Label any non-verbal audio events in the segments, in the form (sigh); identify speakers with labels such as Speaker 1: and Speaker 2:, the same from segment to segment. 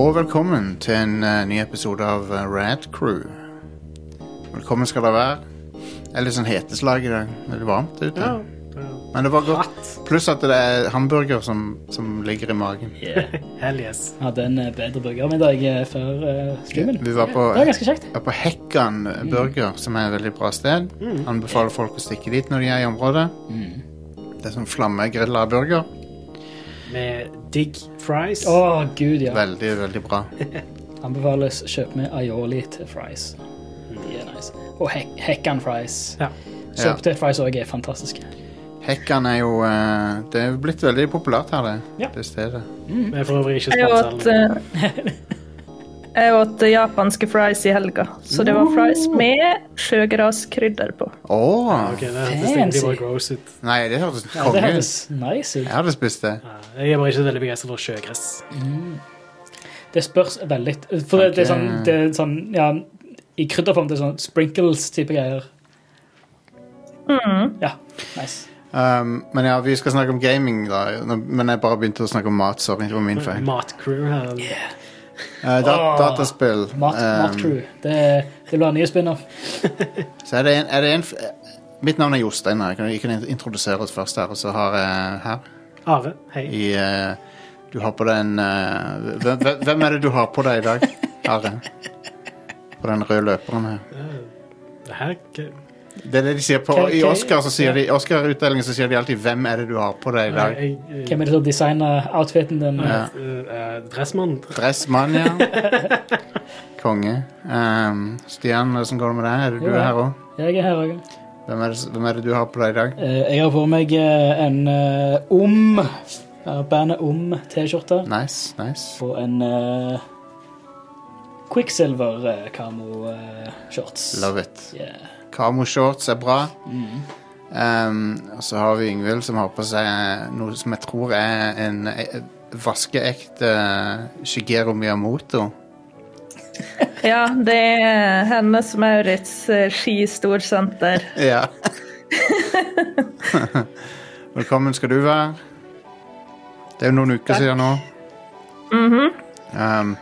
Speaker 1: og velkommen til en eh, ny episode av eh, Rad Crew. Velkommen skal dere være. Det er litt sånn heteslag i dag. Det er litt varmt ute.
Speaker 2: Ja.
Speaker 1: Men det var godt. Pluss at det er hamburger som, som ligger i magen.
Speaker 2: Hell yes.
Speaker 3: Hadde en eh, bedre burgermiddag eh, før eh, streamen.
Speaker 1: Vi var på,
Speaker 3: Det var ganske kjekt. Mm.
Speaker 1: var på Hekkan Burger, som er et veldig bra sted. Anbefaler folk å stikke dit når de er i området.
Speaker 3: Mm.
Speaker 1: Det er sånn flammegrilla burger.
Speaker 2: Med digg fries.
Speaker 3: Å, gud, ja.
Speaker 1: Veldig, veldig bra.
Speaker 3: Anbefales kjøp med aioli til fries. De er nice. Og hek hekkan fries.
Speaker 2: Ja.
Speaker 1: Ja.
Speaker 3: Søpetet-fries òg er fantastiske.
Speaker 1: Hekkan er jo eh, Det er jo blitt veldig populært her, det,
Speaker 2: Ja.
Speaker 1: det stedet.
Speaker 2: Vi er for øvrig ikke
Speaker 4: Jeg åt,
Speaker 2: sponsa.
Speaker 4: (laughs) eh, jeg åt japanske fries i helga, så det var fries med sjøgraskrydder på.
Speaker 1: Å!
Speaker 2: Ok, det hørtes egentlig bare
Speaker 3: eh, Fancy.
Speaker 2: gross ut.
Speaker 1: Nei, det hørtes
Speaker 3: Ja, det
Speaker 1: konge ut.
Speaker 3: høres nice ut.
Speaker 1: Jeg hadde spist det.
Speaker 2: Ja, Jeg er bare ikke veldig begeistra for sjøgress.
Speaker 3: Det spørs veldig For det, det er sånn,
Speaker 1: Ok.
Speaker 3: det er sånn ja, I krydderform det er sånn sprinkles-type greier. Ja. Nice.
Speaker 1: Um, men ja, vi skal snakke om gaming, da. Nå- Men jeg bare begynte å snakke om mat. Sorry, det var min feil.
Speaker 2: Matcrew her.
Speaker 1: Eh, da,
Speaker 3: Åh.
Speaker 1: dataspill.
Speaker 3: Mat,
Speaker 1: Um,
Speaker 3: Matcrew. Det, det vil være nye spin-off.
Speaker 1: så er det en, er det en f eh, Mitt navn er Jostein. da. Jeg kan, jeg kan introdusere oss først her. Og så har jeg her
Speaker 2: Are, hei.
Speaker 1: i eh, Du har på deg en eh, hvem- hvem, hvem er det du har på deg i dag, Are? På den røde løperen her.
Speaker 2: Eh, Det her k-
Speaker 1: Det er det de sier på
Speaker 3: Hvem-
Speaker 1: I
Speaker 3: hvem-
Speaker 1: Oscar så sier de Oscar-utdelingen så sier de alltid 'Hvem er det du har på deg i dag?'
Speaker 2: jeg- jeg-
Speaker 3: Hvem er det som designer outfiten din?
Speaker 1: Ja.
Speaker 2: eh, eh, Dressmann.
Speaker 1: Dressmann, ja. Konge. Um, Stian, hvordan går det med deg? Er det du
Speaker 3: Jo, ja.
Speaker 1: her òg?
Speaker 3: Jeg er her òg.
Speaker 1: Hvem, er det- hvem er det du har på deg i dag?
Speaker 3: Jeg har på meg eh, en eh, Om eh, Bandet Om T-skjorte.
Speaker 1: Nice, nice.
Speaker 3: Og en eh, Quicksilver eh, camo eh, shorts.
Speaker 1: Love it.
Speaker 3: Yeah.
Speaker 1: Kamo-shorts er bra. Um, og så har vi Yngvild som har på seg eh, noe som jeg tror er en e- vaskeekte eh, Shigeru Miyamoto.
Speaker 4: Ja, det er hennes Maurits eh, skistorsenter.
Speaker 1: Ja. (laughs) Velkommen skal du være. Det er jo noen uker siden nå. um,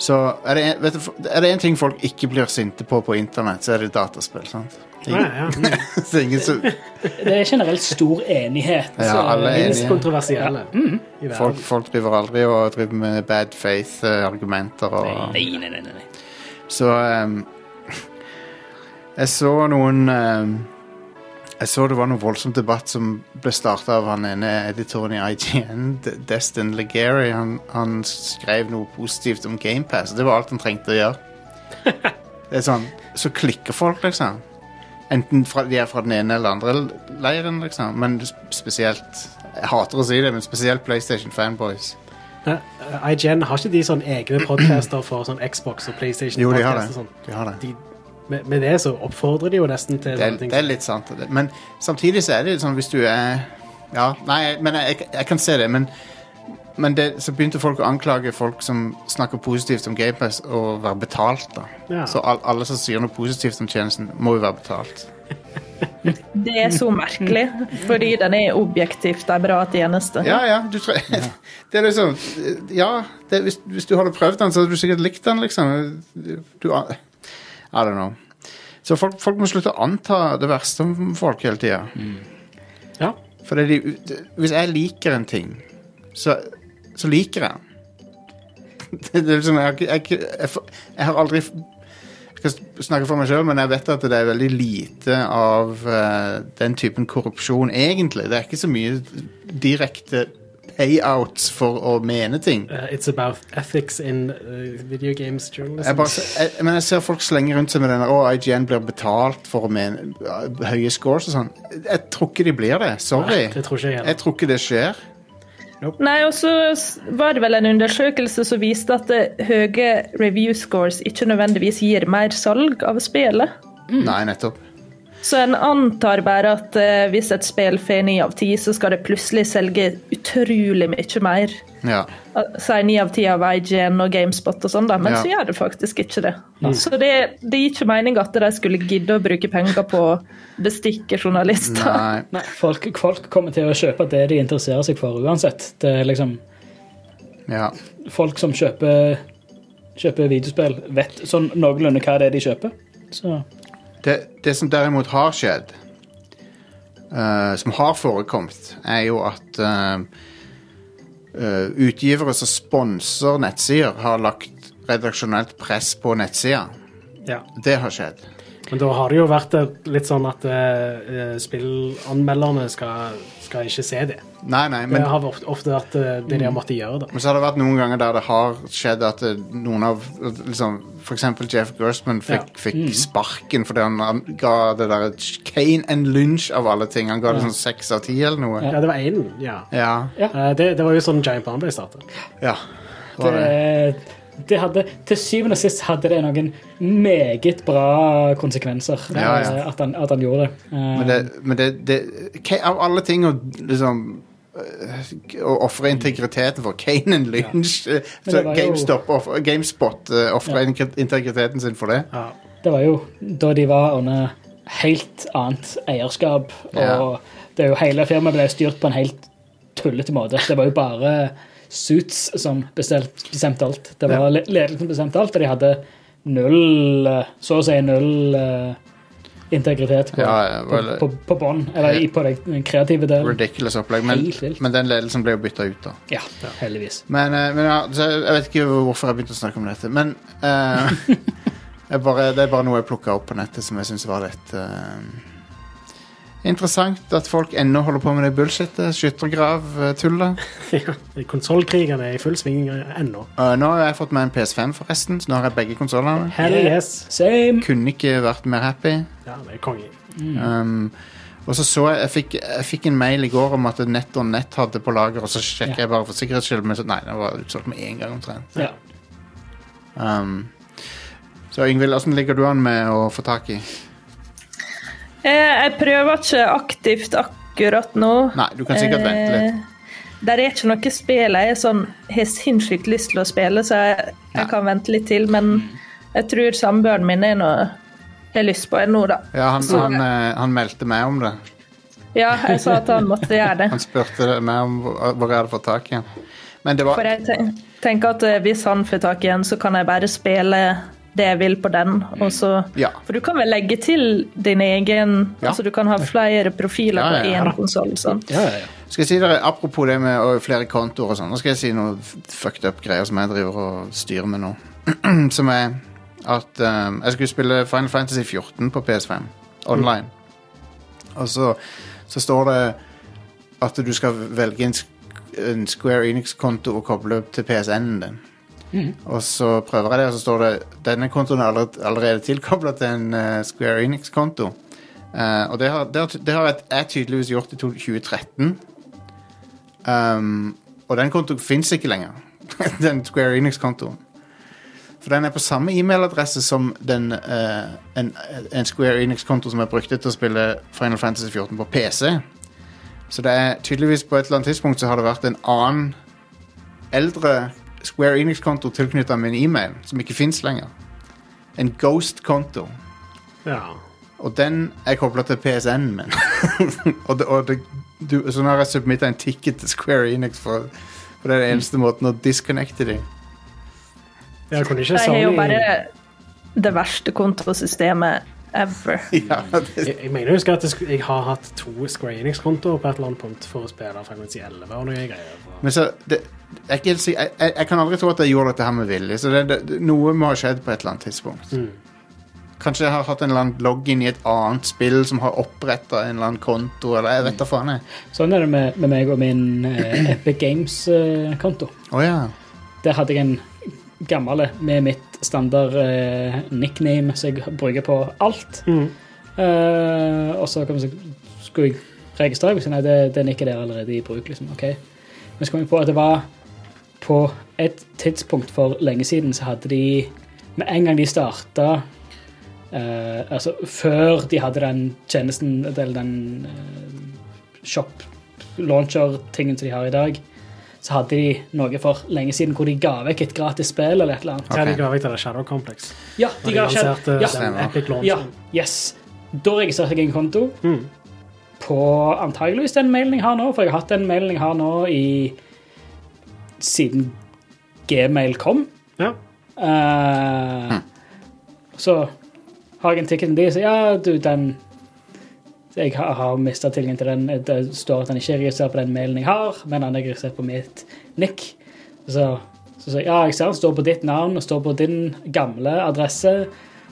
Speaker 1: så er det, en, vet du, er det en ting folk ikke blir sinte på på internett, så er det dataspill. sant?
Speaker 2: Ja,
Speaker 1: (laughs)
Speaker 2: ja. Mm.
Speaker 1: Det er ingen som,
Speaker 3: Det er generelt stor enighet.
Speaker 1: (laughs) Ja, alle er
Speaker 2: Minst
Speaker 1: enige.
Speaker 2: kontroversielle
Speaker 3: Mm.
Speaker 2: i
Speaker 1: folk,
Speaker 2: verden.
Speaker 1: folk driver aldri og driver med bad faith-argumenter. og...
Speaker 3: Nei, nei, nei. nei, nei.
Speaker 1: Så ehm, Jeg så noen ehm, Jeg så det var noen voldsom debatt som ble starta av han ene editoren i IGN, D- Destin Legary. Han, han skrev noe positivt om GamePass, og det var alt han trengte å gjøre. Det er sånn, Så klikker folk, liksom. Enten fra, de er fra den ene eller andre leiren, liksom. Men spesielt Jeg hater å si det, men spesielt PlayStation Fanboys.
Speaker 2: Eh, IGN, har ikke de sånn egne podcaster for sånn Xbox og PlayStation?
Speaker 1: Jo, de har det.
Speaker 2: podcast og sånn?
Speaker 1: De har det.
Speaker 2: De, med, med det så oppfordrer de jo nesten til
Speaker 1: det, er,
Speaker 2: sånne ting.
Speaker 1: det er litt sant. Det. Men samtidig så er det jo sånn hvis du er Ja, nei, men jeg, jeg, jeg kan se det. Men, men det, så begynte folk å anklage folk som snakker positivt om GamePass, å være betalt. da.
Speaker 2: Ja.
Speaker 1: Så al- alle som sier noe positivt om tjenesten, må jo være betalt.
Speaker 4: Det er så merkelig, fordi den er objektivt en bra tjeneste.
Speaker 1: Ja, ja. Du tre... (laughs) Det er liksom Ja, det, hvis, hvis du hadde prøvd den, så hadde du sikkert likt den, liksom. Du an- I don't know. Så folk, folk må slutte å anta det verste om folk hele tida.
Speaker 2: Ja.
Speaker 1: Fordi de, de- hvis jeg liker en ting, så, så liker jeg den. (laughs) Det, det er liksom, jeg, har ikke- jeg, har ikke- jeg, får- jeg har aldri Jeg skal snakke for meg sjøl, men jeg vet at det er veldig lite av eh, den typen korrupsjon, egentlig. Det er ikke så mye direkte payouts for å mene ting.
Speaker 2: Eh, it's about ethics in eh, video games journalism.
Speaker 1: Jeg bare, jeg, men jeg ser folk slenge rundt seg med den der, Å, IGN blir betalt for å mene ja, høye scores og sånn. Jeg tror ikke de blir det. Sorry.
Speaker 2: Det tror ikke jeg
Speaker 1: Jeg
Speaker 2: heller.
Speaker 1: tror ikke det skjer.
Speaker 4: Nei, og så s- var det vel en undersøkelse som viste at eh, høye review scores ikke nødvendigvis gir mer salg av spillet.
Speaker 2: Mm.
Speaker 1: Nei, nettopp.
Speaker 4: Så en antar bare at eh, hvis et spill får ni av ti, så skal det plutselig selge utrolig mye mer.
Speaker 1: Ja.
Speaker 4: Al- Sier ni av ti av IGN og GameSpot og sånn, da, men
Speaker 1: Ja.
Speaker 4: så gjør det faktisk ikke det. Så det, det gir ikke mening at de skulle gidde å bruke penger på å bestikke journalister.
Speaker 1: Nei.
Speaker 3: Folk, folk kommer til å kjøpe det de interesserer seg for uansett. Det er liksom
Speaker 1: Ja.
Speaker 3: folk som kjøper, kjøper videospill, vet sånn noenlunde hva det er de kjøper. Så
Speaker 1: Det, det som derimot har skjedd, eh, som har forekommet, er jo at eh, eh, utgivere som sponser nettsider, har lagt redaksjonelt press på nettsida.
Speaker 2: Ja.
Speaker 1: Det har skjedd.
Speaker 2: Men da har det jo vært eh, litt sånn at eh, eh, spillanmelderne skal, skal ikke se det.
Speaker 1: Nei, nei,
Speaker 2: Det
Speaker 1: men, Mm.
Speaker 2: har ofte, ofte vært eh, det de har måttet gjøre, da.
Speaker 1: men så har det vært noen ganger der det har skjedd at eh, noen av eh, liksom, For eksempel Jeff Gerstmann fikk, fikk sparken fordi han, han ga det der Kane en lunsj av alle ting. Han ga det sånn seks av ti eller noe.
Speaker 2: Ja, det var én, ja.
Speaker 1: Ja.
Speaker 2: Eh, det, det var jo sånn Giant Bomb ble startet.
Speaker 1: ja. Var det.
Speaker 3: det, det hadde, til syvende og sist hadde det noen meget bra konsekvenser
Speaker 1: Ja, ja.
Speaker 3: eh, At, han, at han gjorde det. Eh,
Speaker 1: Men det, men det, det Ka- Av alle ting å liksom øh, å ofre integriteten for Kane and Lynch eh,
Speaker 3: Men
Speaker 1: så
Speaker 3: det var jo-
Speaker 1: GameStop off- GameSpot eh, ofrer
Speaker 3: Ja.
Speaker 1: integri- integriteten sin for det.
Speaker 2: Ja. (laughs)
Speaker 3: Det var jo da de var under helt annet eierskap, og
Speaker 1: Ja.
Speaker 3: det er jo hele firmaet ble styrt på en helt tullete måte. Det var jo bare Suits som bestilt, bestemte alt. Det var le- ledelsen som bestemte alt, og de hadde null eh, Så å si null eh, integritet på,
Speaker 1: Ja, ja,
Speaker 3: på,
Speaker 1: vel-
Speaker 3: på, på bånd, eller i- på den kreative delen.
Speaker 1: Ridiculous opplegg. Men,
Speaker 3: Helt vilt.
Speaker 1: men den ledelsen ble jo bytta ut, da.
Speaker 3: Ja, heldigvis.
Speaker 1: Men, eh, men ja, så jeg vet ikke hvorfor jeg begynte å snakke om dette, men eh,
Speaker 3: (laughs)
Speaker 1: jeg bare, Det er bare noe jeg plukka opp på nettet som jeg syns var litt eh, Interessant at folk ennå holder på med det bullshitet. eh, Skyttergrav-tullet.
Speaker 2: Konsollkrigene er i full sving ennå.
Speaker 1: Uh, nå har jeg fått meg en PS5, forresten, så nå har jeg begge konsollene.
Speaker 2: Hell
Speaker 3: Yeah.
Speaker 2: yes!
Speaker 3: Same.
Speaker 1: Kunne ikke vært mer happy.
Speaker 2: Ja, det er konge.
Speaker 3: Mm.
Speaker 1: Um, og så så jeg jeg fikk, jeg fikk en mail i går om at Nett og Nett hadde på lager, og så sjekket
Speaker 3: Ja.
Speaker 1: jeg bare for sikkerhets skyld, men så, nei, det var utsolgt med én gang omtrent.
Speaker 3: Ja.
Speaker 1: Um, så Yngvild, åssen ligger du an med å få tak i?
Speaker 4: (laughs) Eh, Jeg prøver ikke aktivt akkurat nå.
Speaker 1: Nei, du kan sikkert vente
Speaker 4: Eh,
Speaker 1: litt.
Speaker 4: Det er ikke noe spill jeg er sånn, har sinnssykt lyst til å spille, så jeg,
Speaker 1: Nei.
Speaker 4: jeg kan vente litt til. Men
Speaker 1: Mm.
Speaker 4: jeg tror samboeren min er noe jeg har lyst på nå, da.
Speaker 1: Ja, han,
Speaker 4: Så-
Speaker 1: han, eh, han meldte meg om det.
Speaker 4: Ja, jeg sa at han måtte gjøre
Speaker 1: (laughs)
Speaker 4: det.
Speaker 1: Han spurte meg om hvor hvor jeg hadde fått tak i han. Men det var
Speaker 4: For jeg ten- tenker at eh, hvis han får tak i en, så kan jeg bare spille det jeg vil på den. Og så,
Speaker 1: Mm. Ja.
Speaker 4: For du kan vel legge til din egen
Speaker 1: Ja.
Speaker 4: altså Du kan ha flere profiler
Speaker 1: Ja, ja,
Speaker 4: på
Speaker 1: ja, da.
Speaker 4: én konsoll. Sånn.
Speaker 3: Ja, ja, ja.
Speaker 1: Skal jeg si dere, Apropos det med og flere kontoer og sånn, nå skal jeg si noe f- fucked up greier som jeg driver og styrer med nå. (clears throat) som er at ehm, jeg skulle spille Final Fantasy 14 på PS5 online. Og så, så står det at du skal velge en, sk- en Square Enix-konto og koble opp til PSN-en din. Og så prøver jeg det, og så står det denne kontoen er allerede, allerede tilkobla til en eh, Square Enix-konto. Eh, og det har, det har, det har jeg- jeg tydeligvis gjort i to- 2013. Um, og den kontoen fins ikke lenger. (laughs) den Square Enix-kontoen. For den er på samme e-mailadresse som den, eh, en, en Square Enix-konto som jeg brukte til å spille Final Fantasy 14 på PC. Så det er tydeligvis på et eller annet tidspunkt så har det vært en annen eldre Square Enix-konto tilknytta min e-mail, som ikke fins lenger. En ghost-konto.
Speaker 2: Ja.
Speaker 1: Og den er kobla til PSN-en min. (laughs) og det, og det, du, så nå har jeg submitta en ticket til Square Enix, for, for det er den eneste måten å disconnecte dem.
Speaker 2: Jeg kunne ikke sånn
Speaker 4: Jeg har jo
Speaker 2: Sony
Speaker 4: bare
Speaker 2: jeg,
Speaker 4: det verste kontosystemet ever.
Speaker 1: Ja, det-
Speaker 2: jeg mener jeg husker at jeg sk- jeg har hatt to Square Enix-kontoer på et eller annet punkt for å spille Final Fantasy 11 og noe greier.
Speaker 1: men så det, jeg, er ikke helt sikker- jeg, jeg, jeg kan aldri tro at jeg gjorde dette her med vilje, så det, det, noe må ha skjedd på et eller annet tidspunkt.
Speaker 2: Mm.
Speaker 1: Kanskje jeg har hatt en eller annen login i et annet spill som har oppretta en eller annen konto, eller jeg vet da faen. jeg.
Speaker 3: Sånn er det med, med meg og min (clears throat) eh, Epic Games-konto.
Speaker 1: Å ja.
Speaker 3: Der hadde jeg en gammel med mitt standard eh, nickname som jeg bruker på alt.
Speaker 2: Mhm.
Speaker 3: Eh, og så kom jeg, skulle jeg registrere meg, så nei, det, den er ikke der allerede i bruk. liksom, ok. Men så kom jeg på at det var på et tidspunkt for lenge siden så hadde de Med en gang de starta eh, Altså før de hadde den tjenesten, eller den eh, shop-launcher-tingen som de har i dag, så hadde de noe for lenge siden hvor de ga vekk et gratis spill eller et eller annet.
Speaker 2: Ja, de ga vekk det der Shadow Complex.
Speaker 3: Ja, de
Speaker 2: De eh,
Speaker 3: ga skjedd.
Speaker 2: lanserte
Speaker 3: Ja,
Speaker 2: den
Speaker 1: Stemmer.
Speaker 2: Epic Launch.
Speaker 3: ja, yes. Da registrerte jeg en konto
Speaker 2: Mm.
Speaker 3: på antageligvis den mailen jeg har nå, for jeg har hatt den mailen jeg har nå i siden Gmail kom.
Speaker 2: Ja.
Speaker 3: Eh, Så har jeg en ticket til de, så ja, du, den Jeg har, har mista tilgangen til den. Det står at den ikke er registrert på den mailen jeg har, men han er registrert på mitt nick. Så så sier jeg ja, jeg ser den står på ditt navn og står på din gamle adresse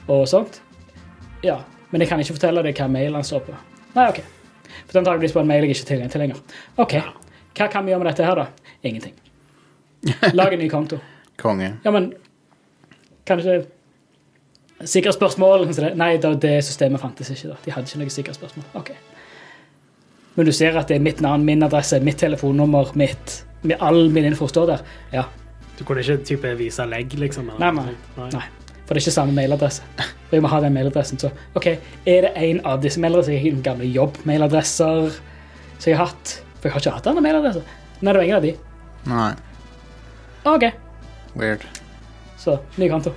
Speaker 3: og sånt. Ja, men jeg kan ikke fortelle deg hva mail han står på. Nei, OK. For den antakeligvis på en mail jeg ikke har tilgang til lenger. OK, hva kan vi gjøre med dette her, da? Ingenting. Lag en ny konto.
Speaker 1: Konge.
Speaker 3: Ja, men kanskje Sikre spørsmål? Så det- Nei, da, det systemet fantes ikke. da. De hadde ikke noe sikre spørsmål. Ok. Men du ser at det er mitt navn, min adresse, mitt telefonnummer, mitt med All min info står der. Ja.
Speaker 2: Du kunne ikke type vise legg, liksom? eller
Speaker 3: Nei,
Speaker 2: noe
Speaker 3: nei.
Speaker 2: sånt?
Speaker 3: Nei. For det er ikke samme mailadresse. (laughs) Og jeg må ha den mailadressen. Så OK, er det en av disse mailadressene? Jeg har ikke noen gamle jobb-mailadresser som jeg har hatt. For jeg har ikke hatt andre mailadresser. Nei, det var ingen av de.
Speaker 1: Nei.
Speaker 3: OK.
Speaker 1: Weird.
Speaker 3: Så ny konto.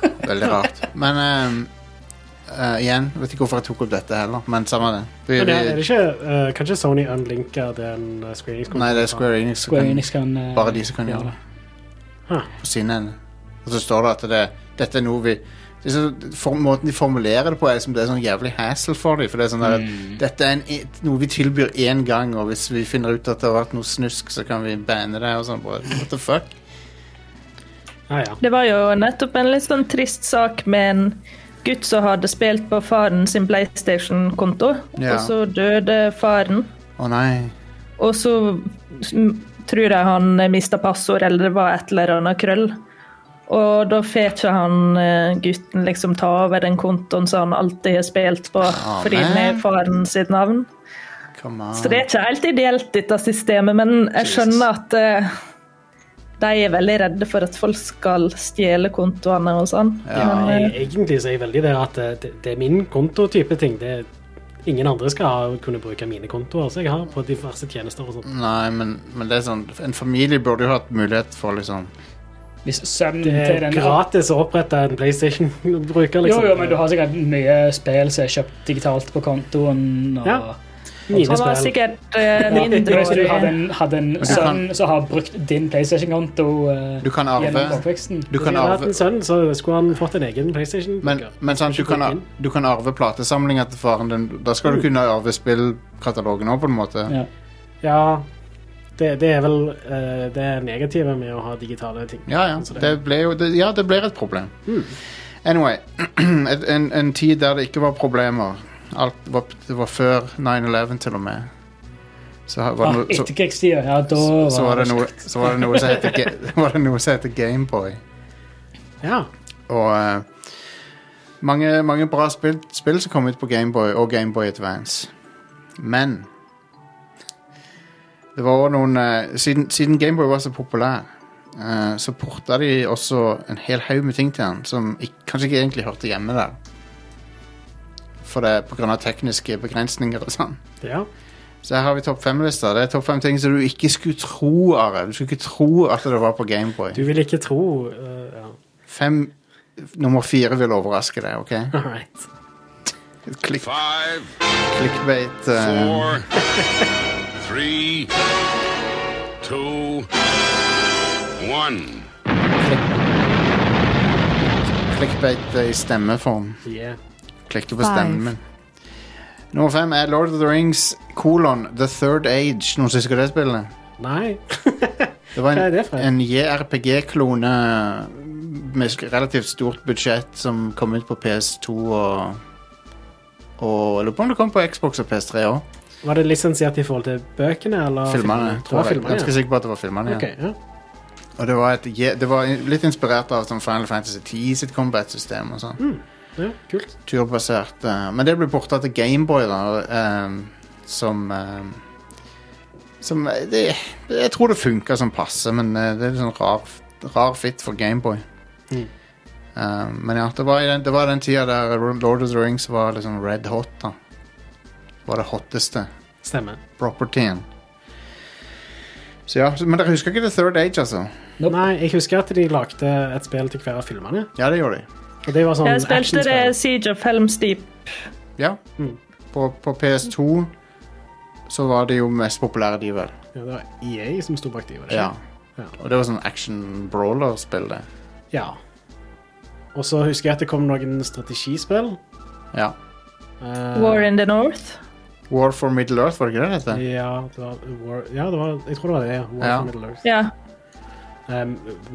Speaker 1: Veldig rart. Men ehm, eh, igjen, vet ikke hvorfor jeg tok opp dette heller, men samme det. Vi,
Speaker 2: Men er, er det
Speaker 1: vi,
Speaker 2: ikke, eh, kan ikke Sony unlinke den uh, screeningskontoen?
Speaker 1: nei, det er Square Enix. som
Speaker 3: Square
Speaker 1: kan-
Speaker 3: Enix kan eh,
Speaker 1: Bare de som kan gjøre det.
Speaker 2: Huh.
Speaker 1: På sin ende. Og så står det at det, dette er noe vi det er så, for, Måten de formulerer det på, er som det er sånn jævlig hassle for dem. For det er sånn at
Speaker 3: Mm.
Speaker 1: dette er en, et- noe vi tilbyr én gang, og hvis vi finner ut at det har vært noe snusk, så kan vi banne det. og sånn. Bare, What the fuck?
Speaker 2: Ah, ja.
Speaker 4: Det var jo nettopp en litt sånn trist sak med en gutt som hadde spilt på faren sin PlayStation-konto,
Speaker 1: Ja.
Speaker 4: og så døde faren.
Speaker 1: Å nei.
Speaker 4: Og så m- tror jeg han mista passord, eller det var et eller annet krøll. Og da får ikke han eh, gutten liksom ta over den kontoen som han alltid har spilt
Speaker 1: Ah,
Speaker 4: på, fordi den
Speaker 1: men.
Speaker 4: er faren sitt navn.
Speaker 1: Come on.
Speaker 4: Så det er ikke helt ideelt, dette systemet, men jeg
Speaker 1: Jesus.
Speaker 4: skjønner at eh, de er veldig redde for at folk skal stjele kontoene og sånn.
Speaker 1: Ja.
Speaker 4: Men, eh,
Speaker 2: Egentlig så er jeg veldig det at eh, det, det er min kontotype ting. Det er, ingen andre skal ha, kunne bruke mine kontoer som jeg har på diverse tjenester og
Speaker 3: Mm.
Speaker 2: sånt.
Speaker 1: Nei, men, men det er sånn En familie burde jo hatt mulighet for liksom
Speaker 3: Hvis sønnen
Speaker 2: Det
Speaker 3: til
Speaker 2: er
Speaker 3: den
Speaker 2: gratis å opprette en PlayStation-bruker,
Speaker 3: Jo,
Speaker 2: liksom.
Speaker 3: jo, men du har sikkert mye spill som er kjøpt digitalt på kontoen. Og...
Speaker 2: Ja.
Speaker 4: Han
Speaker 3: Sånn
Speaker 2: mine
Speaker 4: var
Speaker 2: spill.
Speaker 4: sikkert eh,
Speaker 3: Ja, men Hvis du
Speaker 4: mindreårig.
Speaker 3: hadde en, hadde en
Speaker 1: du
Speaker 3: sønn som har brukt din PlayStation-konto eh,
Speaker 1: Du kan
Speaker 3: gjennom
Speaker 1: arve.
Speaker 3: oppveksten
Speaker 1: Du
Speaker 2: Hvis
Speaker 1: kan
Speaker 2: jeg hadde hatt
Speaker 1: arve
Speaker 2: en sønn, så skulle han fått en egen PlayStation.
Speaker 1: Men, men sant, du, kan, ar- du kan arve platesamlinga til faren din. Da
Speaker 3: Mm.
Speaker 1: skal du kunne arve spillkatalogen òg, på en måte.
Speaker 3: ja.
Speaker 2: Ja, det, det er vel eh, det negative med å ha digitale ting.
Speaker 1: Ja, ja.
Speaker 2: Så det-
Speaker 1: Det ble jo det, Ja, det blir et problem. Anyway. (clears throat) et- En, en tid der det ikke var problemer. Alt var, det var før 9-11, til og med. Så ha- var det
Speaker 3: Ah,
Speaker 1: noe, så,
Speaker 3: Etterkrigstida, ja, da
Speaker 1: så, så var det
Speaker 3: det
Speaker 1: noe Så var det noe som heter Ga- (laughs) var det noe som heter Gameboy.
Speaker 2: Ja,
Speaker 1: Og eh, mange, mange bra spill, spill som kom ut på Gameboy og Gameboy Advance. Men det var også noen eh, Siden, siden Gameboy var så populær, eh, så porta de også en hel haug med ting til han som ikk- kanskje ikke egentlig hørte hjemme der. For det på grunn av tekniske begrensninger og sånn.
Speaker 2: ja.
Speaker 1: Så her har vi topp fem-lista. Det er topp fem ting som du ikke skulle tro, Are. Du skulle ikke tro at det var på Gameboy.
Speaker 2: Du vil ikke tro eh, ja.
Speaker 1: Fem Nummer fire vil overraske deg, OK?
Speaker 2: All right.
Speaker 1: Klikk,
Speaker 5: Five,
Speaker 1: clickbait eh,
Speaker 5: four, (laughs) three, two, one.
Speaker 1: clickbait eh, i stemmeform.
Speaker 2: Yeah.
Speaker 1: Klikk på stemmen min. Nummer fem er Lord of the Rings kolon The Third Age. Noen som husker det spillet?
Speaker 2: Nei. (laughs)
Speaker 1: Det var
Speaker 2: Hva er det
Speaker 1: en,
Speaker 2: for et?
Speaker 1: en JRPG-klone med sk- relativt stort budsjett som kom ut på PS2 og Og jeg lurer på om det kom på Xbox og PS3 òg.
Speaker 2: Var det lisensiert i forhold til bøkene? Eller
Speaker 1: Filmene.
Speaker 2: Ah, Det
Speaker 1: tror
Speaker 2: var
Speaker 1: jeg.
Speaker 2: filmene,
Speaker 1: Ganske
Speaker 2: ja.
Speaker 1: sikker på at det var filmene.
Speaker 2: Ok,
Speaker 1: Ja.
Speaker 2: ja.
Speaker 1: Og det var, et, J- det var litt inspirert av sånn Final Fantasy 10 sitt combat-system og sånn.
Speaker 2: ja, kult.
Speaker 1: turbasert. eh, men det ble porta til Gameboy, da. eh, som eh, Som eh, det, Jeg tror det funka som passe, men eh, det er sånn rar, rar fit for Gameboy.
Speaker 2: Mm.
Speaker 1: Eh, men ja, det var, i den, det var den tida der Lord of the Rings var liksom red hot, da. Det var det hotteste
Speaker 2: Stemmer.
Speaker 1: propertyen. Så ja, så- Men dere husker ikke The Third Age, altså?
Speaker 3: Nope.
Speaker 2: Nei, jeg husker at de lagde et spill til hver av filmene.
Speaker 1: Ja, det gjorde de.
Speaker 2: Og det var sånn
Speaker 4: Jeg spilte det
Speaker 2: actionspill.
Speaker 4: Siege of Helms Deep.
Speaker 1: Ja.
Speaker 2: Mm.
Speaker 1: På, på PS2 så var det jo mest populære, de, vel.
Speaker 2: Ja, det var EA som sto bak de, var det
Speaker 1: Ja.
Speaker 2: ikke? Ja.
Speaker 1: Og det var sånn action brawler-spill, det.
Speaker 2: Ja. Og så husker jeg at det kom noen strategispill.
Speaker 1: Ja.
Speaker 2: Eh,
Speaker 4: War in the North.
Speaker 1: War for Middle Earth, var det ikke det det heter?
Speaker 2: Ja, det var, War, ja det var, jeg tror det var det. ja. War,
Speaker 1: Ja.
Speaker 2: for Middle Earth.
Speaker 4: Ja.
Speaker 2: Eh,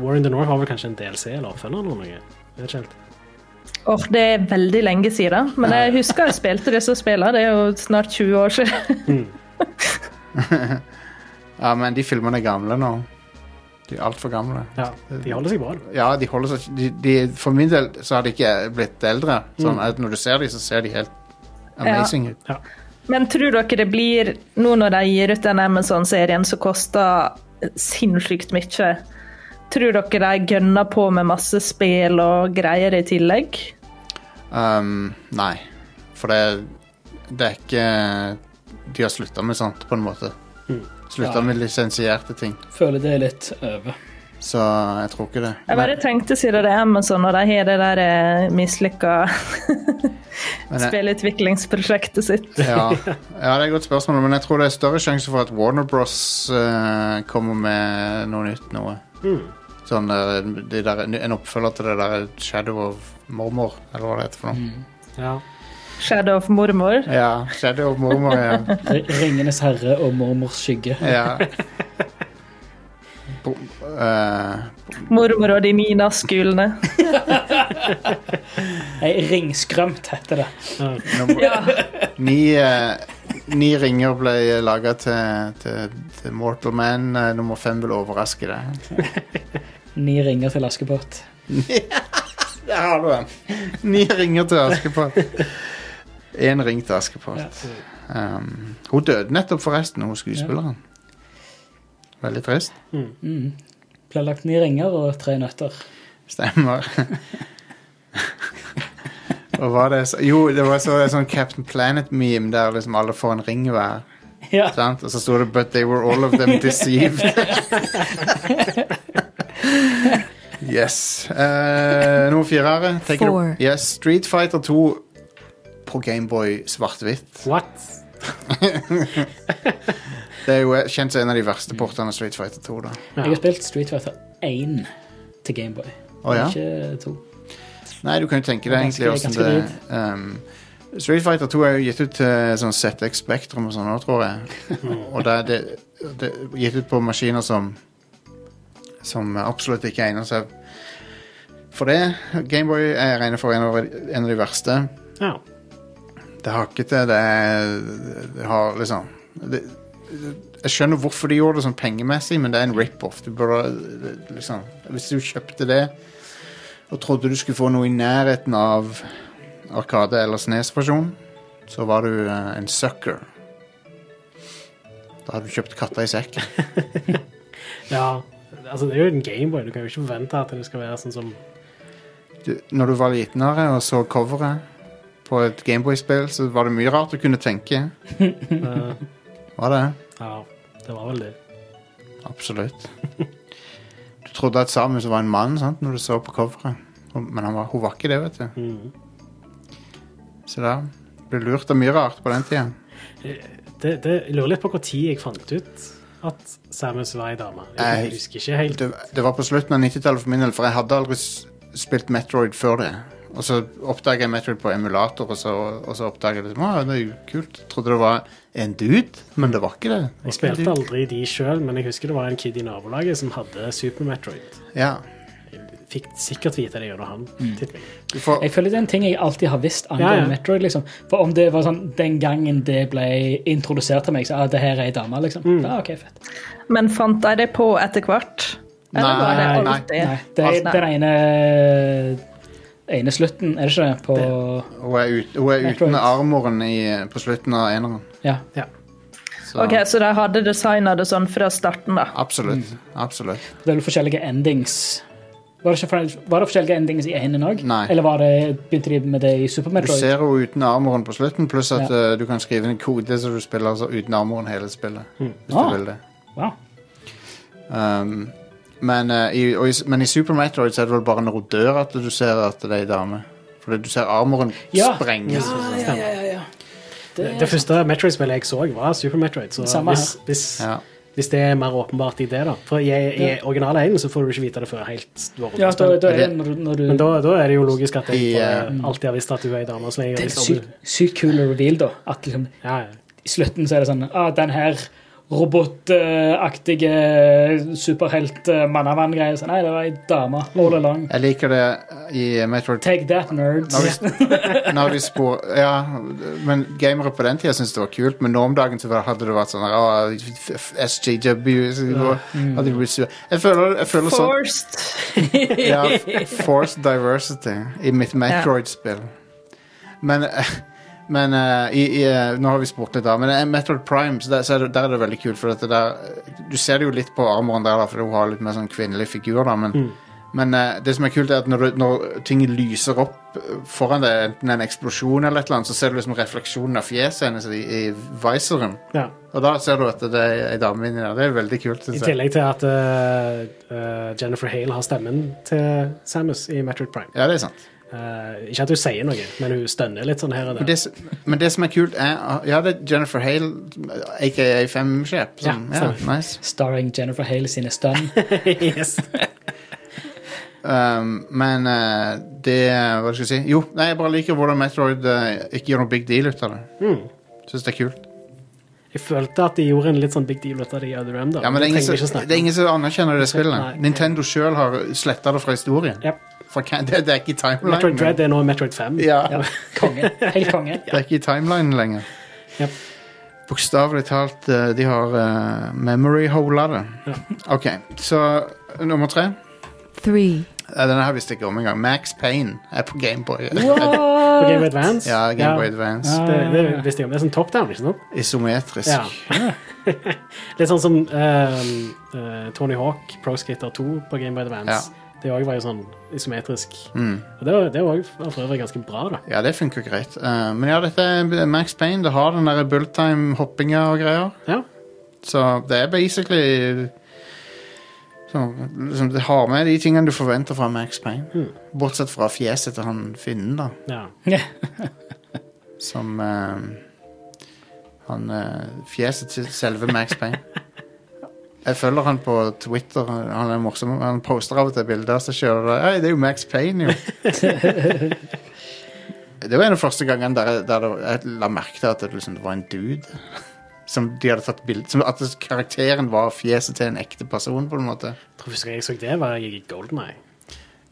Speaker 2: War in the North var vel kanskje en DLC eller oppfølger eller noe? Jeg vet ikke helt.
Speaker 4: Åh, det er veldig lenge siden, men jeg husker jeg spilte disse spillene. Det er jo snart 20 år siden. (laughs)
Speaker 1: Ja, men de filmene er gamle nå. De er altfor gamle.
Speaker 2: Ja, de holder seg bra. da.
Speaker 1: Ja, de holder seg de, de, For min del så har de ikke blitt eldre. Sånn at Når du ser de, så ser de helt amazing ut.
Speaker 2: Ja.
Speaker 4: Men tror dere det blir, nå når de gir ut den Amazon-serien som koster sinnssykt mye, tror dere de gønner på med masse spill og greier i tillegg?
Speaker 1: Um, nei. For det, det er ikke De har slutta med sånt, på en måte. Slutta
Speaker 3: Ja.
Speaker 1: med lisensierte ting.
Speaker 3: Føler det er litt over.
Speaker 1: Så jeg tror ikke det.
Speaker 4: Jeg bare tenkte siden det er Amazon og de har det der eh, mislykka
Speaker 1: Men jeg-
Speaker 4: spillutviklingsprosjektet sitt.
Speaker 1: (laughs) ja. ja, det er et godt spørsmål, men jeg tror det er større sjanse for at Warner Bros eh, kommer med noe nytt noe. Sånn, eh, de der, en oppfølger til det der Shadow of Mormor, eller hva det heter for noe.
Speaker 2: Ja.
Speaker 4: Shadow of Mormor.
Speaker 1: Ja, Shadow of Mormor,
Speaker 3: (laughs)
Speaker 1: ja.
Speaker 3: R- Ringenes herre og mormors skygge.
Speaker 1: ja. Bo, eh,
Speaker 4: Mormor og de Nina-skulene.
Speaker 3: Nei, ringskremt heter det.
Speaker 1: nummer, ni, eh, ni ringer ble laget til, til, til Mortal Man. eh, nummer fem vil overraske deg.
Speaker 3: Ni ringer til Askepott.
Speaker 1: Der har du den. (laughs) Ni ringer til (laughs) Askepott. Én ring til
Speaker 3: Ja.
Speaker 1: Askepott. Um, hun døde nettopp, forresten, hun skuespilleren. Veldig trist.
Speaker 3: Mm. Ble lagt ni ringer og tre nøtter.
Speaker 1: Stemmer. (laughs) Og var det så, jo, det var så, en sånn Captain Planet-meme der liksom alle får en ring hver.
Speaker 3: Ja.
Speaker 1: Sant? Og så sto det 'But they were all of them deceived'. yes. Uh, nummer firere. take it-
Speaker 6: Four.
Speaker 1: Yes, Street Fighter 2 på Gameboy svart-hvitt.
Speaker 2: What?
Speaker 1: Det er jo eh, kjent som en av de verste portene av Street Fighter 2, da.
Speaker 3: Jeg har spilt Street Fighter 1 til Gameboy.
Speaker 1: Å, ja?
Speaker 3: Ikke to.
Speaker 1: Nei, du kan jo tenke deg egentlig
Speaker 3: Ganske-
Speaker 1: hvordan det ehm, Street Fighter 2 er jo gitt ut til sånn ZX Spektrum og sånn nå, tror
Speaker 3: (laughs)
Speaker 1: jeg. Og det er det, det er gitt ut på maskiner som som absolutt ikke egner seg for det. Gameboy er regnet for en av, en av de verste.
Speaker 2: Ja.
Speaker 1: Det er hakkete, det er det har liksom det, Jeg skjønner hvorfor de gjorde det sånn pengemessig, men det er en rip-off. Du burde liksom Hvis du kjøpte det og trodde du skulle få noe i nærheten av Arkade eller Snes-versjon, så var du eh, en sucker. Da hadde du kjøpt katta i sekken.
Speaker 2: ja. Altså, det er jo en Gameboy. Du kan jo ikke forvente at det skal være sånn som
Speaker 1: du, når du var liten Are, og så coveret på et Gameboy-spill, så var det mye rart du kunne tenke.
Speaker 2: eh,
Speaker 1: Var det?
Speaker 2: Ja, det var vel det.
Speaker 1: Absolutt. (laughs) Du trodde at Samus var en mann sant, når du så på coveret, Og- men han var, hun var ikke det, vet du.
Speaker 2: Mhm.
Speaker 1: Så da ble lurt av mye rart på den tida.
Speaker 2: det, det jeg lurer litt på når jeg fant ut at Samus var ei dame. Jeg
Speaker 1: Nei.
Speaker 2: husker ikke helt.
Speaker 1: Det, det var på slutten av 90-tallet for min del, for jeg hadde aldri s- spilt Metroid før det. Og så oppdaga jeg Metroid på emulator, og så, og så oppdaga jeg liksom, «Å, det er jo kult. Jeg trodde det var en dude, men det var ikke det. det. var
Speaker 2: Jeg
Speaker 1: ikke en
Speaker 2: spilte
Speaker 1: dude.
Speaker 2: aldri de sjøl, men jeg husker det var en kid i nabolaget som hadde Super Metroid.
Speaker 1: Ja.
Speaker 2: Fikk sikkert vite det gjennom han.
Speaker 1: Mm.
Speaker 2: til meg.
Speaker 1: Du får,
Speaker 3: Jeg føler det er en ting jeg alltid har visst angående
Speaker 2: Ja, ja.
Speaker 3: Metroid. liksom. For om det var sånn den gangen det ble introdusert til meg, så ah, det her er ei dame, liksom. Ja, ok, fett.
Speaker 4: Men fant de det på etter hvert? Eller var det
Speaker 1: Nei, nei,
Speaker 4: alltid?
Speaker 3: Nei, det er
Speaker 4: Nei.
Speaker 3: den ene, ene slutten, er det ikke det? På
Speaker 1: Hun er, ut, hun er
Speaker 3: Metroid.
Speaker 1: uten armoren i, på slutten av eneren.
Speaker 3: Ja.
Speaker 2: Ja.
Speaker 1: Så
Speaker 4: Ok, Så de hadde designa det sånn fra starten, da?
Speaker 1: absolutt. Absolutt.
Speaker 3: Det er vel forskjellige endings. Var det, ikke, for- var det forskjellige endings i enen òg?
Speaker 1: Nei.
Speaker 3: Eller var det, begynte de med det i Super
Speaker 1: Du
Speaker 3: Metroid?
Speaker 1: ser henne uten armoren på slutten, pluss at eh, du kan skrive en kode så du spiller altså, uten armoren hele spillet. Hvis
Speaker 3: Ah.
Speaker 1: du vil det.
Speaker 3: Wow.
Speaker 1: Um, men, eh, i, og i, men i Super Metroid så er det vel bare når hun dør at du ser at det er ei dame. Fordi du ser armoren
Speaker 3: Ja.
Speaker 1: sprenges.
Speaker 3: ja, ja, ja, ja.
Speaker 2: Det første Metroid-spillet jeg så, var Super Metroid. Så
Speaker 3: Samme
Speaker 2: hvis, hvis
Speaker 1: Ja.
Speaker 2: Hvis det er mer åpenbart i det, da. For i, i original 1 så får du ikke vite det før helt du har rundt
Speaker 3: Ja, da,
Speaker 2: spillet.
Speaker 3: da er det når, du- når du
Speaker 2: Men da, da er det jo logisk at jeg
Speaker 1: I,
Speaker 2: bare
Speaker 1: eh,
Speaker 2: alltid har visst at du er ei dame. Så lenge jeg
Speaker 3: Det er
Speaker 2: har
Speaker 3: en
Speaker 2: visst at
Speaker 3: sykt
Speaker 2: du-
Speaker 3: sykt kul reveal, da. At liksom,
Speaker 2: ja, ja.
Speaker 3: i slutten så er det sånn ah, Den her robotaktige superhelt-mannavann-greia. Nei, det var ei dame all along.
Speaker 1: Jeg liker det eh, i Metroid
Speaker 3: Take that, nerds.
Speaker 1: Når de, når de spor, ja, men gamere på den tida syntes det var kult, men nå om dagen så hadde det vært sånn her, «Å, f- f- SJW så nå
Speaker 3: Mm.
Speaker 1: hadde de blitt sur. Jeg føler, jeg føler sånn
Speaker 4: Forced.
Speaker 1: ja, f- Forced diversity i mitt Metroid-spill. Men, eh, men eh, i, i, eh, nå har vi spurt litt, da. Men eh, Metroid Prime, så der, så er det, der er det veldig kult. For at det der, du ser det jo litt på armoren der, da, for hun har litt mer sånn kvinnelig figur. da, men
Speaker 2: Mm.
Speaker 1: men eh, det som er kult er at når, du- når ting lyser opp eh, foran deg, enten en eksplosjon eller et eller annet, så ser du liksom refleksjonen av fjeset hennes i, i viseren.
Speaker 2: ja.
Speaker 1: Og da ser du at det er ei dame inni der. Det er veldig kult.
Speaker 2: I
Speaker 1: synes jeg.
Speaker 2: tillegg til at eh, eh, Jennifer Hale har stemmen til Samus i Metroid Prime.
Speaker 1: Ja, det er sant.
Speaker 2: Eh, ikke at hun sier noe, men hun stønner litt sånn her og
Speaker 1: Men
Speaker 2: der.
Speaker 1: det, s- men det som er kult, er ah, Ja, det er Jennifer Hale, aka Fem-sjef. som-
Speaker 2: Ja,
Speaker 1: Ja,
Speaker 2: stemmer.
Speaker 1: nice.
Speaker 3: Starring Jennifer Hale sine (laughs) stun.
Speaker 2: (laughs) yes.
Speaker 1: Um, men eh, det Hva skal jeg si? Jo, nei, jeg bare liker hvordan Metroid eh, ikke gjør noe big deal ut av det.
Speaker 2: Mm.
Speaker 1: Syns det er kult.
Speaker 2: Jeg følte at de gjorde en litt sånn big deal ut av det i Other M. Da.
Speaker 1: Ja, men det er,
Speaker 2: Det
Speaker 1: ingen
Speaker 2: trenger vi ikke
Speaker 1: som,
Speaker 2: snakke
Speaker 1: det er ingen som anerkjenner det
Speaker 2: Nei.
Speaker 1: spillet. Nintendo sjøl har sletta det fra historien.
Speaker 2: Yep.
Speaker 1: Fra ca- (laughs) det, det er ikke i
Speaker 2: om. Metroid
Speaker 1: timelinen.
Speaker 2: Dread er nå Metroid 5.
Speaker 1: Ja,
Speaker 3: Konge. Helt konge.
Speaker 1: det er ikke i timelinen lenger.
Speaker 2: Yep.
Speaker 1: Bokstavelig talt, eh, de har eh, memory hola det. OK, så eh, nummer tre.
Speaker 6: three,
Speaker 1: Ja, Denne her visste jeg ikke om engang. Max Payne er på Gameboy.
Speaker 2: På Game Boy Advance.
Speaker 1: (laughs)
Speaker 2: Ah,
Speaker 1: ja, Gameboy Advance.
Speaker 3: Ja.
Speaker 2: Det, det visste jeg om. Det er sånn top down, ikke sant?
Speaker 1: Isometrisk.
Speaker 2: Ja. (laughs) Litt sånn som ehm, eh, Tony Hawk, Pro Skater 2 på Game Boy Advance. Det òg var jo sånn isometrisk.
Speaker 1: Mm.
Speaker 2: Og det var- det var også for øvrig ganske bra, da.
Speaker 1: ja, det funker greit. Eh, men ja, dette er Max Payne. Det har den der bullet time-hoppinga og greier.
Speaker 2: Ja.
Speaker 1: Så det er basically så, liksom, Det har med de tingene du forventer fra Max Payne.
Speaker 2: Mm.
Speaker 1: Bortsett fra fjeset til han finnen, da.
Speaker 2: ja.
Speaker 1: Som eh, Han eh, Fjeset til selve Max Payne. Jeg følger han på Twitter. Han er morsom. Han poster av og til bilder av seg sjøl. Hei, det er jo Max Payne, jo. det var en av de første gangene der, jeg- der det- jeg la merke til at det, liksom, det var en dude. Som de hadde tatt bild, som At karakteren var fjeset til en ekte person, på en måte.
Speaker 2: Jeg tror første gang jeg så det, var jeg i Golden Eye.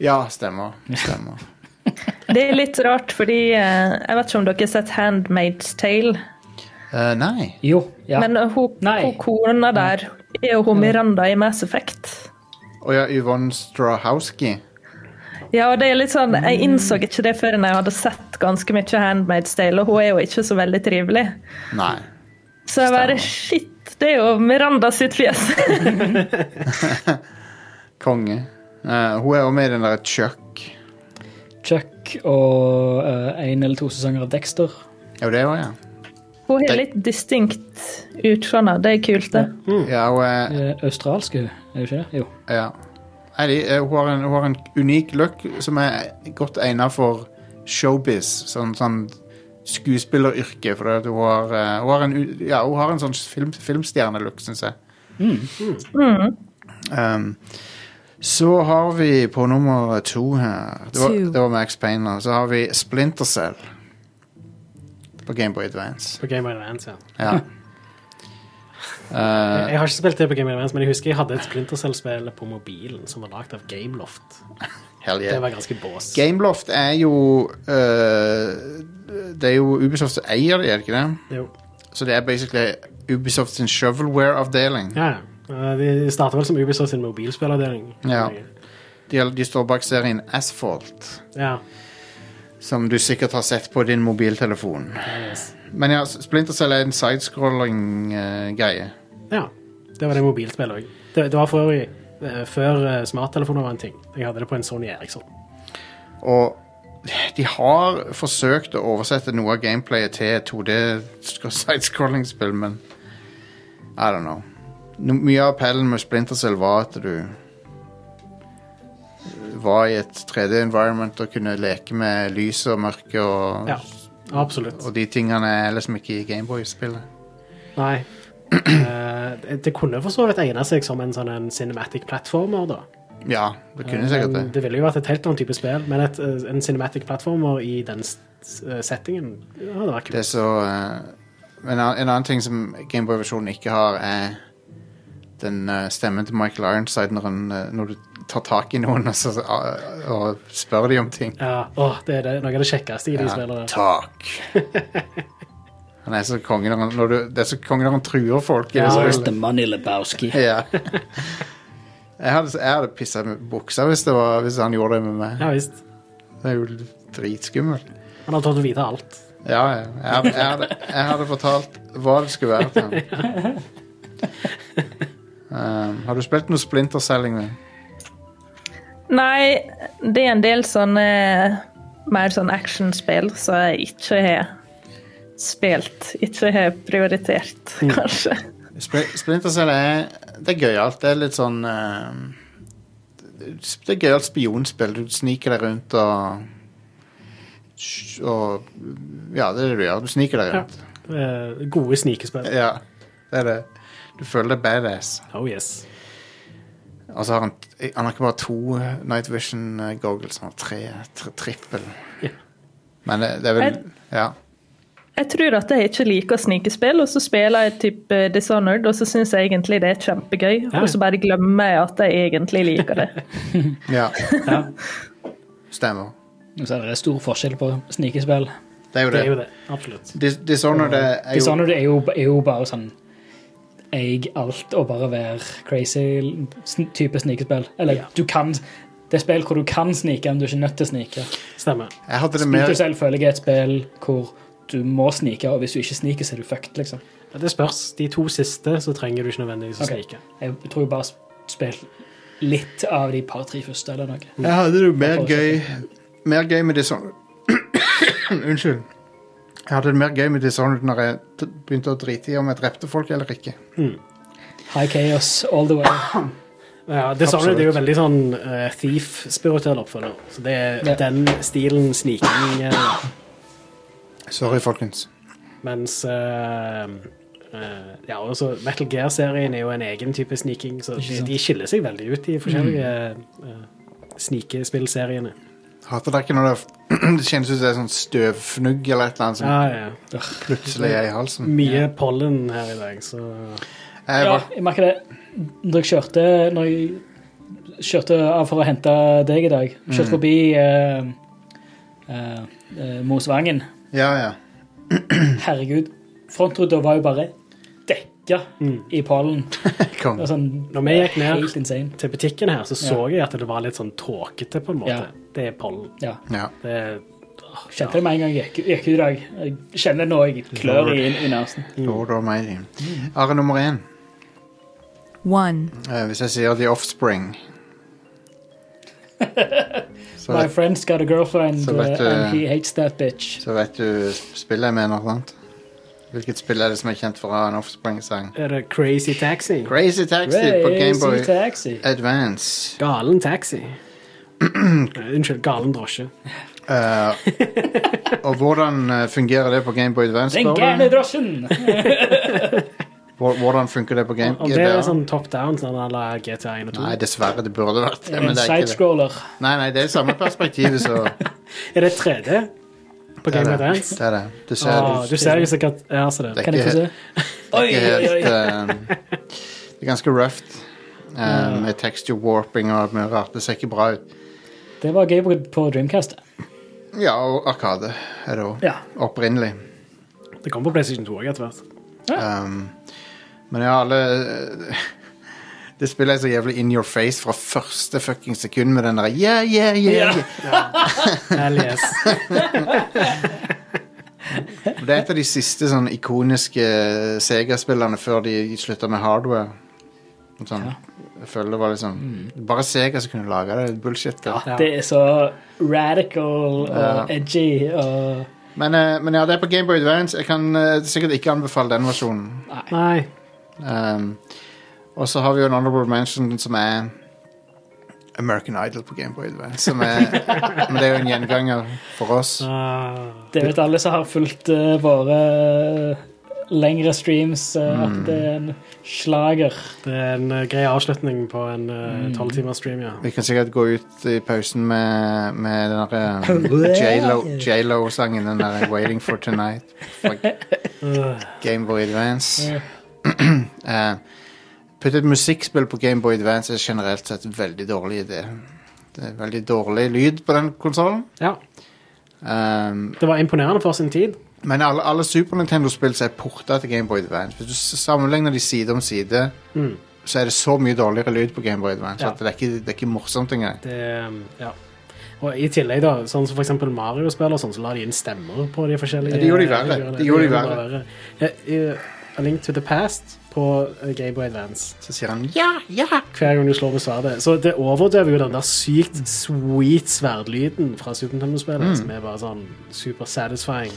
Speaker 1: Ja, stemmer. stemmer.
Speaker 4: Det er litt rart, fordi eh, Jeg vet ikke om dere har sett Handmaid's Tale,
Speaker 1: Eh, nei.
Speaker 3: Jo. Ja.
Speaker 4: men eh, hun,
Speaker 3: Nei.
Speaker 4: hun kona der er jo hun Miranda i Mass Effect.
Speaker 1: Å ja, Yvonne Strahowski.
Speaker 4: Ja, og det er litt sånn, Jeg innså ikke det før jeg hadde sett ganske mye Handmaid's Tale, og hun er jo ikke så veldig trivelig.
Speaker 1: Nei.
Speaker 4: Så jeg bare
Speaker 1: Stemmer.
Speaker 4: Shit, det er jo Miranda sitt fjes!
Speaker 1: Konge. Eh, hun er også med i den derre Chuck.
Speaker 3: Chuck og én eller to sesonger av Dexter.
Speaker 1: Ja, det òg, ja.
Speaker 4: Hun
Speaker 1: Det-
Speaker 4: har litt distinkt utseende. Det er kult, det.
Speaker 1: Ja, hun er,
Speaker 3: Eh, australsk, er hun ikke det? Jo.
Speaker 1: ja. Nei, de, eh, hun, har en, hun har en unik look som er godt egnet for showbiz. Sånn, sånn skuespilleryrke. For det, at hun, har, eh, hun, har en, u- ja, hun har en sånn film, filmstjernelook, syns jeg. Um, så har vi på nummer to her Det var,
Speaker 6: Two.
Speaker 1: det var Max Payne. da. Så har vi Splinter Cell på Gameboy Advance.
Speaker 2: På Game Boy Advance, ja.
Speaker 1: (laughs) Ja. Eh,
Speaker 2: Jeg, jeg har ikke spilt det på Game Boy Advance, men jeg husker jeg hadde et Splinter Cell-spill på mobilen som var lagd av Gameloft.
Speaker 1: Hell
Speaker 2: Det
Speaker 1: yeah.
Speaker 2: var ganske bås.
Speaker 1: Gameloft er jo øh, Det er jo Ubisoft som eier det, er det ikke det?
Speaker 2: Jo.
Speaker 1: Så det er basically Ubisoft sin shovelware-avdeling.
Speaker 2: Ja, ja. Eh, De starta vel som Ubisoft sin mobilspillavdeling.
Speaker 1: Ja. De, de står bak serien Asphalt,
Speaker 2: ja.
Speaker 1: som du sikkert har sett på din mobiltelefon.
Speaker 2: Yes.
Speaker 1: Men ja, Splinter Cell er en eh, sidescrolling-greie.
Speaker 2: ja. Det var det mobilspillet òg. Det, det var for øvrig eh, før eh, smarttelefoner var en ting. Jeg hadde det på en Sony Eriksson.
Speaker 1: Og de har forsøkt å oversette noe av gameplayet til (laughs) 2D-sidescrolling-spill, men I don't know. No, mye av appellen med Splinter Cell var at du var i et 3D-environment og kunne leke med lys og mørke og,
Speaker 2: Ja, absolutt.
Speaker 1: og de tingene er liksom ikke i Gameboy-spillet.
Speaker 2: Nei. Eh, eh, det kunne for så vidt egne seg som en sånn en cinematic platformer, da.
Speaker 1: Ja, det kunne sikkert
Speaker 2: Eh, Men
Speaker 1: det.
Speaker 2: det ville jo vært et helt annet type spill, men et, eh, en cinematic platformer i den s- s- settingen ja, det hadde vært
Speaker 1: Det er
Speaker 2: kult.
Speaker 1: så eh, en, annen- en annen ting som Gameboy-versjonen ikke har, er den eh, stemmen til Michael Ironside når, han, eh, når du tar tak i noen og, så, ah, og spør de om ting.
Speaker 2: Ja, åh, det er det, noe av det kjekkeste i de spillene.
Speaker 1: tak.
Speaker 2: (laughs)
Speaker 1: Han er så konge når han, når du, det er så konge når han truer folk. i det
Speaker 2: Ja,
Speaker 1: spillet.
Speaker 2: vel.
Speaker 3: Where's the money, Lebowski?
Speaker 1: Ja. (laughs) Jeg hadde, jeg hadde pissa i buksa hvis, det var, hvis han gjorde det med meg.
Speaker 2: Ja visst.
Speaker 1: Det er jo dritskummelt.
Speaker 2: Han hadde tatt å vite alt.
Speaker 1: Ja, ja. Jeg, hadde- jeg, hadde, jeg hadde fortalt hva det skulle være til ham. Um, har du spilt noe splinterselling med?
Speaker 4: Nei, det er en del sånne mer sånn actionspill som jeg ikke har spilt. Ikke har prioritert, kanskje.
Speaker 1: Splintercell er Det er gøyalt. Det er litt sånn ehm, Det er gøyalt spionspill. Du sniker deg rundt og Og Ja, det er det du gjør. Du sniker deg rundt.
Speaker 2: Eh, gode snikespill.
Speaker 1: Ja, det er det. Du føler deg badass.
Speaker 2: Oh yes.
Speaker 1: Og så har han Han har ikke bare to Night Vision eh, goggles, han har tre. Tri trippel.
Speaker 2: Ja.
Speaker 1: Men det, det er vel
Speaker 4: Jeg-
Speaker 1: Ja.
Speaker 4: Jeg tror at jeg ikke liker snikespill, og så spiller jeg type Dishonored, og så syns jeg egentlig det er kjempegøy,
Speaker 2: Ja.
Speaker 4: og så bare glemmer jeg at jeg egentlig liker det.
Speaker 1: ja.
Speaker 2: Ja,
Speaker 1: Stemmer.
Speaker 3: Så er det stor forskjell på snikespill.
Speaker 1: Det er jo
Speaker 2: det
Speaker 1: det.
Speaker 2: er jo det. Absolutt.
Speaker 1: Dis- Dishonored er er jo
Speaker 3: Dishonored er jo, er jo bare sånn eig alt og bare være crazy sn- type snikespill. Eller
Speaker 2: Ja.
Speaker 3: du kan Det er spill hvor du kan snike, men du er ikke nødt til å snike.
Speaker 2: Stemmer.
Speaker 1: Jeg hadde det
Speaker 3: Splinter
Speaker 1: mer
Speaker 3: Cell føler jeg er et spill hvor du må snike, og hvis du ikke sniker, så er du fucked, liksom.
Speaker 2: Ja, Det spørs. De to siste så trenger du ikke nødvendigvis å
Speaker 3: Ok.
Speaker 2: snike.
Speaker 3: Jeg tror jeg bare spill litt av de par-tre første eller noe.
Speaker 1: Jeg hadde det jo mer
Speaker 3: Hvorfor
Speaker 1: gøy Mer gøy med Dishonored (coughs) Unnskyld. Jeg hadde det mer gøy med Dishonored når jeg t- begynte å drite i om jeg drepte folk eller ikke.
Speaker 3: High Chaos all the way.
Speaker 2: Ja, Dishonored
Speaker 1: Absolutt.
Speaker 2: er jo veldig sånn eh, thief-spirituell oppfølger. Så det er
Speaker 3: Ja.
Speaker 2: den stilen sniking eh,
Speaker 1: Sorry, folkens.
Speaker 2: Mens eh, eh, Ja, også Metal Gear-serien er jo en egen type sniking, så
Speaker 3: Ikke
Speaker 2: de,
Speaker 3: sant. Mm.
Speaker 2: de skiller seg veldig ut, de forskjellige eh, snikespillseriene.
Speaker 1: Hater det ikke når det, (coughs) det kjennes ut som det er sånn støvfnugg eller et eller annet som
Speaker 2: Ja, ja.
Speaker 3: Mm.
Speaker 2: ja.
Speaker 1: plutselig er i halsen.
Speaker 2: Mye pollen her i dag, så
Speaker 1: Jeg
Speaker 3: Ja,
Speaker 1: var,
Speaker 3: jeg merker det. Når jeg kjørte, når jeg kjørte av for å hente deg i dag,
Speaker 1: Mm.
Speaker 3: kjørte forbi eh, eh, eh, Mosvangen
Speaker 1: ja, ja.
Speaker 3: Herregud, frontruta var jo bare dekka
Speaker 1: Mm.
Speaker 3: i pollen.
Speaker 1: Kom.
Speaker 3: Det var sånn,
Speaker 2: Når vi gikk ned
Speaker 3: Helt insane.
Speaker 2: til butikken her, så så jeg at det var litt sånn tåkete, på en måte.
Speaker 3: Ja.
Speaker 2: Det er pollen.
Speaker 3: Ja.
Speaker 1: Ja.
Speaker 2: Det er
Speaker 3: Kjente det med en gang jeg gikk, gikk ut i dag. Jeg kjenner det nå jeg klør i, i nesen.
Speaker 1: Lord Almighty. Are nummer én.
Speaker 6: One.
Speaker 1: Eh, hvis jeg sier The Offspring
Speaker 3: (laughs)
Speaker 1: så
Speaker 3: My
Speaker 1: vet,
Speaker 3: friend's got a girlfriend,
Speaker 1: Så vet du-
Speaker 3: uh, and he hates that bitch.
Speaker 1: så vet du spillet jeg mener, sant? Hvilket spill er det som er kjent for å ha en Offspring-sang?
Speaker 2: Er det Crazy Taxi?
Speaker 1: Crazy Taxi på Gameboy
Speaker 3: Crazy taxi.
Speaker 1: Advance. (clears throat)
Speaker 2: Galen taxi. Nei, Unnskyld, galen drosje.
Speaker 1: Eh, og hvordan eh, fungerer det på Gameboy Advance?
Speaker 3: Den
Speaker 1: spør du? (laughs)
Speaker 3: gærne drosjen!
Speaker 1: Hvor- Hvordan funker det på Game
Speaker 2: Om det
Speaker 1: GBA?
Speaker 2: er sånn top down sånn à la GTA1 og 2
Speaker 1: Nei, dessverre, det burde vært det, men
Speaker 3: En
Speaker 1: det er ikke det.
Speaker 3: sidescroller.
Speaker 1: Nei, nei, det er samme perspektivet,
Speaker 3: (laughs)
Speaker 1: så
Speaker 2: Er det 3D på
Speaker 1: det er
Speaker 2: Game
Speaker 1: det.
Speaker 2: Advance?
Speaker 1: det, er det. Du ser
Speaker 3: Ah,
Speaker 2: Å, du ser jo sikkert Ja, se
Speaker 1: Det
Speaker 2: det.
Speaker 1: er
Speaker 3: Kan jeg
Speaker 1: ikke,
Speaker 3: få se?
Speaker 1: det er ikke helt eh, Det er ganske roughed. eh, med texture warping og alt mulig rart. Det ser ikke bra ut.
Speaker 3: Det var gøy på- på Dreamcast.
Speaker 1: Ja, og Arkade er det òg.
Speaker 3: Ja.
Speaker 1: Opprinnelig.
Speaker 2: Det kommer på PlayStation 2 òg etter hvert.
Speaker 1: Um, men ja, alle (laughs) Det spillet er så jævlig in your face fra første fucking sekund med den der yeah, yeah, yeah, yeah.
Speaker 2: Hell
Speaker 1: (laughs)
Speaker 2: yes.
Speaker 1: Det er et av de siste sånn ikoniske Sega-spillene før de slutta med hardware. Sånn, Jeg føler det var liksom Bare Sega som kunne lage det. Bullshit. det.
Speaker 2: Ja.
Speaker 3: Det er så radical og edgy og
Speaker 1: Men, eh, men ja, det er på Gameboy Advance. Jeg kan eh, sikkert ikke anbefale den versjonen.
Speaker 2: Nei.
Speaker 1: Um, og så har vi jo en honorable mention som er American Idol på Gameboy Advance. Som er, men det er (laughs) jo en gjenganger for oss.
Speaker 2: Ah,
Speaker 3: Det vet alle som har fulgt eh, våre lengre streams. eh,
Speaker 1: Mm.
Speaker 3: At det er en slager.
Speaker 2: Det er en eh, grei avslutning på en
Speaker 1: Mm.
Speaker 2: tolvtimers stream, ja.
Speaker 1: Vi kan sikkert gå ut i pausen med, med den
Speaker 2: (laughs)
Speaker 1: derre J.Lo-sangen. Den der uh, 'Waiting for Tonight'.
Speaker 2: (laughs)
Speaker 1: Gameboy Advance. (clears throat) Eh, Putt et musikkspill på Gameboy Advance er generelt sett en veldig dårlig idé. Det er veldig dårlig lyd på den konsollen.
Speaker 2: ja.
Speaker 1: Um,
Speaker 2: Det var imponerende for sin tid.
Speaker 1: men alle, alle Super Nintendo-spill som er porta til Gameboy Advance Hvis du s- sammenligner de side om side,
Speaker 2: Mm.
Speaker 1: så er det så mye dårligere lyd på Gameboy Advance
Speaker 2: Ja.
Speaker 1: at det er ikke, det er ikke morsomt engang.
Speaker 2: Det, eh, ja. Og i tillegg, da, sånn som for eksempel Mario-spill og sånn, så la de inn stemmer på de forskjellige
Speaker 1: Ja, det gjorde de verre.
Speaker 2: figurene.
Speaker 1: Det gjorde de
Speaker 2: bare verre. Eh, i A Link to the Past på eh, Game Boy Advance.
Speaker 1: Så sier han
Speaker 7: Ja, ja.
Speaker 2: Hver gang du slår med sverdet. Så det overdøver jo den der sykt sweet sverdlyden fra Super Nintendo-spillet,
Speaker 1: Mm.
Speaker 2: som er bare sånn super satisfying.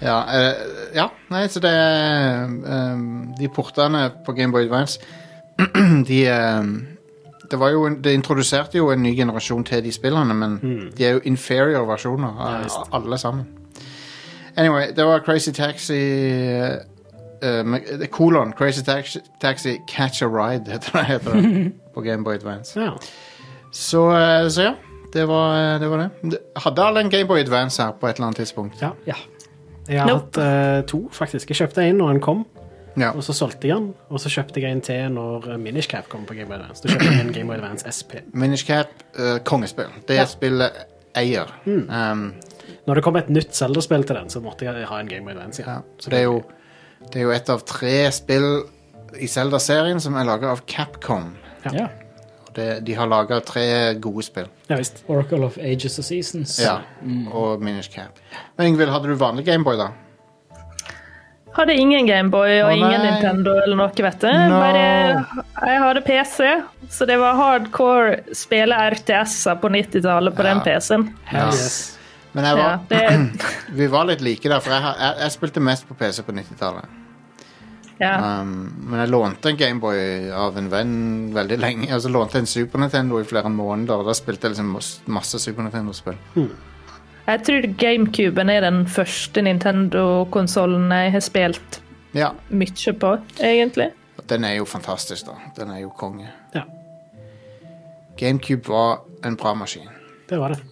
Speaker 1: Ja, eh, ja nei, så det er ehm, De portene på Game Boy Advance (clears throat) De ehm, Det var jo en, Det introduserte jo en ny generasjon til de spillene, men de er jo inferior versjoner
Speaker 2: Hmm. Ja,
Speaker 1: av
Speaker 2: visst.
Speaker 1: alle sammen. Anyway, det var Crazy Taxi eh, eh, med- eh, Kolon. Crazy Taxi, Taxi Catch a Ride, (laughs) heter det, heter
Speaker 2: (laughs)
Speaker 1: det på Game Boy Advance.
Speaker 2: Ja.
Speaker 1: Så, eh, så ja. Det var, eh, det var det. Hadde alle en Game Boy Advance her på et eller annet tidspunkt?
Speaker 2: Ja.
Speaker 3: Ja.
Speaker 2: Jeg har
Speaker 4: Nope.
Speaker 2: hatt eh, to, faktisk. Jeg kjøpte en når den kom,
Speaker 1: Ja.
Speaker 2: og så solgte jeg den. Og så kjøpte jeg en til når eh, Minish Cap kom på Game Boy Advance. Da kjøpte jeg en Game Boy Advance SP.
Speaker 1: Minish Cap, eh, kongespill. Det
Speaker 2: Ja.
Speaker 1: spillet eier. Um,
Speaker 2: Når det kom et nytt Zelda-spill til den, så måtte jeg ha en Game Boy Advance.
Speaker 1: ja. Så det er, jo, det er jo et av tre spill i Zelda-serien som er laga av Capcom.
Speaker 3: ja.
Speaker 1: Og Det, de har laga tre gode spill.
Speaker 2: Ja, visst.
Speaker 3: Oracle of Ages og Seasons.
Speaker 1: Ja, Og Minish Cap. Men Ingvild, hadde du vanlig Gameboy, da?
Speaker 4: Hadde ingen Gameboy og
Speaker 1: Å,
Speaker 4: ingen
Speaker 1: nei.
Speaker 4: Nintendo eller noe, vet du.
Speaker 1: No.
Speaker 4: Bare, jeg hadde PC, så det var hardcore spille RTS-er på 90-tallet på den PC-en.
Speaker 1: Ja.
Speaker 2: Yes.
Speaker 1: Men jeg
Speaker 4: Ja,
Speaker 1: var,
Speaker 4: det,
Speaker 1: vi var litt like der, for jeg, har- jeg, jeg spilte mest på PC på 90-tallet.
Speaker 4: (clears throat) ja.
Speaker 1: Um, men jeg lånte en Gameboy av en venn veldig lenge. Altså lånte en Super Nintendo i flere måneder, og da spilte jeg liksom mas- masse Super Nintendo-spill.
Speaker 4: Jeg tror GameCuben er den første Nintendo-konsollen jeg har spilt
Speaker 1: Ja,
Speaker 4: mye på, egentlig.
Speaker 1: Og Den er jo fantastisk, da. Den er jo konge.
Speaker 2: Ja.
Speaker 1: GameCube var en bra maskin.
Speaker 2: Det var det.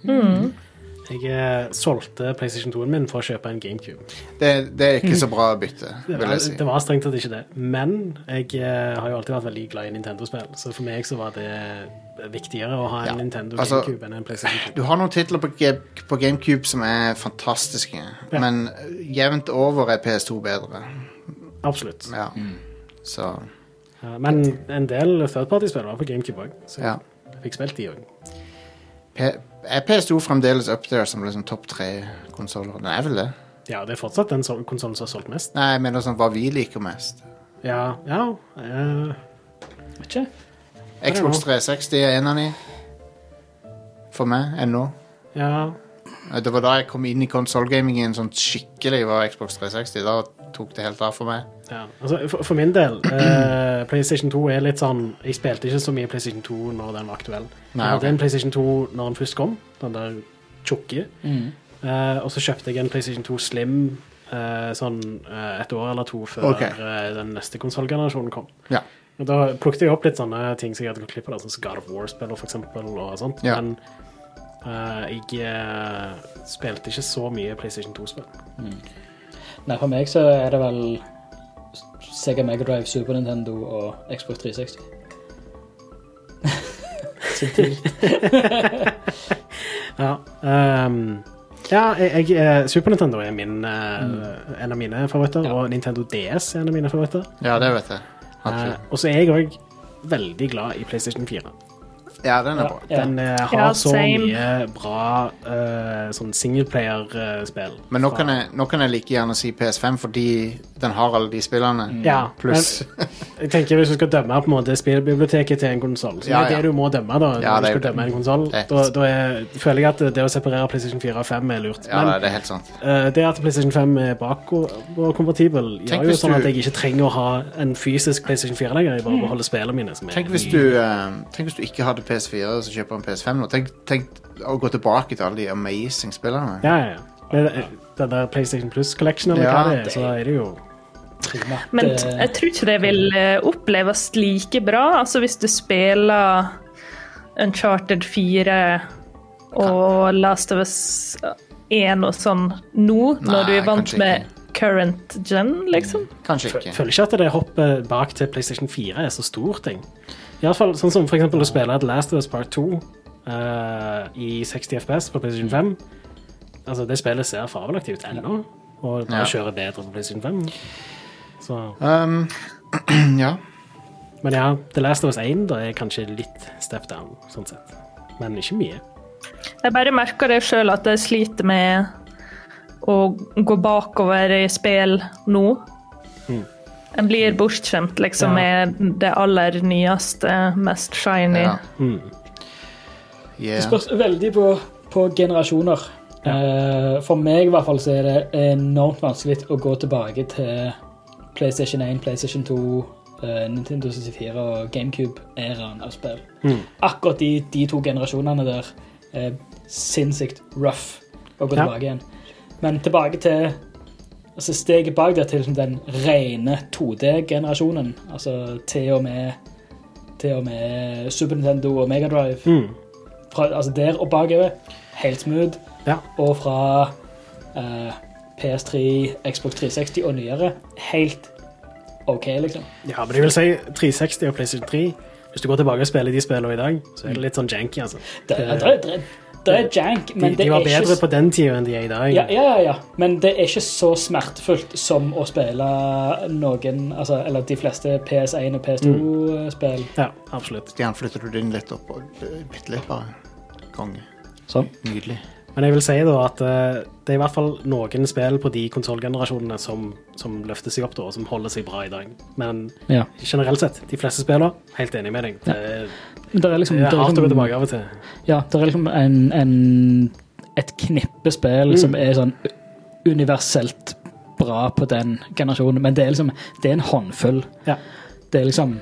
Speaker 2: Jeg eh, solgte PlayStation 2-en min for å kjøpe en GameCube.
Speaker 1: Det, det er ikke så bra å bytte,
Speaker 2: (laughs) Det
Speaker 1: vil
Speaker 2: var,
Speaker 1: jeg si.
Speaker 2: det var strengt tatt ikke det. Men jeg eh, har jo alltid vært veldig glad i Nintendo-spill, så for meg så var det viktigere å ha en
Speaker 1: Ja,
Speaker 2: Nintendo
Speaker 1: altså-
Speaker 2: GameCube enn en PlayStation 2.
Speaker 1: Du har noen titler på, Ga- på GameCube som er fantastiske, men eh, jevnt over er PS2 bedre.
Speaker 2: Absolutt.
Speaker 1: Ja. Så
Speaker 2: Ja, Men en del third-party-spill var på GameCube òg, så
Speaker 1: ja.
Speaker 2: jeg fikk spilt de òg.
Speaker 1: P er PS2 fremdeles up there som liksom topp tre-konsoller? Den er vel det?
Speaker 2: Ja, det er fortsatt den sol- konsollen som har solgt mest.
Speaker 1: Nei, jeg mener sånn hva vi liker mest.
Speaker 2: Ja, ja eh,
Speaker 3: Vet ikke.
Speaker 1: Xbox 360 er en av de. For meg ennå.
Speaker 2: Ja.
Speaker 1: Eh, Det var da jeg kom inn i konsollgamingen sånn skikkelig var Xbox 360. Da tok det helt av for meg.
Speaker 2: ja. Altså, for, for min del, eh, (clears throat) PlayStation 2 er litt sånn Jeg spilte ikke så mye PlayStation 2 når den var aktuell.
Speaker 1: Nei,
Speaker 2: jeg
Speaker 1: ok.
Speaker 2: hadde en PlayStation 2 når den først kom, den der tjukke.
Speaker 1: Mm.
Speaker 2: Eh, og så kjøpte jeg en PlayStation 2 Slim eh, sånn eh, et år eller to før
Speaker 1: Ok.
Speaker 2: eh, den neste konsollgenerasjonen kom.
Speaker 1: Ja.
Speaker 2: Og da plukket jeg opp litt sånne ting som jeg hadde gått glipp av, da, sånn som God of War-spiller for eksempel, og sånt.
Speaker 1: Ja.
Speaker 2: Men eh, jeg eh, spilte ikke så mye PlayStation 2-spill.
Speaker 3: Nei, for meg så er det vel Sega Mega Drive, Super Nintendo og Xbox 360. Subtilt.
Speaker 2: Ja, ehm, ja jeg, jeg, eh, Super Nintendo er min, eh,
Speaker 1: Mm.
Speaker 2: en av mine favoritter, og Nintendo DS er en av mine favoritter.
Speaker 1: ja, det vet jeg.
Speaker 2: Eh,
Speaker 1: Absolutt.
Speaker 2: og så er jeg òg veldig glad i PlayStation 4.
Speaker 1: Ja, den er
Speaker 3: Ja,
Speaker 1: bra.
Speaker 3: ja.
Speaker 2: Den eh, har
Speaker 4: Ja,
Speaker 2: så
Speaker 4: same.
Speaker 2: mye bra uh, sånn singleplayer-spill.
Speaker 1: Men nå kan, jeg, nå kan jeg like gjerne si PS5 fordi den har alle de spillene.
Speaker 2: Ja,
Speaker 1: Pluss
Speaker 2: Jeg tenker Hvis du skal dømme på en måte spillbiblioteket til en konsoll, så
Speaker 1: Ja,
Speaker 2: det
Speaker 1: ja.
Speaker 2: er det du må dømme.
Speaker 1: Ja,
Speaker 2: da når du
Speaker 1: det er
Speaker 2: skal
Speaker 1: jo
Speaker 2: dømme en konsol,
Speaker 1: det.
Speaker 2: da, da er, føler jeg at det å separere PlayStation 4 og 5 er lurt.
Speaker 1: Ja,
Speaker 2: Men
Speaker 1: det er helt sant.
Speaker 2: eh, det at PlayStation 5 er bakoverkompatibel,
Speaker 1: Tenk
Speaker 2: gjør jo
Speaker 1: hvis
Speaker 2: sånn
Speaker 1: du-
Speaker 2: at jeg ikke trenger å ha en fysisk PlayStation 4 lenger. Jeg bare beholder spillene mine. Som er
Speaker 1: Tenk hvis du, eh, tenk hvis du ikke hadde PS4 og så kjøper en PS5 nå. Tenk, tenk å gå tilbake til alle de amazing spillene.
Speaker 2: Ja, ja, ja. Det- Den der PlayStation Plus-collection, eller
Speaker 1: Ja,
Speaker 2: hva det
Speaker 1: det-
Speaker 2: er, så er det jo
Speaker 3: primært
Speaker 4: Men t-
Speaker 3: eh,
Speaker 4: jeg tror ikke det vil eh, oppleves like bra. Altså hvis du spiller Uncharted 4 og Last of Us 1 og sånn nå,
Speaker 7: Nei,
Speaker 4: når du er vant
Speaker 7: kanskje
Speaker 4: med current gen, liksom.
Speaker 7: Kanskje
Speaker 2: Fø-
Speaker 7: ikke.
Speaker 2: Føler ikke at det hoppet bak til PlayStation 4 er så stor ting. I alle fall, sånn som for eksempel å spille et Last of Us Part 2 eh, i 60 FPS på
Speaker 1: Mm.
Speaker 2: PlayStation 5. Altså, det spillet ser fabelaktig ut ennå, og det
Speaker 7: Ja.
Speaker 2: kjører bedre på PlayStation 5. Så,
Speaker 1: Um, (clears throat) ja.
Speaker 2: men ja, The Last of Us 1 da er kanskje litt step down, sånn sett. Men ikke mye.
Speaker 4: Jeg bare merker det sjøl at jeg sliter med å gå bakover i spill nå.
Speaker 7: Mm.
Speaker 4: Jeg blir bortskjemt liksom, med det aller nyeste, mest
Speaker 2: Eh.
Speaker 4: shiny.
Speaker 7: Ja.
Speaker 1: Mm. Yeah.
Speaker 3: Det spørs veldig på, på generasjoner. Eh, for meg i hvert fall så er det enormt vanskelig å gå tilbake til PlayStation 1, PlayStation 2, eh, Nintendo 64 og GameCube-æraen av spill. Akkurat de, de to generasjonene der er sinnssykt rough å gå
Speaker 2: Ja.
Speaker 3: tilbake igjen. Men tilbake til altså steget bak der til den rene 2D-generasjonen, altså til og med til og med Super Nintendo og Mega Drive fra, altså der og bakover, helt smooth.
Speaker 2: Ja.
Speaker 3: Og fra eh, PS3, Xbox 360 og nyere, helt OK, liksom.
Speaker 2: Ja, men jeg vil si 360 og PlayStation 3. Hvis du går tilbake og spiller de spillene i dag, så er det litt sånn janky, altså.
Speaker 3: Det,
Speaker 2: Det-
Speaker 3: det, det, det, det er jank, men
Speaker 2: De,
Speaker 3: det
Speaker 2: de var
Speaker 3: er
Speaker 2: bedre
Speaker 3: ikke
Speaker 2: på den tida enn de er i dag.
Speaker 3: ja, ja, ja, ja. Men det er ikke så smertefullt som å spille noen altså, Eller de fleste PS1 og PS2-spill.
Speaker 2: Ja, absolutt.
Speaker 1: Stian, flytter du den litt opp? og- eh, Bitte litt, bare. Konge.
Speaker 3: Sånn.
Speaker 1: Nydelig.
Speaker 2: Men jeg vil si da at eh, det er i hvert fall noen spill på de konsollgenerasjonene som, som løfter seg opp da, og som holder seg bra i dag. Men
Speaker 3: Ja.
Speaker 2: generelt sett, de fleste spillene, helt enig med deg. Det, er-
Speaker 3: Det er liksom,
Speaker 2: det er hardt å gå tilbake av og til.
Speaker 3: Ja, det er liksom en, en, et knippe spill
Speaker 1: Mm.
Speaker 3: som er sånn universelt bra på den generasjonen, men det er liksom det er en håndfull.
Speaker 2: Ja.
Speaker 3: Det er liksom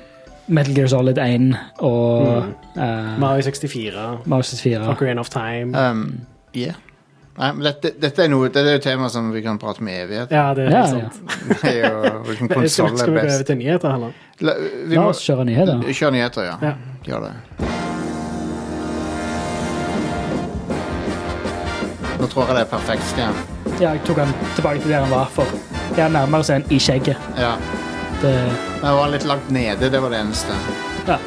Speaker 3: Metal Gear Solid 1
Speaker 1: Mm.
Speaker 3: og eh,
Speaker 2: Mario 64,
Speaker 3: Mario 64.
Speaker 2: Ocarina of Time.
Speaker 1: Um, yeah. Nei, men dette, dette er noe, dette er jo et tema som vi kan prate om i evighet.
Speaker 2: Ja, det er
Speaker 3: Ja,
Speaker 2: helt
Speaker 3: ja.
Speaker 2: sant.
Speaker 1: (laughs) Det er jo Hvilken
Speaker 2: Men Skal,
Speaker 1: konsoll
Speaker 2: skal
Speaker 1: er
Speaker 2: vi gå over
Speaker 1: best?
Speaker 2: til nyheter, heller?
Speaker 1: La, vi
Speaker 3: La
Speaker 1: må
Speaker 3: oss kjøre nyheter.
Speaker 1: kjøre nyheter, ja.
Speaker 2: Ja.
Speaker 1: Gjør det. Nå tror jeg det er perfekt, Stian.
Speaker 3: Ja, jeg tok han tilbake til der han var, for jeg er nærmere scenen i skjegget.
Speaker 1: Ja.
Speaker 3: Det,
Speaker 1: Men jeg var litt langt nede, det var det eneste.
Speaker 3: ja.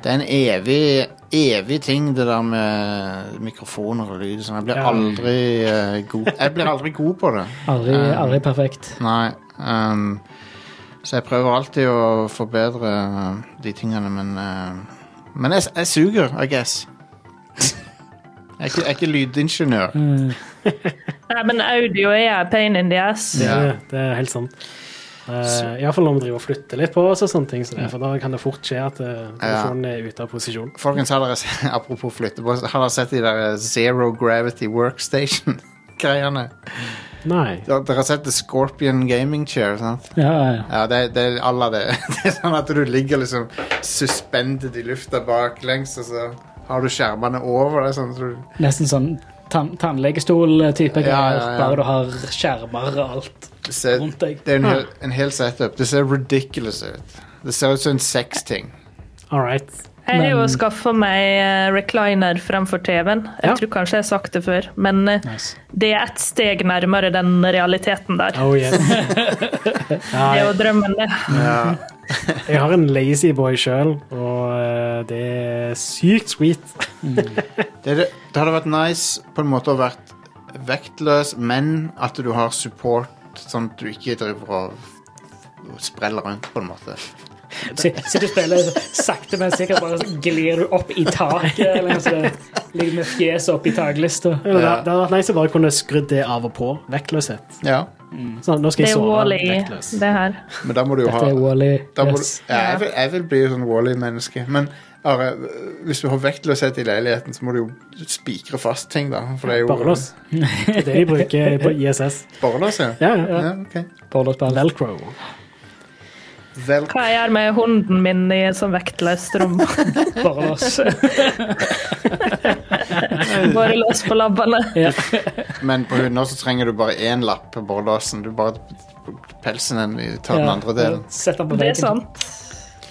Speaker 1: Det er en evig, evig ting, det der med mikrofoner og lyd. og sånn. Jeg blir
Speaker 2: Ja.
Speaker 1: aldri eh, god Jeg blir aldri god på det.
Speaker 3: Aldri,
Speaker 1: Eh.
Speaker 3: aldri perfekt.
Speaker 1: Nei. ehm, så jeg prøver alltid å forbedre eh, de tingene, men eh, Men jeg, jeg suger, I guess. Jeg er ikke, jeg er ikke lydingeniør.
Speaker 4: Nei, men audio er pain in the ass.
Speaker 2: Det,
Speaker 1: Ja.
Speaker 2: det er helt sant. Uh, Iallfall når vi driver og flytter litt på oss og sånne ting, så det, for da kan det fort skje at eh, telefonen er ute av posisjon.
Speaker 1: Folkens, har dere, se- (laughs) apropos flytte på, har dere sett de der eh, Zero Gravity Workstation-greiene?
Speaker 2: Nei.
Speaker 1: Dere dere har sett The Scorpion Gaming Chair, sant?
Speaker 3: Ja, ja, ja.
Speaker 1: Ja, det, det er alle det. (laughs) Det er sånn at du ligger liksom suspended i lufta baklengs, og så har du skjermene over deg. Sånn, at du-
Speaker 3: Nesten sånn tann tannlegestol-type
Speaker 1: Ja,
Speaker 3: greier,
Speaker 1: ja, ja.
Speaker 3: bare du har skjermer og alt.
Speaker 1: det, ser,
Speaker 3: Rundt deg.
Speaker 1: det er en, hel- en hel setup. Det ser ridiculous ut. Det ser ut som en sexting.
Speaker 2: All right.
Speaker 4: Jeg har jo
Speaker 3: Men-
Speaker 4: skaffa meg eh, recliner fremfor TV-en. Jeg
Speaker 2: Ja.
Speaker 4: tror kanskje jeg har sagt det før, men eh,
Speaker 3: Nice.
Speaker 4: det er ett steg nærmere den realiteten der.
Speaker 2: Oh, yes.
Speaker 4: Det er jo drømmen, det.
Speaker 2: Jeg har en lazy boy sjøl, og eh, det er sykt sweet.
Speaker 1: Det, er det, det hadde vært nice på en måte å vært vektløs, men at du har support, sånn at du ikke driver og og spreller rundt, på en måte.
Speaker 3: Sitter sitter og spiller så sakte, men sikkert bare så glir du opp i taket. Eller noe sånt. Ligger med fjeset opp i taklista.
Speaker 2: Det det hadde vært nice å bare kunne skrudd det av og på. Vektløshet.
Speaker 1: Ja,
Speaker 2: Sånn, nå skal
Speaker 4: Det
Speaker 2: jeg
Speaker 4: er
Speaker 2: sove
Speaker 4: Wall-E,
Speaker 2: vektløs.
Speaker 4: det her.
Speaker 1: men da må du jo ha
Speaker 3: Dette er Wally.
Speaker 1: Da må
Speaker 3: Yes.
Speaker 1: du, ja, jeg, vil, jeg vil bli sånn Wally-menneske. Men Are, hvis du har vektløshet i leiligheten, så må du jo spikre fast ting, da. For det er jo
Speaker 2: Borrelås. Det er det de bruker på ISS.
Speaker 1: Borrelås, ja.
Speaker 2: Ja, ja.
Speaker 1: ja ok.
Speaker 3: Pornospill.
Speaker 2: Velcro.
Speaker 1: Vel,
Speaker 4: Hva jeg gjør med hunden min (laughs) i et sånt vektløst rom.
Speaker 3: Borrelås.
Speaker 4: Bare løs på labbene.
Speaker 3: Ja.
Speaker 1: Men på hunder så trenger du bare én lapp på borrelåsen. Du bare pelsen den, tar den
Speaker 3: Ja.
Speaker 1: andre delen.
Speaker 3: Sett den på
Speaker 4: Det er
Speaker 3: veggen.
Speaker 4: sant.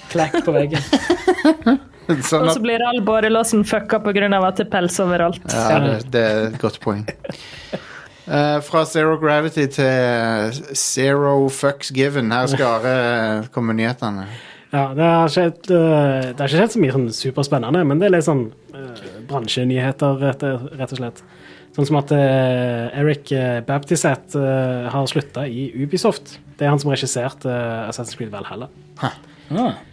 Speaker 3: Klakk på veggen.
Speaker 1: (laughs) Sånn
Speaker 4: Og
Speaker 1: at,
Speaker 4: så blir all borrelåsen fucka pga. at det er pels overalt.
Speaker 1: ja, det, det er et godt poeng. Eh, fra zero gravity til zero fucks given. Her skal Are eh, komme med nyhetene.
Speaker 2: Ja, det har skjedd, eh, det har ikke skjedd så mye sånn superspennende, men det er litt sånn eh, bransjenyheter, rett, rett og slett. Sånn som at eh, Eric eh, Baptisat eh, har slutta i Ubisoft. Det er han som regisserte eh, Assassin's Creed Valhalla.
Speaker 3: Ah.
Speaker 2: Eh,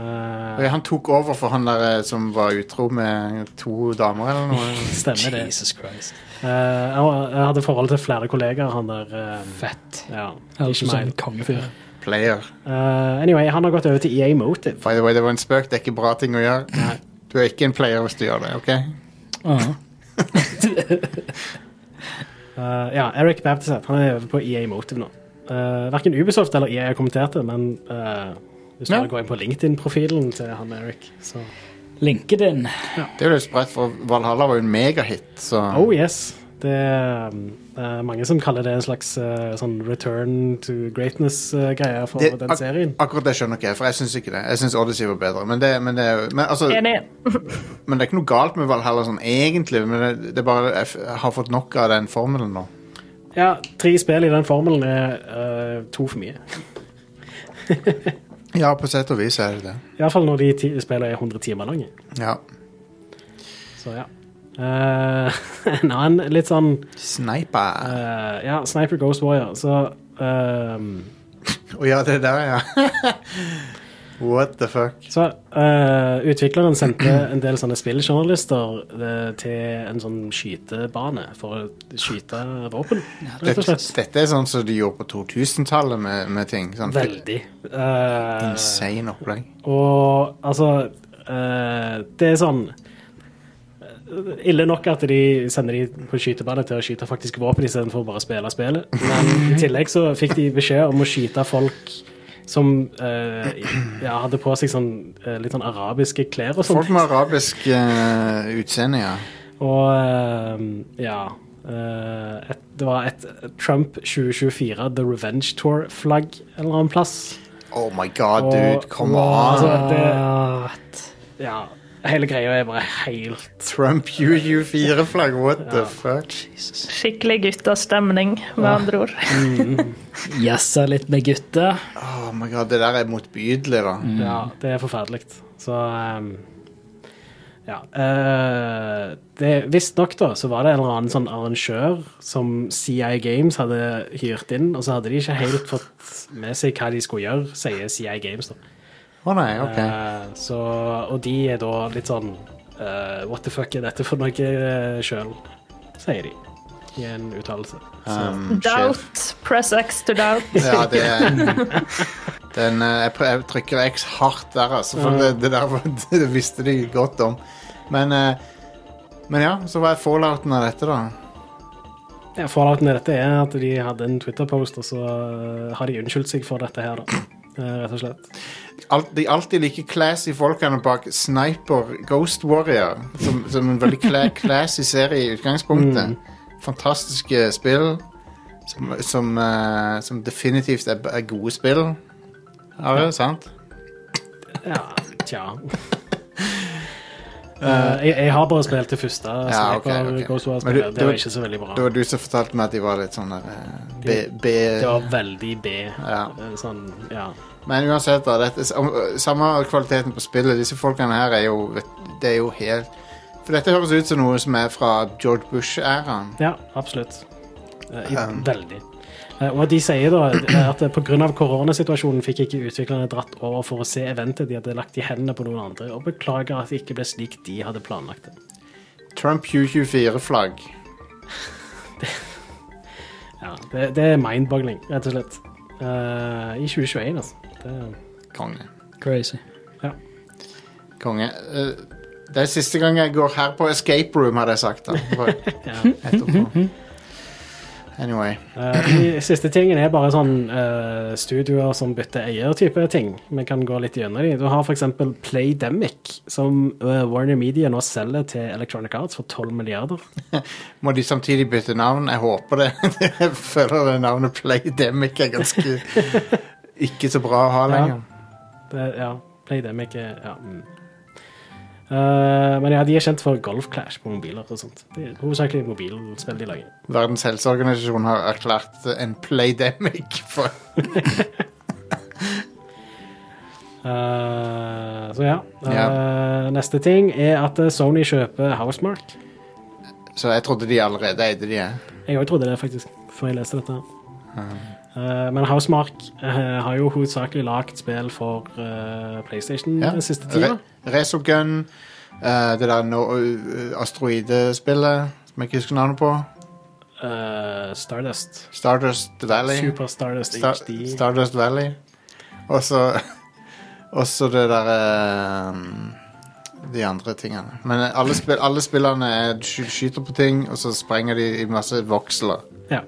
Speaker 1: Og Han tok over for han der eh, som var utro med to damer eller
Speaker 2: (laughs)
Speaker 1: noe.
Speaker 2: stemmer det.
Speaker 3: Jesus Christ.
Speaker 2: Eh, jeg var- jeg hadde forhold til flere kollegaer, han der eh,
Speaker 3: Fett.
Speaker 2: ja,
Speaker 3: Høres
Speaker 2: ikke
Speaker 3: ut som en
Speaker 2: meg.
Speaker 3: kongefyr.
Speaker 1: Player.
Speaker 2: Eh, anyway, han har gått over til EA Motive.
Speaker 1: By the way, det var en spøk. Det er ikke bra ting å gjøre. Du er ikke en player hvis du gjør det. ok?
Speaker 3: Ah.
Speaker 2: Eh, ja, Eric Baptisat, han er over på EA Motive nå. Uh, verken Ubisoft eller EA har kommentert det, men eh, hvis du
Speaker 1: Ja.
Speaker 2: bare går inn på LinkedIn-profilen til han Eric, så
Speaker 3: Linken din.
Speaker 1: Det er jo litt sprøtt, for Valhalla var jo en megahit. så...
Speaker 2: Oh yes. Det er eh, mange som kaller det en slags eh, sånn return to greatness-greie for
Speaker 1: Det-
Speaker 2: den
Speaker 1: ak-
Speaker 2: serien.
Speaker 1: Akkurat det skjønner ikke jeg, for jeg syns ikke det. Jeg syns Odyssey var bedre. Men det, men, det, er jo- men, altså,
Speaker 4: Enig.
Speaker 1: men det er ikke noe galt med Valhalla sånn egentlig, men det, det er bare jeg, f jeg har fått nok av den formelen nå.
Speaker 2: Ja, tre spill i den formelen er eh, to for mye.
Speaker 1: Ja, på sett og vis er det det.
Speaker 2: Iallfall når de ti spillene er 100 timer lange.
Speaker 1: Ja.
Speaker 2: Så ja. Eh, (laughs) en annen litt sånn
Speaker 1: Sniper.
Speaker 2: eh, Ja, Sniper Ghost Warrior. Så ehm,
Speaker 1: Å ja, det der, ja. (laughs) What the fuck.
Speaker 2: Så eh, utvikleren sendte en del sånne spilljournalister eh, til en sånn skytebane for å skyte våpen, rett
Speaker 1: Dette,
Speaker 2: og slett.
Speaker 1: dette er sånn som de gjorde på 2000-tallet med, med ting. Sånn.
Speaker 2: Veldig. Eh,
Speaker 1: Insane opplegg.
Speaker 2: og altså eh, Det er sånn eh, Ille nok at de sender de på skytebane til å skyte faktisk våpen istedenfor bare å spille spillet. Men
Speaker 1: Mhm.
Speaker 2: i tillegg så fikk de beskjed om å skyte folk som eh, ja, hadde på seg sånn eh, litt sånn arabiske klær og sånt.
Speaker 1: Folk med arabisk eh, utseende, ja.
Speaker 2: Og ehm, ja eh, et, Det var et Trump 2024 The Revenge Tour-flagg en eller annen plass.
Speaker 1: Oh my god,
Speaker 2: Og-
Speaker 1: dude. Come
Speaker 2: Altså,
Speaker 1: on.
Speaker 2: det, ja, hele greia er bare helt
Speaker 1: Trump UU4-flagg, what the fuck?
Speaker 4: Skikkelig guttastemning, med andre ord.
Speaker 3: Jassa litt med gutta.
Speaker 1: Oh my god, det der er motbydelig, da.
Speaker 2: Ja, det er forferdelig. Så ehm, ja. eh, det- Visstnok, da, så var det en eller annen sånn arrangør som CI Games hadde hyrt inn, og så hadde de ikke helt fått med seg hva de skulle gjøre, sier CI Games, da.
Speaker 1: Å nei, ok.
Speaker 2: Eh, så, og de er da litt sånn eh, What the fuck er dette for noe uh, sjøl, sier de i en uttalelse. Så,
Speaker 1: Um, shit.
Speaker 4: Doubt. Press X to doubt.
Speaker 1: Ja, det er (laughs) den, eh, jeg, prø- jeg trykker X hardt der, altså. For det, det der var- (laughs) det visste de godt om. Men, eh, men ja, så hva er fallouten av dette, da?
Speaker 2: ja, Fallouten i dette er at de hadde en Twitter-post, og så eh, har de unnskyldt seg for dette her, da. Eh, rett og slett.
Speaker 1: Alt, de alltid like classy folkene bak Sniper Ghost Warrior, som, som en veldig (laughs) cla classy serie i utgangspunktet. Fantastiske spill som, som, eh, som definitivt er, er gode spill. Ja, det er sant?
Speaker 2: Ja, tja.
Speaker 1: (laughs)
Speaker 2: Eh, jeg, jeg har bare spilt det første.
Speaker 1: Ja,
Speaker 2: Sniper
Speaker 1: ok, ok.
Speaker 2: Ghost
Speaker 1: Men du-
Speaker 2: War-spillet.
Speaker 1: du-
Speaker 2: Det var ikke så veldig bra.
Speaker 1: Det var du som fortalte meg at de var litt sånn der eh, B... B
Speaker 2: Det var veldig B.
Speaker 1: Ja.
Speaker 2: Eh, Sånn, ja.
Speaker 1: Men uansett, da. Dette, sam- samme kvaliteten på spillet. Disse folkene her er jo vet- Det er jo helt For dette høres ut som noe som er fra George Bush-æraen.
Speaker 2: Ja, absolutt. Eh, i-
Speaker 1: Um.
Speaker 2: Veldig. Eh, Og de sier da eh, at pga. koronasituasjonen fikk ikke utviklerne dratt over for å se eventet de hadde lagt i hendene på noen andre, og beklager at det ikke ble slik de hadde planlagt det.
Speaker 1: Trump U24-flagg.
Speaker 2: Ja, Det, det er mindboggling, rett og slett. Eh, I 2021, altså. Det,
Speaker 1: Konge.
Speaker 3: Crazy.
Speaker 1: Konge. Eh, det er siste
Speaker 2: (laughs)
Speaker 1: gang jeg går her på escape room, hadde jeg sagt. da. For- Etterpå. Anyway.
Speaker 2: Eh, de siste tingen er bare sånn eh, studioer som bytter eier-type ting. Vi kan gå litt gjennom de. Du har f.eks. Playdemic, som eh, Warner Media nå selger til Electronic Arts for 12 milliarder.
Speaker 1: Må de samtidig bytte navn? Jeg håper det. (laughs) Jeg føler det navnet Playdemic er ganske ikke så bra å ha lenger.
Speaker 2: Det, ja, Playdemic er ja, mm. Eh, Men ja, de er kjent for Golf Clash på mobiler og sånt. Det er hovedsakelig mobilspill de lager.
Speaker 1: Verdens helseorganisasjon har erklært en Playdemic for
Speaker 2: Eh, så ja. Eh, Neste ting er at eh, Sony kjøper Housemark.
Speaker 1: Så jeg trodde de allerede eide de. jeg.
Speaker 2: Jeg òg trodde det, faktisk, før jeg leste dette. Eh, men Housemark eh, har jo hovedsakelig lagd spill for eh, PlayStation
Speaker 1: Ja.
Speaker 2: den siste tida.
Speaker 1: Re Resogun, eh, det der no uh, asteroidespillet som jeg ikke husker navnet på.
Speaker 2: Eh, Stardust.
Speaker 1: Stardust Valley.
Speaker 2: Super Stardust
Speaker 1: Sta
Speaker 2: HD.
Speaker 1: Stardust Valley. Og så (laughs) Og så det derre De andre tingene. Men alle, spill, alle spillene er, sky- skyter på ting, og så sprenger de i masse voksler.
Speaker 2: ja.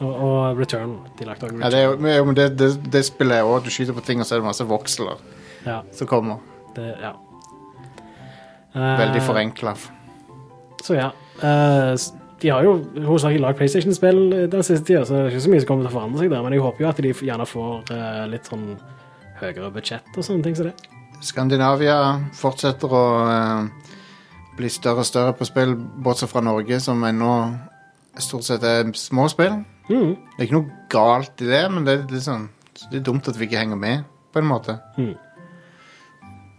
Speaker 2: Og, og Return. De lagde også
Speaker 1: Ja,
Speaker 2: Return.
Speaker 1: det, er jo- men- jo, men det, det, det spillet er òg du skyter på ting, og så er det masse voksler
Speaker 2: Ja,
Speaker 1: som kommer.
Speaker 2: det, ja. Eh,
Speaker 1: Veldig forenkla.
Speaker 2: Så ja. Eh, s- de har jo hovedsakelig lagd PlayStation-spill eh, den siste tida, så det er ikke så mye som kommer til å forandre seg der, men jeg håper jo at de f- gjerne får eh, litt sånn høyere budsjett og sånne ting som det.
Speaker 1: Skandinavia fortsetter å eh, bli større og større på spill, bortsett fra Norge, som ennå stort sett er små spill.
Speaker 2: Mm.
Speaker 1: Det er ikke noe galt i det, men det er, litt sånn, det er dumt at vi ikke henger med, på en måte.
Speaker 2: Mm.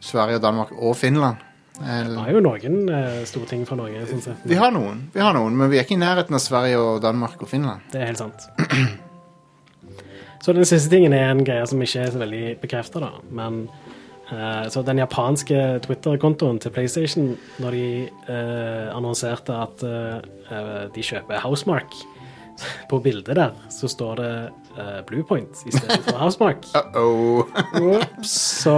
Speaker 1: Sverige og Danmark og Finland. Eh,
Speaker 2: Det er jo noen eh, store ting fra Norge. Sånn sett.
Speaker 1: vi har noen, vi har noen, men vi er ikke i nærheten av Sverige og Danmark og Finland.
Speaker 2: Det er helt sant. Så den siste tingen er en greie som ikke er så veldig bekrefta, da. Men eh, så den japanske Twitter-kontoen til PlayStation, når de eh, annonserte at eh, eh, de kjøper Housemark På bildet der så står det eh, Bluepoint i stedet for Housemark.
Speaker 1: Uh-oh.
Speaker 2: Så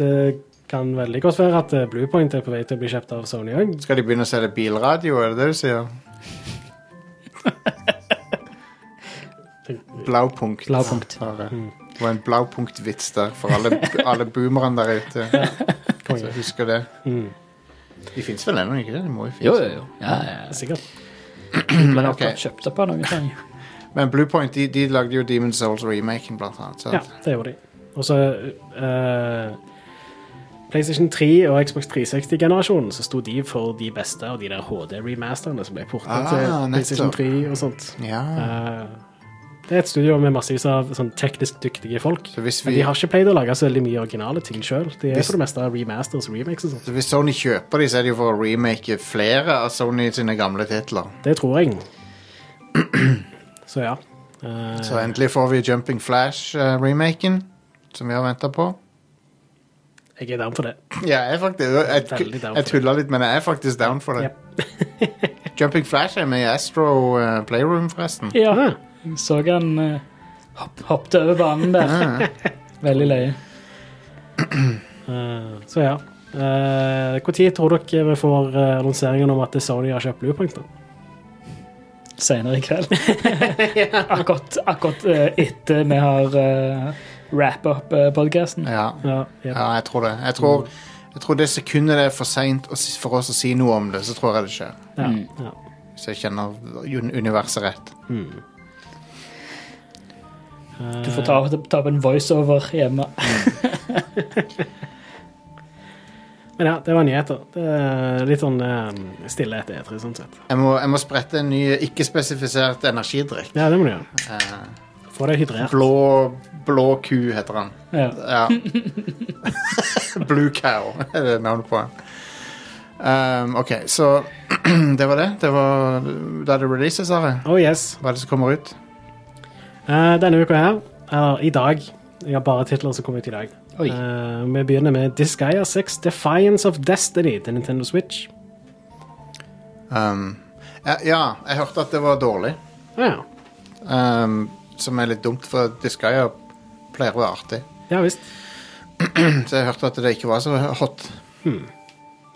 Speaker 2: det kan veldig godt være at eh, Bluepoint er på vei til å bli kjøpt av Sony òg.
Speaker 1: Skal de begynne å selge bilradio, er det det du
Speaker 2: (laughs)
Speaker 1: sier? Blaupunkt.
Speaker 2: Blaupunkt. Mm.
Speaker 1: Bare. Det var en blaupunkt-vits der for
Speaker 2: (laughs)
Speaker 1: alle, alle boomerne der ute.
Speaker 2: Konge.
Speaker 1: Så husker det.
Speaker 2: Mm.
Speaker 1: De fins vel ennå, ikke det? De må jo finnes.
Speaker 3: Jo, jo, jo. Ja, ja, ja.
Speaker 2: Sikkert.
Speaker 3: Men
Speaker 1: Mm, ok.
Speaker 3: akkurat kjøpt opp av noen sånn ting.
Speaker 1: Men Bluepoint de, de lagde jo Demon's Souls remaken, blant annet. sant?
Speaker 2: Ja, det gjorde de. Og så eh, PlayStation 3 og Xbox 360-generasjonen, så sto de for de beste av de der HD-remasterne som ble portet
Speaker 1: Ah,
Speaker 2: til
Speaker 1: nettopp.
Speaker 2: PlayStation 3 og sånt.
Speaker 1: Ja.
Speaker 2: Eh, det er et studio med massevis av sånn teknisk dyktige folk.
Speaker 1: Så hvis
Speaker 2: Men
Speaker 1: vi-
Speaker 2: de har ikke pleid å lage så veldig mye originale ting sjøl. De er
Speaker 1: Hvis-
Speaker 2: for det meste remasters og remakes og sånt.
Speaker 1: Så hvis Sony kjøper de, så er det jo for å remake flere av Sony sine gamle titler.
Speaker 2: Det tror jeg. (clears throat) så ja. Eh,
Speaker 1: Så endelig får vi Jumping Flash-remaken, som vi har venta på.
Speaker 2: jeg er down for det.
Speaker 1: Ja, jeg er faktisk Jeg,
Speaker 2: Veldig
Speaker 1: jeg,
Speaker 2: down
Speaker 1: jeg
Speaker 2: for det.
Speaker 1: tulla litt, men jeg er faktisk down for det.
Speaker 2: (laughs)
Speaker 1: Jumping Flash er med i Astro eh, Playroom, forresten.
Speaker 2: Ja.
Speaker 3: Jeg Så han eh, hopp, hoppet over banen der. Veldig løye.
Speaker 2: Eh, så ja. Eh, Hvor tid tror dere vi får eh, annonseringen om at Sony har kjøpt Bluepoint? da?
Speaker 3: Senere i (laughs) kveld. akkurat akkurat eh, etter vi har uh, wrap up uh, podkasten.
Speaker 1: Ja,
Speaker 2: Ja, Mm. ja.
Speaker 1: ja jeg tror det. Jeg tror, jeg tror det sekundet det er for seint for oss å si noe om det, så tror jeg det skjer.
Speaker 2: ja,
Speaker 3: Mm.
Speaker 2: ja.
Speaker 1: Hvis jeg kjenner un- universet rett.
Speaker 2: Mm.
Speaker 3: Du
Speaker 2: Eh,
Speaker 3: får ta, ta opp en voiceover hjemme.
Speaker 2: Men ja, det var nyheter. Det er litt sånn eh, stille etter E3, sånn sett.
Speaker 1: Jeg må, jeg må sprette en ny ikke-spesifisert energidrikk.
Speaker 2: Ja, det må du gjøre.
Speaker 1: Eh,
Speaker 2: Få deg hydrert.
Speaker 1: blå, blå ku heter han.
Speaker 3: Ja.
Speaker 1: Ja. Blue Cow er det navnet på den. Um, OK, så (clears throat) det var det. Det var da det releases, sa jeg.
Speaker 2: Oh yes.
Speaker 1: Hva er det som kommer ut?
Speaker 2: Eh, denne uka her, eller i dag Jeg har bare titler som kom ut i dag.
Speaker 3: Oi.
Speaker 2: Eh, vi begynner med Disgaea 6 Defiance of Destiny til Nintendo Switch.
Speaker 1: Um, ja, ja, jeg hørte at det var dårlig.
Speaker 2: Ja,
Speaker 1: Um, som er litt dumt, for Disgaea pleier å være artig. (clears throat)
Speaker 2: ja visst.
Speaker 1: Så jeg hørte at det ikke var så hot.
Speaker 2: Jeg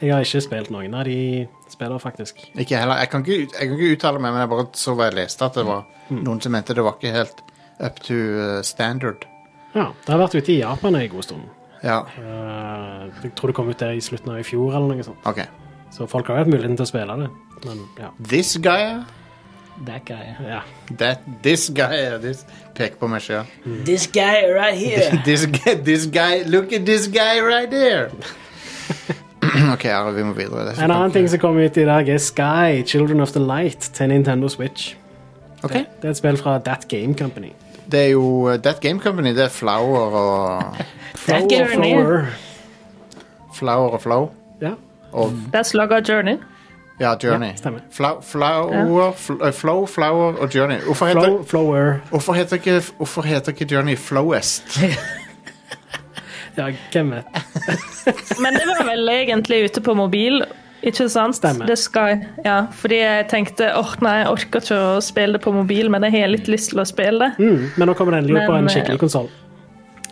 Speaker 2: Jeg har ikke spilt noen av de spillene, faktisk.
Speaker 1: Ikke heller, jeg, kan ikke, ut- jeg kan ikke uttale meg, men jeg bare så hva jeg leste, at det var noen som mente det var ikke helt up to eh, standard.
Speaker 2: Ja, Det har vært ute i Japan en god stund.
Speaker 1: Ja,
Speaker 2: Eh, jeg tror det kom ut der i slutten av i fjor, eller noe sånt.
Speaker 1: OK.
Speaker 2: Så folk har jo hatt muligheten til å spille det. Men ja.
Speaker 1: This guy,
Speaker 3: That guy.
Speaker 2: ja.
Speaker 1: that, this guy this, Peker på meg sjøl.
Speaker 3: This guy right here.
Speaker 1: This, guy- this guy, look at this guy right there! (clears throat) OK, Are, vi må videre. Det er så
Speaker 2: En annen
Speaker 1: dumt.
Speaker 2: ting som kom ut i dag, er Sky, Children of the Light, til Nintendo Switch.
Speaker 1: Ok.
Speaker 2: Det er et spill fra That Game Company.
Speaker 1: Det er jo eh, That Game Company. Det er Flower og
Speaker 2: Flower,
Speaker 4: Game Company.
Speaker 2: Flower.
Speaker 1: Flower og Flow.
Speaker 2: Ja,
Speaker 1: Og
Speaker 4: Deres lag av Journey.
Speaker 1: ja, Journey.
Speaker 2: Ja, stemmer.
Speaker 1: Flau- flower, fl eh, Flow, Flower og Journey. Hvorfor heter,
Speaker 2: Flow, Flower.
Speaker 1: hvorfor heter, ikke, hvorfor heter ikke Journey Flowest?
Speaker 2: Ja, hvem vet.
Speaker 4: Men det var vel egentlig ute på mobil, ikke sant?
Speaker 2: Stemmer.
Speaker 4: Det skal, ja, fordi jeg tenkte åh nei, jeg orker ikke å spille det på mobil, men jeg har litt lyst til å spille det.
Speaker 2: Mm, men nå kommer det endelig ut på
Speaker 4: Men,
Speaker 2: en
Speaker 4: eh,
Speaker 2: skikkelig konsoll,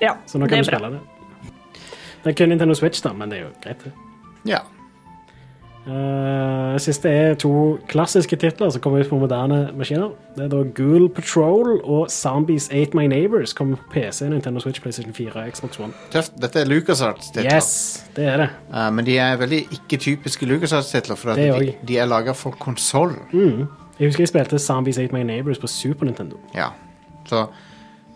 Speaker 4: Ja,
Speaker 2: så nå
Speaker 4: det
Speaker 2: kan
Speaker 4: er
Speaker 2: du
Speaker 4: bra.
Speaker 2: spille det. Det er kun Nintendo Switch, da, men det er jo greit, det.
Speaker 1: Ja.
Speaker 2: Eh, siste er to klassiske titler som kommer ut på moderne maskiner. Det er da Ghoul Patrol og Zombies Ate My Neighbors kom på PC, Nintendo Switch, PlayStation 4 og Xbox One.
Speaker 1: Tøft. Dette er LucasArts-titler.
Speaker 2: Yes, det er det.
Speaker 1: Eh, men de er veldig ikke-typiske LucasArts-titler, for at
Speaker 2: Det
Speaker 1: de,
Speaker 2: også.
Speaker 1: de er laga for konsoll.
Speaker 2: Jeg husker jeg spilte Zombies Ate My Neighbors på Super Nintendo.
Speaker 1: Ja. Så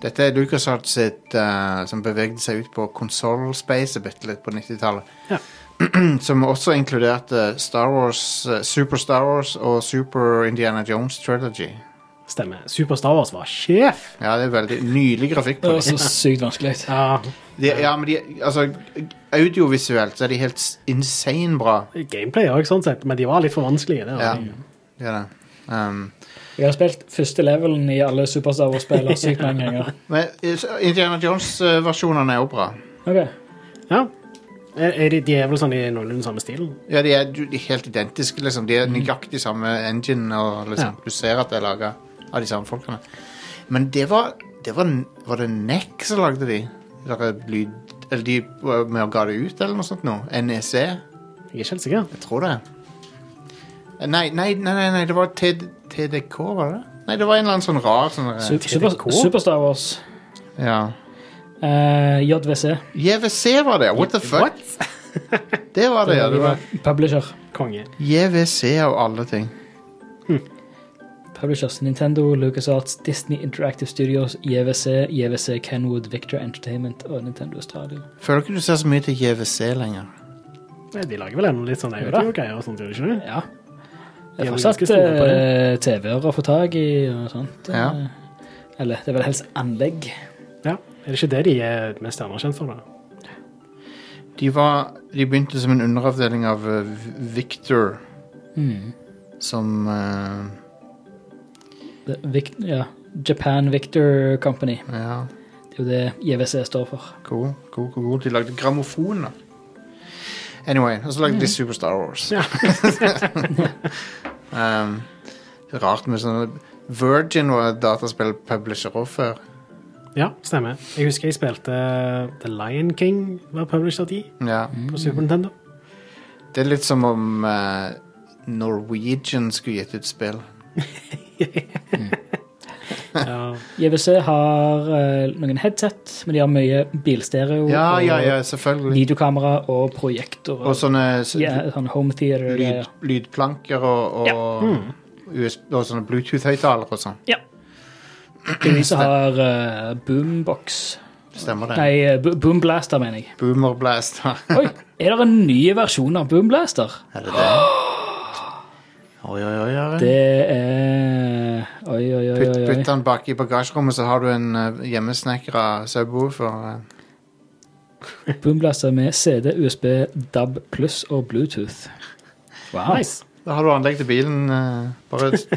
Speaker 1: dette er LucasArts sitt eh, som bevegde seg ut på konsollspacet bitte litt på 90-tallet.
Speaker 2: Ja.
Speaker 1: (clears throat) som også inkluderte Star Wars, eh, Super Star Wars og Super Indiana Jones Trilogy.
Speaker 2: Stemmer. Super Star Wars var sjef!
Speaker 1: Ja, det er veldig nylig grafikk
Speaker 3: Det
Speaker 1: på
Speaker 3: var
Speaker 1: det.
Speaker 3: så sykt vanskelig.
Speaker 2: Ja,
Speaker 1: De, ja, men de, altså, audiovisuelt så er de helt s- insane bra.
Speaker 2: gameplay òg, sånn sett, men de var litt for vanskelige. Det, var
Speaker 1: Ja,
Speaker 2: de.
Speaker 1: det er det. Um,
Speaker 3: Jeg har spilt første levelen i alle Superstar Wars-spiller sykt mange (laughs) ganger.
Speaker 1: men eh, Indiana Jones-versjonene er jo bra.
Speaker 3: Ok.
Speaker 2: ja. Er, er de, de er vel sånn i noenlunde samme stil?
Speaker 1: Ja, de er, de er helt identiske, liksom. De er nøyaktig samme engine, og liksom,
Speaker 2: Ja.
Speaker 1: du ser at det er laga av de samme folkene. Men det var det var, var det NEC som lagde de? Der er lyd, eller de var med og ga det ut, eller noe sånt noe? NEC? Jeg
Speaker 2: Jeg er ikke helt sikker.
Speaker 1: tror det. Nei, nei, nei, nei, nei det var TD, TDK, var det? Nei, det var en eller annen sånn rar sånn eh,
Speaker 3: Su- Super, Superstar Wars.
Speaker 1: Ja.
Speaker 3: Eh, JVC.
Speaker 1: JVC var det! What the fuck? Det var (laughs) det, ja. Det var
Speaker 3: Publisher.
Speaker 2: Konge.
Speaker 1: JVC av alle ting.
Speaker 3: Publishers Nintendo, LucasArts, Disney Interactive Studios, JVC, JVC Kenwood, Victor Entertainment og Nintendo Australia.
Speaker 1: Føler ikke du ser så mye til JVC lenger.
Speaker 2: De lager vel ennå litt sånn audio-greier og sånt, gjør de ikke det?
Speaker 3: Ja.
Speaker 2: Ja,
Speaker 3: Det er
Speaker 2: men
Speaker 3: fortsatt
Speaker 2: ganske store på
Speaker 3: eh, TV-er å få tak i og sånt.
Speaker 1: Ja.
Speaker 3: Eh, Eller det er vel helst anlegg.
Speaker 2: Ja. Er det ikke det de er mest anerkjent for, da?
Speaker 1: De, var, de begynte som en underavdeling av eh, V- Victor,
Speaker 3: Mm.
Speaker 1: som eh,
Speaker 3: Det- Vic, ja. Japan Victor Company.
Speaker 1: Ja,
Speaker 3: Det er jo det JVC står for.
Speaker 1: cool, cool, cool, cool. De lagde grammofoner. Anyway, og så lagde de Super Star Wars.
Speaker 2: Ja.
Speaker 1: (laughs) um, rart med sånn Virgin var et dataspill-publisher også før.
Speaker 2: Ja, stemmer. Jeg husker jeg spilte eh, The Lion King, var published av de,
Speaker 1: Ja.
Speaker 2: på Super Nintendo.
Speaker 1: Det er litt som om eh, Norwegian skulle gitt ut spill.
Speaker 2: Ja.
Speaker 3: JVC har eh, noen headset, men de har mye bilstereo
Speaker 1: Ja, ja, ja,
Speaker 3: og
Speaker 1: selvfølgelig.
Speaker 3: videokamera og projektor.
Speaker 1: Og sånne s-
Speaker 3: ja, sånn home theater.
Speaker 1: lyd,
Speaker 3: greier.
Speaker 1: lydplanker og, og, USB, og sånne Bluetooth-høyttalere og sånn.
Speaker 3: Det er de som har eh, boombox.
Speaker 1: Stemmer det?
Speaker 3: Nei, eh, bo boomblaster, mener jeg.
Speaker 1: Boomerblast.
Speaker 3: Oi, er det en ny versjon av boomblaster?
Speaker 1: (laughs) er det det? Oi, oi, oi. Are.
Speaker 3: Det er Oi, oi, oi.
Speaker 1: Putt,
Speaker 3: oi,
Speaker 1: putt
Speaker 3: oi.
Speaker 1: den bak i bagasjerommet, så har du en uh, hjemmesnekra subwoofer. eh.
Speaker 3: Boomblaster med CD, USB, DAB pluss og Bluetooth. Wow.
Speaker 2: Nice.
Speaker 1: Da har du anlegg til bilen. eh, bare s-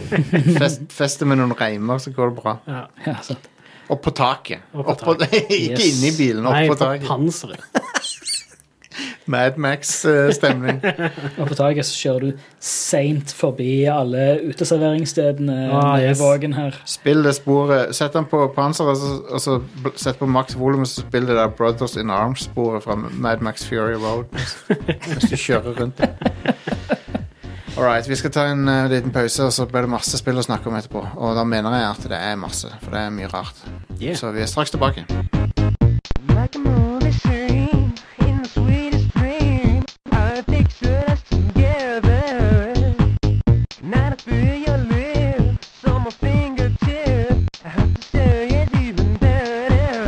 Speaker 1: fest, feste med noen reimer, så går det bra.
Speaker 2: Ja.
Speaker 3: Ja, sant.
Speaker 1: Opp på taket.
Speaker 2: Opp på
Speaker 1: Opp på- (laughs) ikke
Speaker 3: Yes.
Speaker 1: inni bilen, opp
Speaker 2: Nei,
Speaker 1: på
Speaker 2: på
Speaker 1: taket.
Speaker 2: panseret.
Speaker 1: eh, Madmax-stemning.
Speaker 3: Og på taket så kjører du seint forbi alle uteserveringsstedene
Speaker 2: Ah,
Speaker 3: i
Speaker 2: yes.
Speaker 3: Vågen her.
Speaker 1: Spill det sporet. Sett den på panseret, så- og så bl- sett på maks volum, og så spill det der Brothers in Arms-sporet fra Mad Max Fury Road mens mens du kjører rundt det. All right, vi skal ta en eh, liten pause, og så blir det masse spill å snakke om etterpå. Og da mener jeg at det er masse, for det er mye rart.
Speaker 2: Yeah.
Speaker 1: Så vi er straks tilbake.
Speaker 7: Like a movie scene in the sweetest dream. I pictured us together. Not a feel your lips on my fingertip. I have to say it's even better.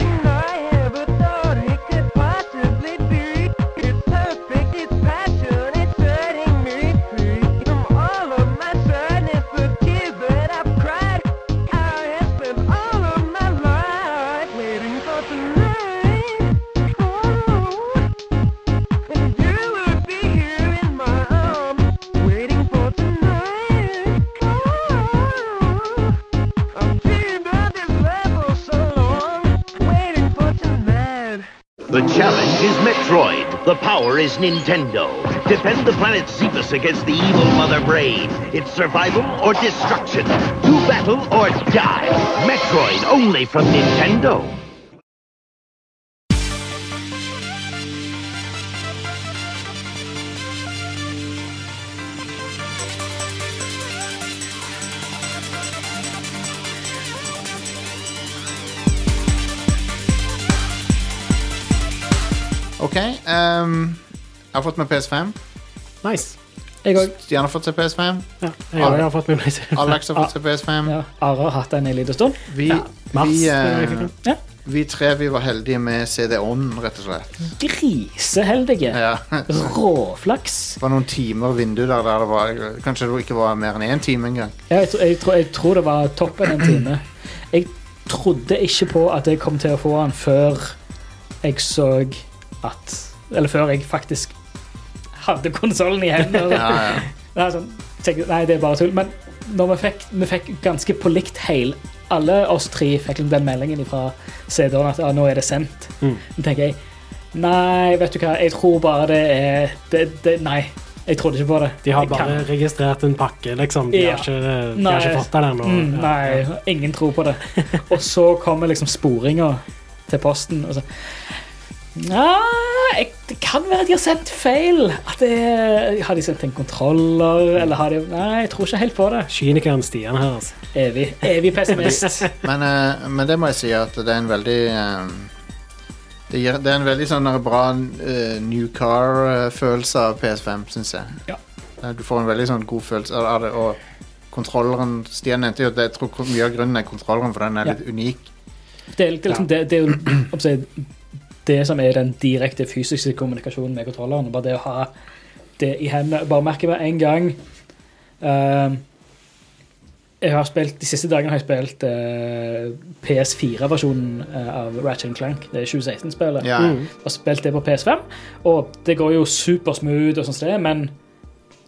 Speaker 7: And I ever thought it could possibly be. It's perfect, it's passion, it's setting me free from all of my sadness. The tears that I've cried, I have spent all of my life waiting for tonight. Oh. And you would be here in my arms, waiting for tonight. Oh, I've dreamed of this love for so long, waiting for tonight.
Speaker 8: The challenge is Metroid. The power is Nintendo. Defend the planet Zebus against the evil Mother Brain. It's survival or destruction. Do battle or die. Metroid only from Nintendo.
Speaker 1: OK. ehm, jeg har fått meg PS5.
Speaker 2: Nice.
Speaker 3: Jeg òg.
Speaker 1: Stian har fått seg PS5.
Speaker 2: Ja, jeg, har- jeg har fått med PlayStation.
Speaker 1: Alex har fått seg PS5.
Speaker 3: Ja, Are har hatt den en liten stund.
Speaker 1: Vi,
Speaker 2: Mars.
Speaker 1: vi,
Speaker 2: eh,
Speaker 1: eh,
Speaker 3: Ja.
Speaker 1: vi tre vi var heldige med CD-ånden, rett og slett.
Speaker 3: Griseheldige.
Speaker 1: Ja.
Speaker 3: Råflaks.
Speaker 1: Det var noen timer vindu der, der det var Kanskje det ikke var mer enn én time engang.
Speaker 3: Ja, jeg, tro- jeg, tror- jeg tror det var toppen en time. Jeg trodde ikke på at jeg kom til å få den før jeg så at Eller før jeg faktisk hadde konsollen i
Speaker 2: (laughs)
Speaker 3: hendene.
Speaker 1: Ja, ja.
Speaker 3: Det er sånn, tenkte, nei, det er bare tull. Men når vi fikk, vi fikk ganske på likt heil Alle oss tre fikk den meldingen fra CD-en at ah, nå er det sendt.
Speaker 2: Mm.
Speaker 3: Da tenker jeg nei, vet du hva, jeg tror bare det er det, det, Nei, jeg trodde ikke på det.
Speaker 2: De har
Speaker 3: Jeg
Speaker 2: bare
Speaker 3: kan-
Speaker 2: registrert en pakke, liksom. De
Speaker 3: Ja.
Speaker 2: har ikke, de
Speaker 3: Nei.
Speaker 2: har ikke fått den ennå.
Speaker 3: mm,
Speaker 2: Ja.
Speaker 3: Nei, ingen tror på det. (laughs) Og så kommer liksom sporinga til posten, og så Nei, jeg, det kan være de har sendt feil. At det, er- har de sendt en kontroller, eller har de Nei, jeg tror ikke helt på det.
Speaker 2: Kynikeren Stian her, altså.
Speaker 3: Evig, evig pessimist.
Speaker 1: (laughs) Men, eh, men det må jeg si at det er en veldig eh, det, gir, det er en veldig sånn der bra eh, new car-følelse av PS5, syns jeg.
Speaker 3: Ja.
Speaker 1: Eh, Du får en veldig sånn god følelse av av det. Og kontrolleren Stian nevnte jo at jeg tror mye av grunnen er kontrolleren, for den er
Speaker 3: Ja.
Speaker 1: litt unik.
Speaker 3: Det er, litt- liksom, det, det er jo om å si, det som er den direkte fysiske kommunikasjonen med kontrolleren. Bare det å ha det i hendene. Bare merke med en gang ehm, jeg har spilt, De siste dagene har jeg spilt eh, PS4-versjonen eh, av Ratchet Clank. Det er 2016-spillet.
Speaker 1: Ja,
Speaker 3: Og spilt det på PS5. Og det går jo supersmooth, og sånt som det, er, men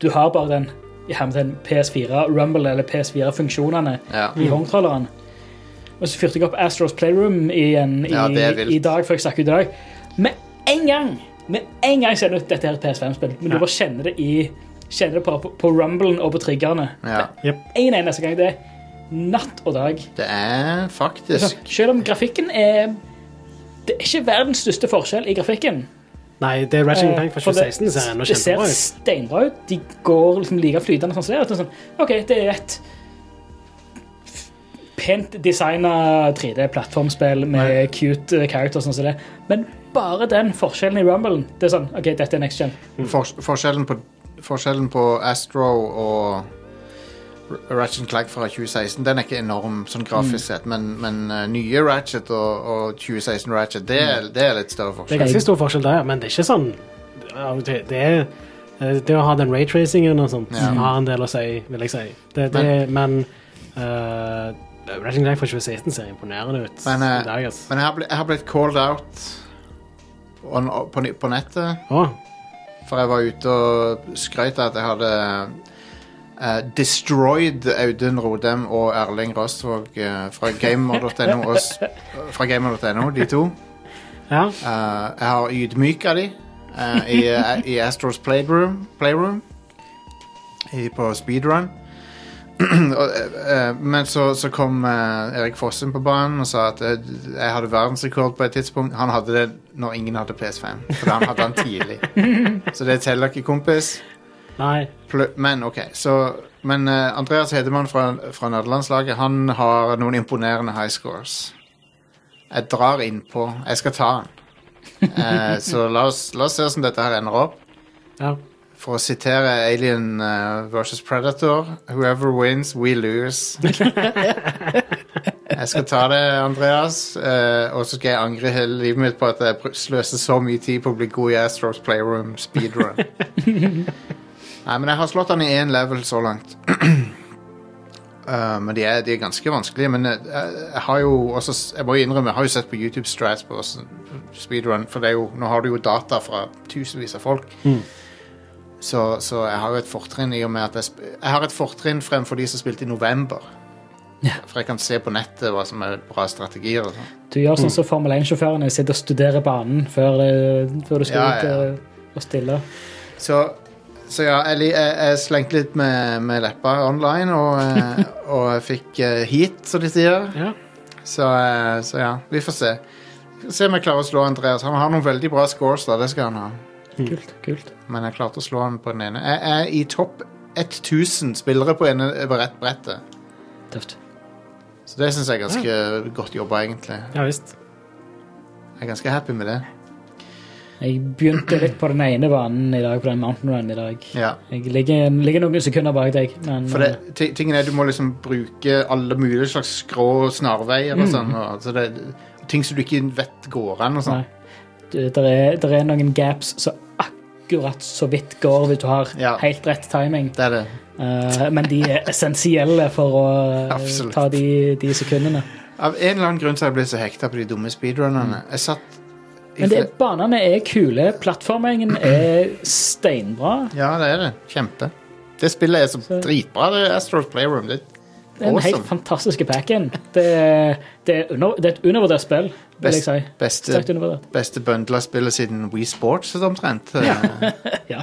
Speaker 3: du har bare den i hermetegn PS4 Rumble eller PS4-funksjonene
Speaker 1: ja.
Speaker 3: i håndtrolleren. Og så fyrte jeg opp Astros Playroom igjen i,
Speaker 1: Ja, det er vilt.
Speaker 3: i dag, før jeg stakk ut i dag. Med en gang med en gang ser det ut dette er et PS5-spill, men du
Speaker 2: Ja.
Speaker 3: bare kjenner det i kjenner det på, på, på rumblen og på triggerne.
Speaker 1: ja.
Speaker 3: En eneste gang. Det er natt og dag.
Speaker 1: Det er faktisk
Speaker 3: Selv om grafikken er Det er ikke verdens største forskjell i grafikken.
Speaker 2: Nei, det er Ratchet Clank fra
Speaker 3: Eh, For det-
Speaker 2: 2016 ser ennå
Speaker 3: Det ser
Speaker 2: kjempebra ut.
Speaker 3: steinbra ut. De går liksom like flytende sånn som det. er, og det er sånn, OK, det er et f- pent designa 3D-plattformspill med cute eh, characters sånn som det. er. Men bare den forskjellen i Rumblen Det er sånn OK, dette er next gen.
Speaker 1: Fors- forskjellen, på, forskjellen på Astro og R- Ratchet Clank fra 2016 den er ikke enorm sånn grafisk sett, men, men eh, nye Ratchet og, og 2016 Ratchet, det er, det er litt større
Speaker 2: Det
Speaker 1: forskjell.
Speaker 2: er ganske stor forskjell der, men det er ikke sånn ja, Det, det er eh, det å ha den raytracingen og sånt
Speaker 1: Ja.
Speaker 2: har en del å si, vil jeg si. Det, det, men uh, Ratchet Clank fra 2016 ser imponerende ut.
Speaker 1: Men, eh,
Speaker 2: i dag, ass.
Speaker 1: Men jeg har, blitt, jeg har blitt called out on, på, ny- på nettet,
Speaker 2: Å,
Speaker 1: for jeg var ute og skrøt av at jeg hadde eh, destroyed Audun Rodem og Erling Røstvåg eh, fra gamer.no, og s- fra gamer.no, de to.
Speaker 2: ja.
Speaker 1: Eh, jeg har ydmyka de eh, i, eh, i Astros Playroom, playroom i, på speedrun. (clears throat) og, eh, eh, men så, så kom eh, Erik Fossum på banen og sa at eh, jeg hadde verdensrekord på et tidspunkt. Han hadde det når ingen hadde PS5, for han hadde han tidlig. så det teller ikke, kompis.
Speaker 2: Nei.
Speaker 1: Pl- Men ok, så Men eh, Andreas Hedemann fra, fra nederlandslaget Han har noen imponerende high scores Jeg drar innpå Jeg skal ta han Eh, Så la oss, la oss se hvordan dette her ender opp
Speaker 2: Ja.
Speaker 1: For å sitere Alien eh, vs Predator Whoever wins, we lose Jeg skal ta det, Andreas eh, Og så skal jeg angre hele livet mitt på at jeg pr- sløser så mye tid på å bli god i Astros Playroom Speedrun Nei, men jeg har slått han i én level så langt. (clears throat) Eh, men de er, de er ganske vanskelige. Men eh, jeg, jeg har jo også s- Jeg må jo innrømme, jeg har jo sett på YouTube Strats på s- speedrun, for det er jo, nå har du jo data fra tusenvis av folk. Så, så jeg har jo et fortrinn i og med at jeg, sp- jeg har et fortrinn fremfor de som spilte i november. For jeg kan se på nettet hva som er bra strategier. og sånn.
Speaker 3: Du gjør sånn som Formel 1-sjåførene sitter og studerer banen før, det- før du skal
Speaker 1: Ja,
Speaker 3: ut
Speaker 1: ja.
Speaker 3: og- og stille.
Speaker 1: Så, så ja, jeg, li- jeg, jeg slengte litt med, med leppa online, og, eh, og jeg fikk eh, heat, som de sier.
Speaker 2: ja.
Speaker 1: Så, eh, så ja, vi får se. Vi får se om jeg klarer å slå Andreas. Han har noen veldig bra scores, da, det skal han ha.
Speaker 3: Kult. kult.
Speaker 1: Men jeg klarte å slå han på den ene. Jeg er i topp 1000 spillere på ene på rett brettet.
Speaker 3: Tøft.
Speaker 1: Så det syns jeg er ganske godt jobba, egentlig.
Speaker 2: Ja visst.
Speaker 1: Jeg er ganske happy med det.
Speaker 3: Jeg begynte litt på den ene banen i dag, på den Mountain Run i dag.
Speaker 1: Ja.
Speaker 3: Jeg ligger, ligger noen sekunder bak deg, men
Speaker 1: For det, ti- tingen er, du må liksom bruke alle mulige slags skrå og snarveier
Speaker 3: Mm.
Speaker 1: og sånn. og- Så det, ting som du ikke vet går an og sånn.
Speaker 3: Nei. det er, eh, der er noen gaps som akkurat så vidt går hvis du har
Speaker 1: Ja.
Speaker 3: helt rett timing.
Speaker 1: Det er det.
Speaker 3: Eh, men de er essensielle for å eh,
Speaker 1: Absolutt.
Speaker 3: ta de, de sekundene.
Speaker 1: Av en eller annen grunn så har jeg blitt så hekta på de dumme speedrunnerne. Jeg satt i
Speaker 3: Mm. Men det,
Speaker 1: fle-
Speaker 3: banene er kule, plattformingen er steinbra.
Speaker 1: Ja, det er det. Kjempe. Det spillet er så dritbra, det er Astros Playroom. Det
Speaker 3: Det er en helt
Speaker 1: Awesome.
Speaker 3: fantastisk pack-in. Det, er- det, er under- det er et undervurdert spill, vil jeg
Speaker 1: Best-
Speaker 3: si. Sterkt
Speaker 1: beste,
Speaker 3: undervurdert.
Speaker 1: beste bundla spillet siden We Sports, sånn omtrent. Eh,
Speaker 3: Ja.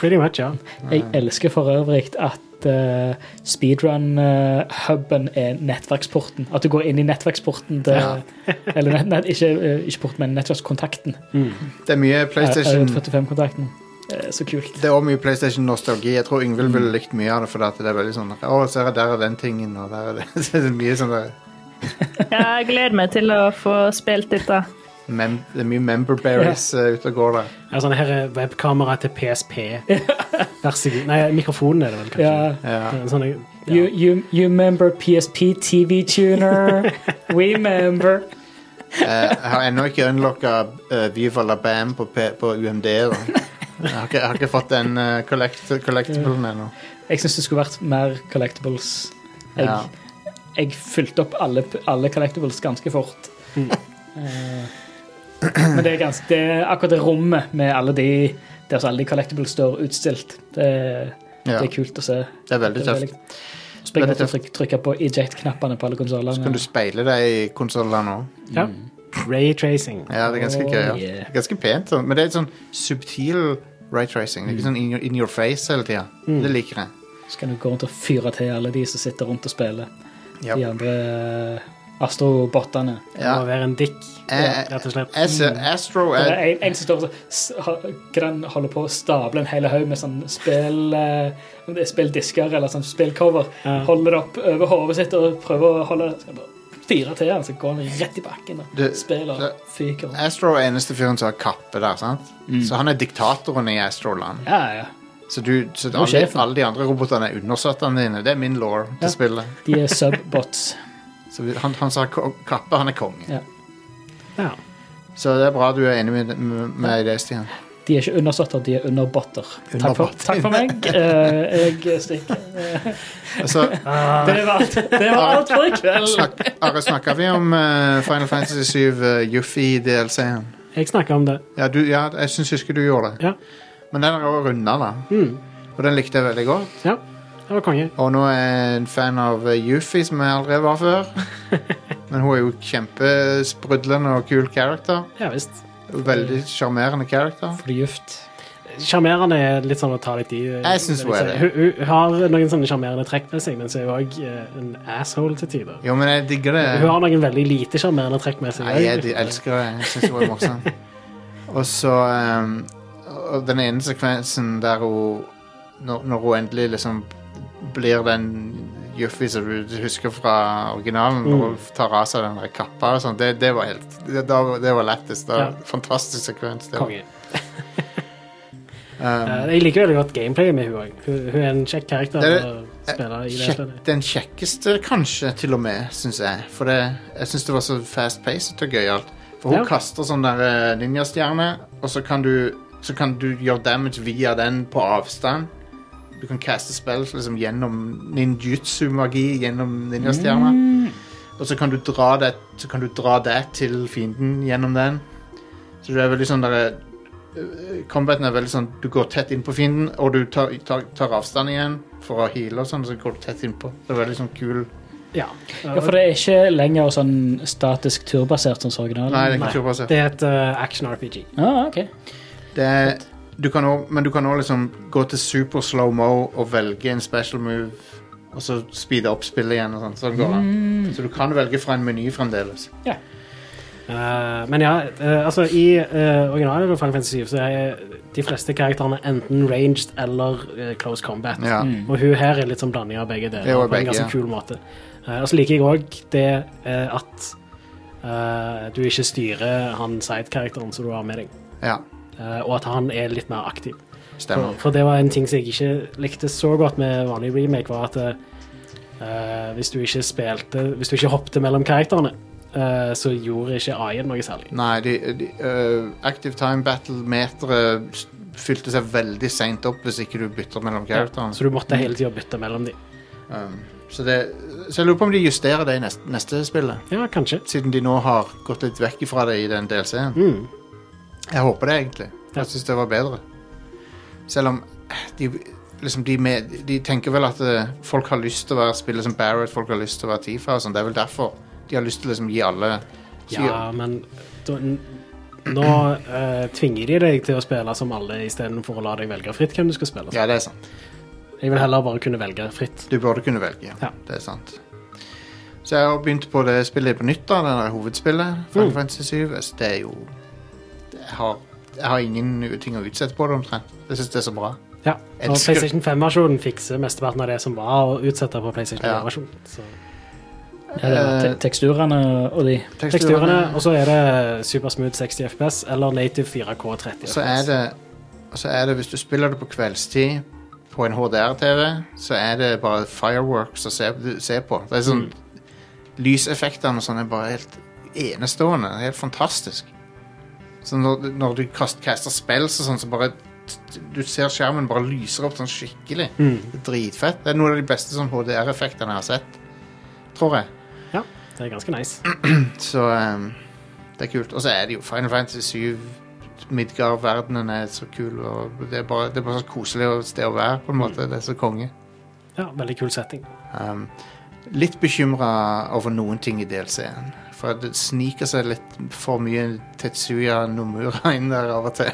Speaker 2: Pretty much, ja.
Speaker 3: Jeg
Speaker 1: Ah.
Speaker 3: elsker for øvrig at eh, speedrun-huben er nettverksporten. At du går inn i nettverksporten til
Speaker 1: Ja.
Speaker 3: (laughs) Eller nett, nett, ikke, eh, ikke port, men nettverkskontakten.
Speaker 1: Det er mye PlayStation
Speaker 3: Route 45-kontakten. Eh, Så kult.
Speaker 1: Det er også mye PlayStation-nostalgi. Jeg tror Yngvild ville likt mye av det, for at det er veldig sånn Å, se her, der er den tingen, og der er det (laughs) Så det er mye sånn der
Speaker 4: Jeg gleder meg til å få spilt dette.
Speaker 1: mem Det er mye member berries eh, ute og går der.
Speaker 2: Ja, sånn her er webkamera til PSP. Vær så god. Nei, mikrofonen er det vel, kanskje.
Speaker 3: Ja.
Speaker 1: Ja.
Speaker 2: En Sånn,
Speaker 3: You,
Speaker 2: ja.
Speaker 3: you, you remember PSP TV Tuner? We remember.
Speaker 1: Eh, Jeg har ennå ikke unlocka uh, Viva la Bam på, P på UMD. Da. Jeg har, ikke, jeg har ikke fått den eh, collect collectablen ennå.
Speaker 3: Jeg syns det skulle vært mer collectibles. Jeg,
Speaker 1: Ja.
Speaker 3: jeg fylte opp alle, alle collectibles ganske fort.
Speaker 1: Mm.
Speaker 3: Eh, Men det er, ganske, det er akkurat det rommet med alle de der så alle de collectibles står utstilt. Det,
Speaker 1: Ja,
Speaker 3: det er kult å se.
Speaker 1: det er veldig
Speaker 3: Det er
Speaker 1: tøft.
Speaker 3: veldig- Springe
Speaker 1: Veldig
Speaker 3: rundt og trykke, trykke på eject-knappene på alle
Speaker 1: Så kan
Speaker 3: konsollene.
Speaker 1: du speile deg i konsollene òg.
Speaker 2: ja. Raytracing.
Speaker 1: Ja, det er ganske
Speaker 3: Oh,
Speaker 1: gøy. Ja.
Speaker 3: yeah.
Speaker 1: Ganske pent, sånn. men det er et sånn subtil right tracing. Det er ikke sånn in your, in your face hele tida.
Speaker 3: Mm.
Speaker 1: Det liker jeg.
Speaker 3: Så kan du gå rundt og fyre til alle de som sitter rundt og spiller.
Speaker 1: Ja.
Speaker 3: De andre eh, astrobottene.
Speaker 2: Det
Speaker 1: Ja.
Speaker 2: må være en dick,
Speaker 1: Eh,
Speaker 2: rett og slett.
Speaker 1: Jeg ser Astro
Speaker 3: Mm. Det
Speaker 1: er
Speaker 3: er en, en som står og s- ha- grann holder på å stable en hel haug med sånn spill, eh, om det er spilldisker eller sånn spillcover.
Speaker 2: Ja.
Speaker 3: Holder det opp over hodet sitt og prøver å holde så bare fire til, han, så går han rett i bakken. og
Speaker 1: Du-
Speaker 3: Spiller
Speaker 1: det-
Speaker 3: fyker.
Speaker 1: Astro er eneste fyren som har kappe der, sant?
Speaker 3: Mm.
Speaker 1: Så han er diktatoren i Astroland.
Speaker 3: Ja, ja.
Speaker 1: Så, du, så
Speaker 3: er
Speaker 1: alle,
Speaker 3: sjefen.
Speaker 1: alle de andre robotene er undersåttene dine. Det er min law til
Speaker 3: Ja.
Speaker 1: spillet.
Speaker 3: De er subbots.
Speaker 1: Så vi- han, han som har ko- kappe, han er konge.
Speaker 3: Ja.
Speaker 2: Mm. Ja.
Speaker 1: Så det er bra du er enig med, med, med det, Stian.
Speaker 3: De er ikke undersåtter, de er underbotter. Takk for,
Speaker 1: Underbotter.
Speaker 3: takk for meg. Eh, jeg stikker.
Speaker 1: Altså,
Speaker 3: (laughs) Det var alt, det var alt for i kveld.
Speaker 1: snak, Are, snakka vi om eh, Final Fantasy 7 uh, Yuffie-DLC-en?
Speaker 2: Jeg snakker om det.
Speaker 1: Ja, du, ja jeg syns husker du gjorde det.
Speaker 2: Ja.
Speaker 1: Men den er også runda, da.
Speaker 3: Mm.
Speaker 1: Og den likte jeg veldig godt.
Speaker 2: Ja, det var konge.
Speaker 1: Og nå er jeg en fan av eh, Yuffie, som jeg aldri
Speaker 2: (laughs)
Speaker 1: var før. Men hun er jo kjempesprudlende og kul character.
Speaker 2: Ja visst.
Speaker 1: Veldig sjarmerende character.
Speaker 3: Forgift.
Speaker 2: Sjarmerende er litt sånn å ta litt i.
Speaker 1: Jeg synes hun er det.
Speaker 2: Hun, hun har noen sånne sjarmerende trekk med seg, men så er hun òg en asshole til tider.
Speaker 1: Jo, men jeg digger det.
Speaker 2: Hun har noen veldig lite sjarmerende trekk med seg.
Speaker 1: Eh. Nei, jeg de- elsker det. Jeg syns hun er
Speaker 2: (laughs)
Speaker 1: morsom. Og så ehm, Og den ene sekvensen der hun Når, når hun endelig liksom blir den Juffy som du husker fra originalen,
Speaker 2: Mm.
Speaker 1: når hun tar av seg den der kappa og sånn, det, det var helt Det, da var- det var lettest. Det var
Speaker 2: Ja.
Speaker 1: en Fantastisk sekvens. Det.
Speaker 2: Konge.
Speaker 1: Um,
Speaker 2: Eh, Jeg liker veldig godt gameplayet med hun òg. Hun, hun er en kjekk karakter
Speaker 1: Det er-
Speaker 2: å spille i det
Speaker 1: Kjekk,
Speaker 2: spillet.
Speaker 1: den kjekkeste, kanskje, til og med, syns jeg. For det, jeg syns det var så fast-paced og gøyalt. For hun
Speaker 2: Ja.
Speaker 1: kaster sånn der eh, ninjastjerne, og så kan, du, så kan du gjøre damage via den på avstand. Du kan caste spill liksom, gjennom ninjutsu-magi, gjennom ninjastjerna.
Speaker 2: Mm.
Speaker 1: Og så kan, du dra det, så kan du dra det til fienden gjennom den. Så du er veldig sånn der, eh, Combaten er veldig sånn Du går tett inn på fienden, og du tar, tar, tar avstand igjen for å heale og sånn. Så går du tett innpå. Det er veldig sånn kul
Speaker 2: Ja.
Speaker 3: Ja, for det er ikke lenger sånn statisk turbasert som originalen.
Speaker 1: Nei, det er
Speaker 2: Nei,
Speaker 1: ikke turbasert.
Speaker 2: det er et eh, action RPG.
Speaker 3: Ah, ok.
Speaker 1: Det er, du kan også, men du kan òg liksom gå til super slow-mo og velge en special move, og så speede opp spillet igjen. og sånn, sånn går det.
Speaker 2: Mm.
Speaker 1: Så du kan velge fra en meny fremdeles.
Speaker 2: Eh, men ja, eh, altså i uh, originalen av Final Fantasy 7 så er de fleste karakterene enten ranged eller eh, close combat.
Speaker 1: Ja.
Speaker 2: Og hun her er litt sånn blanding av begge deler
Speaker 1: Jo,
Speaker 2: på en
Speaker 1: begge,
Speaker 2: ganske
Speaker 1: ja.
Speaker 2: kul måte. Eh, og så liker jeg òg det eh, at eh, du ikke styrer han sidekarakteren som du har med deg,
Speaker 1: ja,
Speaker 2: eh, og at han er litt mer aktiv. For,
Speaker 1: Stemmer.
Speaker 2: for det var en ting som jeg ikke likte så godt med vanlig remake, var at eh, hvis du ikke spilte Hvis du ikke hoppte mellom karakterene, eh, så gjorde ikke AI-en noe særlig.
Speaker 1: Nei, de, de, øh, Active Time Battle-meteret fylte seg veldig seint opp hvis ikke du bytter mellom
Speaker 2: Ja,
Speaker 1: characterne.
Speaker 2: så du måtte hele tida bytte mellom de.
Speaker 1: Um, så, det, så jeg lurer på om de justerer det i neste, neste spillet,
Speaker 2: Ja, kanskje.
Speaker 1: siden de nå har gått litt vekk ifra det i den DLC-en.
Speaker 2: Mm.
Speaker 1: Jeg håper det, egentlig.
Speaker 2: Ja.
Speaker 1: Jeg syns det var bedre. Selv om de, liksom de, med, de tenker vel at eh, folk har lyst til å være spille som Barrett, folk har lyst til å være Tifa og sånn. Det er vel derfor de har lyst til å liksom gi alle så
Speaker 2: Ja, men da, n- nå eh, tvinger de deg til å spille som alle istedenfor å la deg velge fritt hvem du skal spille. som.
Speaker 1: ja, det er sant.
Speaker 2: Jeg vil heller bare kunne velge fritt.
Speaker 1: Du burde kunne velge.
Speaker 2: Ja.
Speaker 1: Det er sant. Så jeg har begynt på det spillet på nytt, da, det der hovedspillet. Final
Speaker 2: Mm.
Speaker 1: Fantasy 7. Altså, Det er jo jeg har, jeg har ingen ting å utsette på det, omtrent. Jeg syns det er så bra.
Speaker 2: Ja, og
Speaker 1: Elsker-
Speaker 2: PlayStation 5-versjonen fikser mesteparten av det som var å utsette på PlayStation
Speaker 1: Ja.
Speaker 2: 4-versjonen. Så
Speaker 3: Ja, det var te
Speaker 1: Eh,
Speaker 3: teksturene og de.
Speaker 2: Teksturene, og så er det supersmooth 60 FPS eller native 4K 30
Speaker 1: Og så er det og så er det, hvis du spiller det på kveldstid på en HDR-TV, så er det bare fireworks å se, se på. Det er sånn, Lyseffektene og sånn er bare helt enestående. Helt fantastisk. Så når, når du kast, caster spells og sånn, så bare Du ser skjermen bare lyser opp sånn skikkelig.
Speaker 2: Mm,
Speaker 1: Det er dritfett. Det er noen av de beste sånn HDR-effektene jeg har sett, tror jeg.
Speaker 2: Ja, det er ganske nice.
Speaker 1: Så ehm, det er kult. Og så er det jo Final Fantasy 7. Midgard-verdenen er så kul. Og det, er bare, det er bare så koselig sted å være. på en måte, Det er så konge.
Speaker 2: Ja, Veldig kul setting.
Speaker 1: Ehm, litt bekymra over noen ting i DLC-en. For det sniker seg litt for mye Tetsuya Nomura inn der av og til.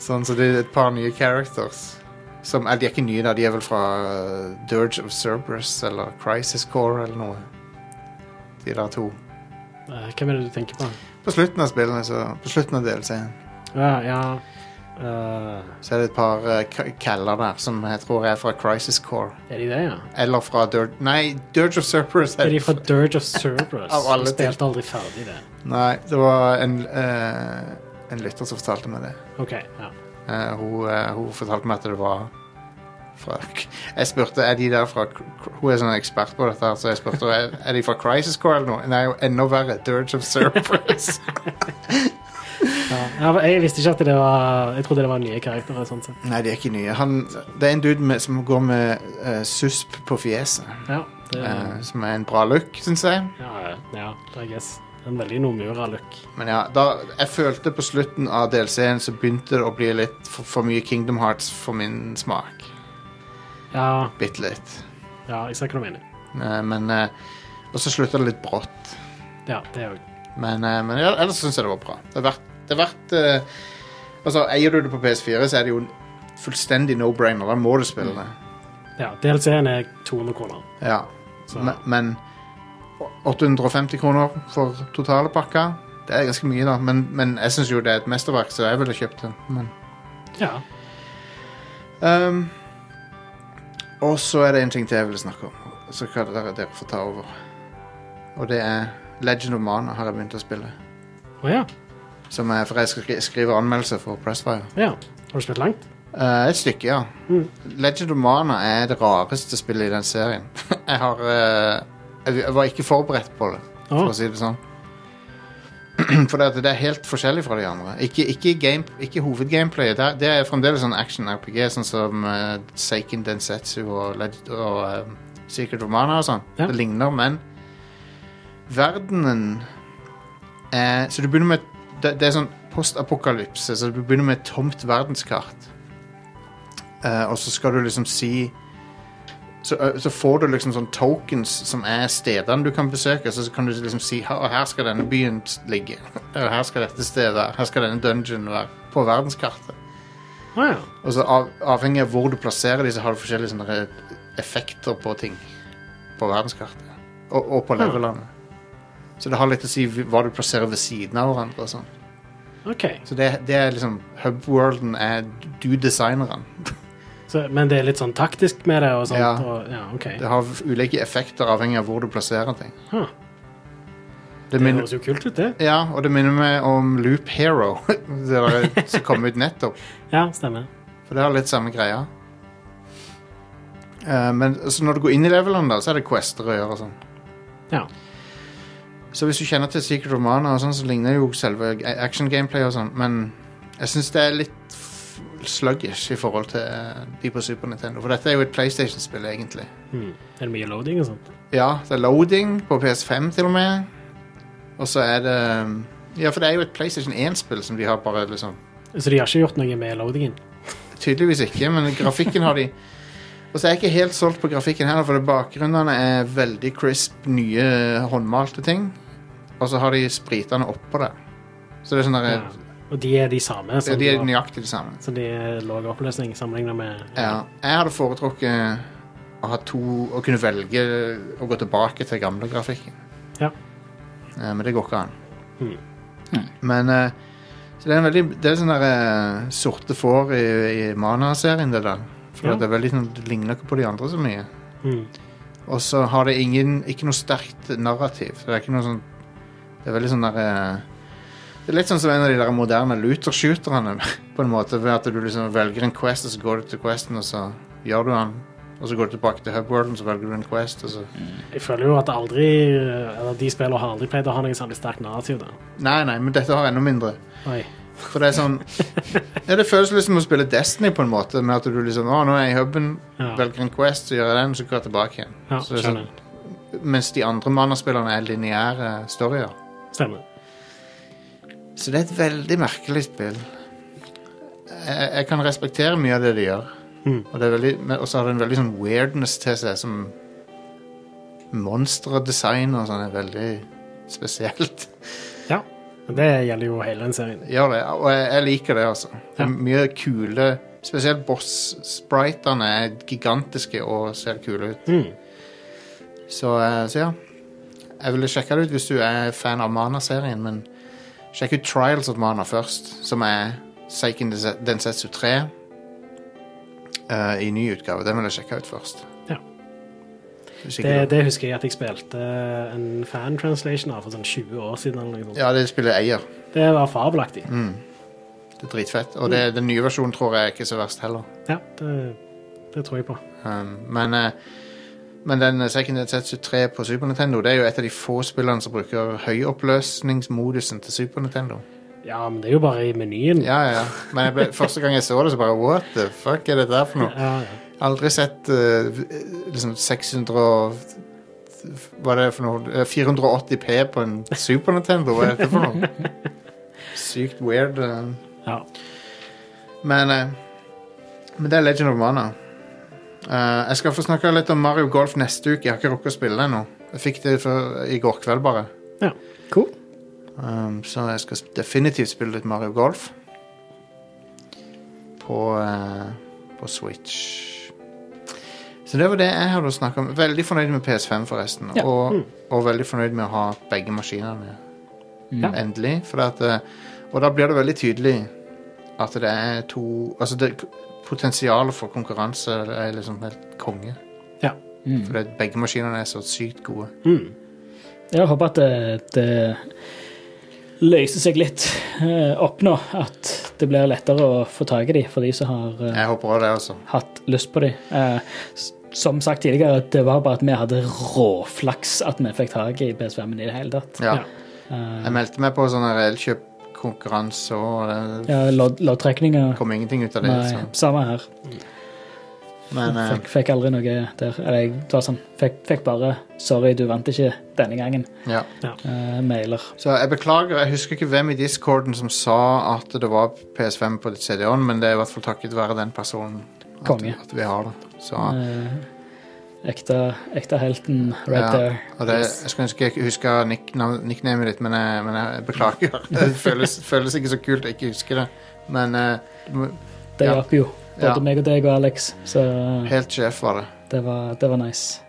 Speaker 1: sånn så det er et par nye characters. Som, eh, de er ikke nye, da. De er vel fra eh, Dirge of Cerberus eller Crisis Core eller noe. De der to.
Speaker 2: Eh, hvem er det du tenker på?
Speaker 1: På slutten av spillene, så, på slutten av DLC-en,
Speaker 2: Ja, ja. eh,
Speaker 1: så er det et par eh, k- kaller der som jeg tror er fra Crisis Core.
Speaker 2: er de det, ja?
Speaker 1: Eller fra Dirt... Nei, Dirge of Surpers.
Speaker 2: Er de fra Dirge of
Speaker 1: (laughs)
Speaker 2: Cerberus?
Speaker 1: Av alle
Speaker 2: Jeg spilte aldri ferdig det.
Speaker 1: Nei, det var en, eh, en lytter som fortalte meg det.
Speaker 2: OK. ja.
Speaker 1: Eh, hun, eh, hun fortalte meg at det var fra Jeg spurte er de der fra Hun er sånn ekspert på dette, her, så jeg spurte er, er de fra Crisis Core eller noe. Nei, enda verre. Dirge of Surpers.
Speaker 2: Ja, Jeg visste ikke at det var Jeg trodde det var nye karakterer. sånn sett.
Speaker 1: (laughs) Nei, de er ikke nye. Han, det er en dude med, som går med eh, susp på fjeset.
Speaker 2: Ja, det,
Speaker 1: Eh, som er en bra look, syns jeg.
Speaker 2: ja, ja, I guess. En veldig Nomura-look.
Speaker 1: Men ja, da, jeg følte på slutten av DLC-en så begynte det å bli litt for, for mye Kingdom Hearts for min smak.
Speaker 2: Ja,
Speaker 1: Bitte litt.
Speaker 2: ja, jeg ser hva du mener.
Speaker 1: Eh, men eh, Og så slutta det litt brått.
Speaker 2: Ja, det er jo
Speaker 1: Men, eh, men ja, ellers syns jeg det var bra. Det er verdt, det er verdt eh, Altså, Eier du det på PS4, så er det jo en fullstendig no-brainer. Da må du spille det.
Speaker 2: Ja, DLC-en er 200 kroner.
Speaker 1: Ja.
Speaker 2: Mm. Så
Speaker 1: Men, men 850 kroner for totale pakka, det er ganske mye, da. Men, men jeg syns jo det er et mesterverk, så jeg ville kjøpt det. Men,
Speaker 2: ja.
Speaker 1: ehm, og så er det en ting til jeg ville snakke om, så kan dere, dere få ta over. Og det er Legend of Mana har jeg begynt å spille.
Speaker 2: Å ja.
Speaker 1: Som er, for jeg skal skri- skrive anmeldelse for Pressfire.
Speaker 2: ja. Har du spilt langt?
Speaker 1: Eh, et stykke, ja. Legend of Mana er det rareste spillet i den serien. (laughs) jeg har eh, jeg, jeg var ikke forberedt på det, for
Speaker 2: Å.
Speaker 1: å si det sånn. (clears throat) for det, at det er helt forskjellig fra de andre. Ikke, ikke, game, ikke hovedgameplayet. Det, er- det er fremdeles sånn action-RPG, sånn som eh, Seiken Densetsu og, Leg- og eh, Secret of Mana og sånn.
Speaker 2: Ja.
Speaker 1: Det ligner, men verdenen Eh, så du begynner med det, det er sånn postapokalypse, så du begynner med et tomt verdenskart. Eh, og så skal du liksom si så, eh, så får du liksom sånn tokens som er stedene du kan besøke. Så kan du liksom si her, her skal denne byen ligge. (laughs) Eller her skal dette stedet være. Her skal denne dungeon være. På verdenskartet.
Speaker 2: Å ja.
Speaker 1: Og så av, avhengig av hvor du plasserer de, så har du forskjellige sånne re- effekter på ting. På verdenskartet. Og, og på levelene. Så det har litt å si hva du plasserer ved siden av hverandre. og sånn.
Speaker 2: OK.
Speaker 1: Så det, det er liksom Hubworlden er du designer den.
Speaker 2: Så, men det er litt sånn taktisk med det og sånt?
Speaker 1: Ja.
Speaker 2: Og, ja OK.
Speaker 1: Det har ulike effekter avhengig av hvor du plasserer ting.
Speaker 2: Huh.
Speaker 1: Det
Speaker 2: Det
Speaker 1: minner,
Speaker 2: høres jo kult ut, det.
Speaker 1: ja, og det minner meg om Loop Hero, (laughs) det der- som kom ut nettopp.
Speaker 2: Ja, stemmer.
Speaker 1: For det har litt samme greia. Eh, men så når du går inn i levelen, da, så er det quester å gjøre og sånn.
Speaker 2: Ja.
Speaker 1: Så hvis du kjenner til Secret Romana og sånn, så ligner jo selve action gameplay og sånn, men jeg syns det er litt f- sluggish i forhold til eh, de på Super Nintendo. For dette er jo et PlayStation-spill, egentlig.
Speaker 2: Hmm. Er det mye loading og sånt?
Speaker 1: Ja, det er loading på PS5 til og med. Og så er det Ja, for det er jo et PlayStation 1-spill som de har bare liksom
Speaker 2: Så de har ikke gjort noe med loadingen?
Speaker 1: Tydeligvis ikke, men grafikken har de. Og så er jeg ikke helt solgt på grafikken heller, for bakgrunnene er veldig crisp, nye håndmalte ting. Og så har de spritene oppå det. Så det er sånn der,
Speaker 2: Ja. Og de er de samme?
Speaker 1: ja,
Speaker 2: Som
Speaker 1: de
Speaker 2: de
Speaker 1: er nøyaktig de samme.
Speaker 2: så de er lav oppløsning sammenlignet med
Speaker 1: Ja. Jeg hadde foretrukket å ha to Å kunne velge å gå tilbake til gamle grafikken.
Speaker 2: Ja.
Speaker 1: Eh, Men det går ikke an.
Speaker 2: Mm.
Speaker 1: Men eh, så det er en veldig Det er sånn der eh, sorte får i, i Mana-serien, det der. For
Speaker 2: Ja.
Speaker 1: det, er veldig, sånn- det ligner ikke på de andre så mye.
Speaker 2: Mm.
Speaker 1: Og så har det ingen, ikke noe sterkt narrativ. Så det er ikke noe sånn Det er veldig sånn der eh, Det er litt sånn som en av de der moderne looter-shooterne, (laughs) på en måte. Ved at du liksom velger en quest, og så går du til questen, og så gjør du den. Og så går du tilbake til hubworlden, så velger du en quest, og så
Speaker 2: Jeg føler jo at aldri eller de spillene har aldri pleid å ha noe særlig sterkt narrativ. da.
Speaker 1: Nei, nei, men dette har enda mindre.
Speaker 2: Oi.
Speaker 1: For det er sånn ja, Det føles litt som å spille Destiny, på en måte. Med at du liksom Å, nå er jeg i huben,
Speaker 2: Ja.
Speaker 1: velger en Quest, så gjør jeg den, så går jeg tilbake igjen.
Speaker 2: Ja,
Speaker 1: Så det er sånn,
Speaker 2: skjønner.
Speaker 1: Mens de andre mannaspillerne er lineære storyer.
Speaker 2: Stemmer.
Speaker 1: Så det er et veldig merkelig spill. Jeg, jeg kan respektere mye av det de gjør.
Speaker 2: Mhm.
Speaker 1: Og det er veldig, men også har det en veldig sånn weirdness til seg, som monsterdesign og sånn er veldig spesielt. (laughs)
Speaker 2: Ja. Men det gjelder jo hele den serien.
Speaker 1: Gjør det, og jeg, jeg liker det, altså. Det
Speaker 2: Ja.
Speaker 1: er mye kule Spesielt boss-spritene er gigantiske og ser kule ut.
Speaker 2: Mm.
Speaker 1: Så, eh, så ja. Jeg ville sjekke det ut hvis du er fan av Mana-serien, men sjekk ut Trials of Mana først, som er Seiken Dense- Densetsu 3 eh, i ny utgave. Den vil jeg sjekke ut først.
Speaker 2: Ja.
Speaker 1: Hvis
Speaker 2: Det,
Speaker 1: ikke du-
Speaker 2: det husker jeg at jeg spilte eh, en fan-translation av for sånn 20 år siden. eller noe sånt.
Speaker 1: Ja, Mm. det spiller jeg eier.
Speaker 2: Det var fabelaktig.
Speaker 1: Det er dritfett. Og det, den nye versjonen tror jeg er ikke så verst heller.
Speaker 2: Ja, det, det tror jeg på.
Speaker 1: Um, men, eh, men den Second Setsu 3 på Super Nintendo Det er jo et av de få spillene som bruker høyoppløsningsmodusen til Super Nintendo.
Speaker 2: Ja, men det er jo bare i menyen.
Speaker 1: Ja, ja, ja. Men jeg ble, første gang jeg så det, så bare What the fuck er dette her for noe?
Speaker 2: Ja, ja.
Speaker 1: Aldri sett eh, v- eh, liksom 600 og Hva er det for noe? Eh, 480P på en Super Nintendo? Hva er dette for noe? Sykt weird. eh.
Speaker 2: ja.
Speaker 1: Men, eh, men det er Legend of Mana. Eh, jeg skal få snakke litt om Mario Golf neste uke. Jeg har ikke rukket å spille det ennå. Jeg fikk det for, i går kveld, bare.
Speaker 2: Ja.
Speaker 3: Cool.
Speaker 1: Um, så jeg skal definitivt spille litt Mario Golf. På, eh, på Switch. Så det var det jeg hadde å snakke om. Veldig fornøyd med PS5, forresten.
Speaker 3: Ja. Mm.
Speaker 1: Og, og veldig fornøyd med å ha begge maskinene.
Speaker 3: Ja.
Speaker 1: Endelig. For at, eh, og da blir det veldig tydelig at det er to Altså, det, potensialet for konkurranse er liksom helt konge.
Speaker 2: Ja.
Speaker 3: Mm.
Speaker 1: For det, begge maskinene er så sykt gode.
Speaker 2: Mm.
Speaker 3: Jeg håper at det, det løser seg litt eh, opp nå. At det blir lettere å få tak i dem for de som har eh,
Speaker 1: Jeg håper også det, altså.
Speaker 3: hatt lyst på dem. Eh, s- som sagt tidligere, at det var bare at vi hadde råflaks at vi fikk tak i PS5-en i det hele tatt.
Speaker 1: Ja.
Speaker 2: Ja.
Speaker 3: Eh,
Speaker 1: Jeg meldte meg på sånn her elkjøpkonkurranse, og det
Speaker 3: ja, lodd- Loddtrekninger
Speaker 1: kom ingenting ut av det. liksom-
Speaker 3: Nei,
Speaker 1: Så.
Speaker 3: samme her.
Speaker 1: Men eh,
Speaker 3: Fikk, fikk aldri noe der. Eller jeg det var sånn, fikk, fikk bare 'sorry, du vant ikke denne gangen'.
Speaker 1: ja.
Speaker 3: eh, mailer.
Speaker 1: Så jeg beklager, jeg husker ikke hvem i discorden som sa at det var PS5 på CD-on, men det er i hvert fall takket være den personen at,
Speaker 3: Konge.
Speaker 1: at vi har det. Så,
Speaker 3: Eh, ekte, ekte helten right
Speaker 1: Ja.
Speaker 3: there.
Speaker 1: og det, jeg skulle ønske jeg ikke huska nick, nav- nicknamet ditt, men jeg, men jeg
Speaker 3: (laughs)
Speaker 1: beklager. Det føles, føles ikke så kult å ikke huske det, men eh, du må-
Speaker 3: Det
Speaker 1: Ja.
Speaker 3: hjalp jo. Både
Speaker 1: Ja.
Speaker 3: meg og deg og Alex. Så eh,
Speaker 1: helt sjef var det.
Speaker 3: det var, det var nice.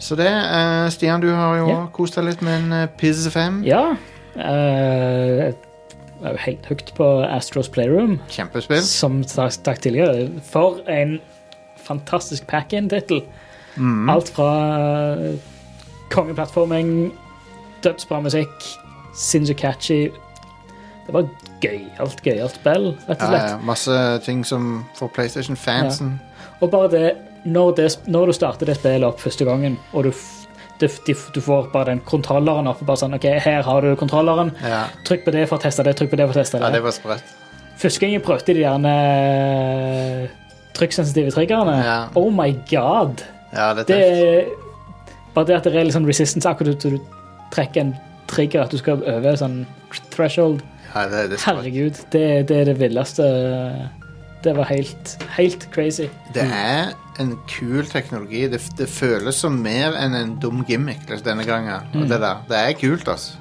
Speaker 1: Så det, eh, Stian, du har jo
Speaker 3: Ja.
Speaker 1: kost deg litt med en eh, Pizz 5.
Speaker 3: Ja. eh, jeg er jo helt hooked på Astros Playroom,
Speaker 1: Kjempespill.
Speaker 3: som sagt sagt tidligere. For en fantastisk pack-in-tittel.
Speaker 1: Mm.
Speaker 3: Alt fra eh, kongeplattforming, dødsbra musikk, sinnssykt catchy Det var gøyalt, gøyalt spill, rett
Speaker 1: Ja,
Speaker 3: og slett.
Speaker 1: ja, masse ting som for PlayStation-fansen.
Speaker 3: Og bare det når, det, når du starter det spillet opp første gangen, og du, f- du, f- de f- du får bare den kontrolleren opp og bare sånn, ok, her har du kontrolleren,
Speaker 1: Ja. Ja.
Speaker 3: trykk på det for å teste det, trykk på det for å teste det.
Speaker 1: det var sprøtt.
Speaker 3: Første gang jeg prøvde de gjerne eh, trykksensitive triggerne,
Speaker 1: Ja.
Speaker 3: oh my god,
Speaker 1: Ja, det er
Speaker 3: det
Speaker 1: tøft.
Speaker 3: er bare det at det er litt sånn resistance, akkurat du, du trekker en trigger, at du skal over sånn threshold,
Speaker 1: Ja, det, det, er sprøtt.
Speaker 3: herregud, det, det er det villeste, det var helt, helt crazy.
Speaker 1: det er en kul teknologi. Det, det føles som mer enn en dum gimmick liksom, denne gangen.
Speaker 3: Mm.
Speaker 1: Og det, der. det er kult, altså.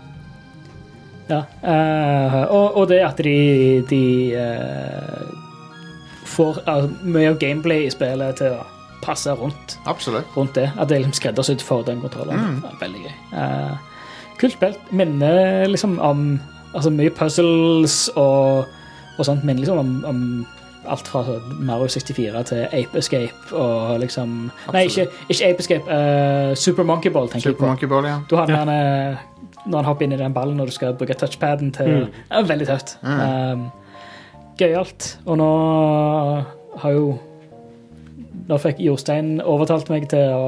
Speaker 3: Ja, eh, og, og det at de, de eh, får eh, mye av gameplay i spillet til å passe rundt,
Speaker 1: Absolutt.
Speaker 3: rundt det. At det er liksom skreddersydd for den
Speaker 1: Mm.
Speaker 3: kontrolleren. Ja, Veldig gøy. Eh, kult spill. Minner liksom om altså mye puzzles og, og sånt. Minner liksom om, om alt fra så Mario 64 til Ape Escape og liksom Nei, ikke,
Speaker 1: Absolutt.
Speaker 3: ikke Ape Escape. eh, Super Monkey Ball,
Speaker 1: Super
Speaker 3: tenker jeg på.
Speaker 1: Monkey Ball, ja.
Speaker 3: Du har den der, eh, når han hopper inn i den ballen når du skal bruke touchpaden til Det er veldig tøft. Um, Gøyalt. Og nå har jo Nå fikk Jostein overtalt meg til å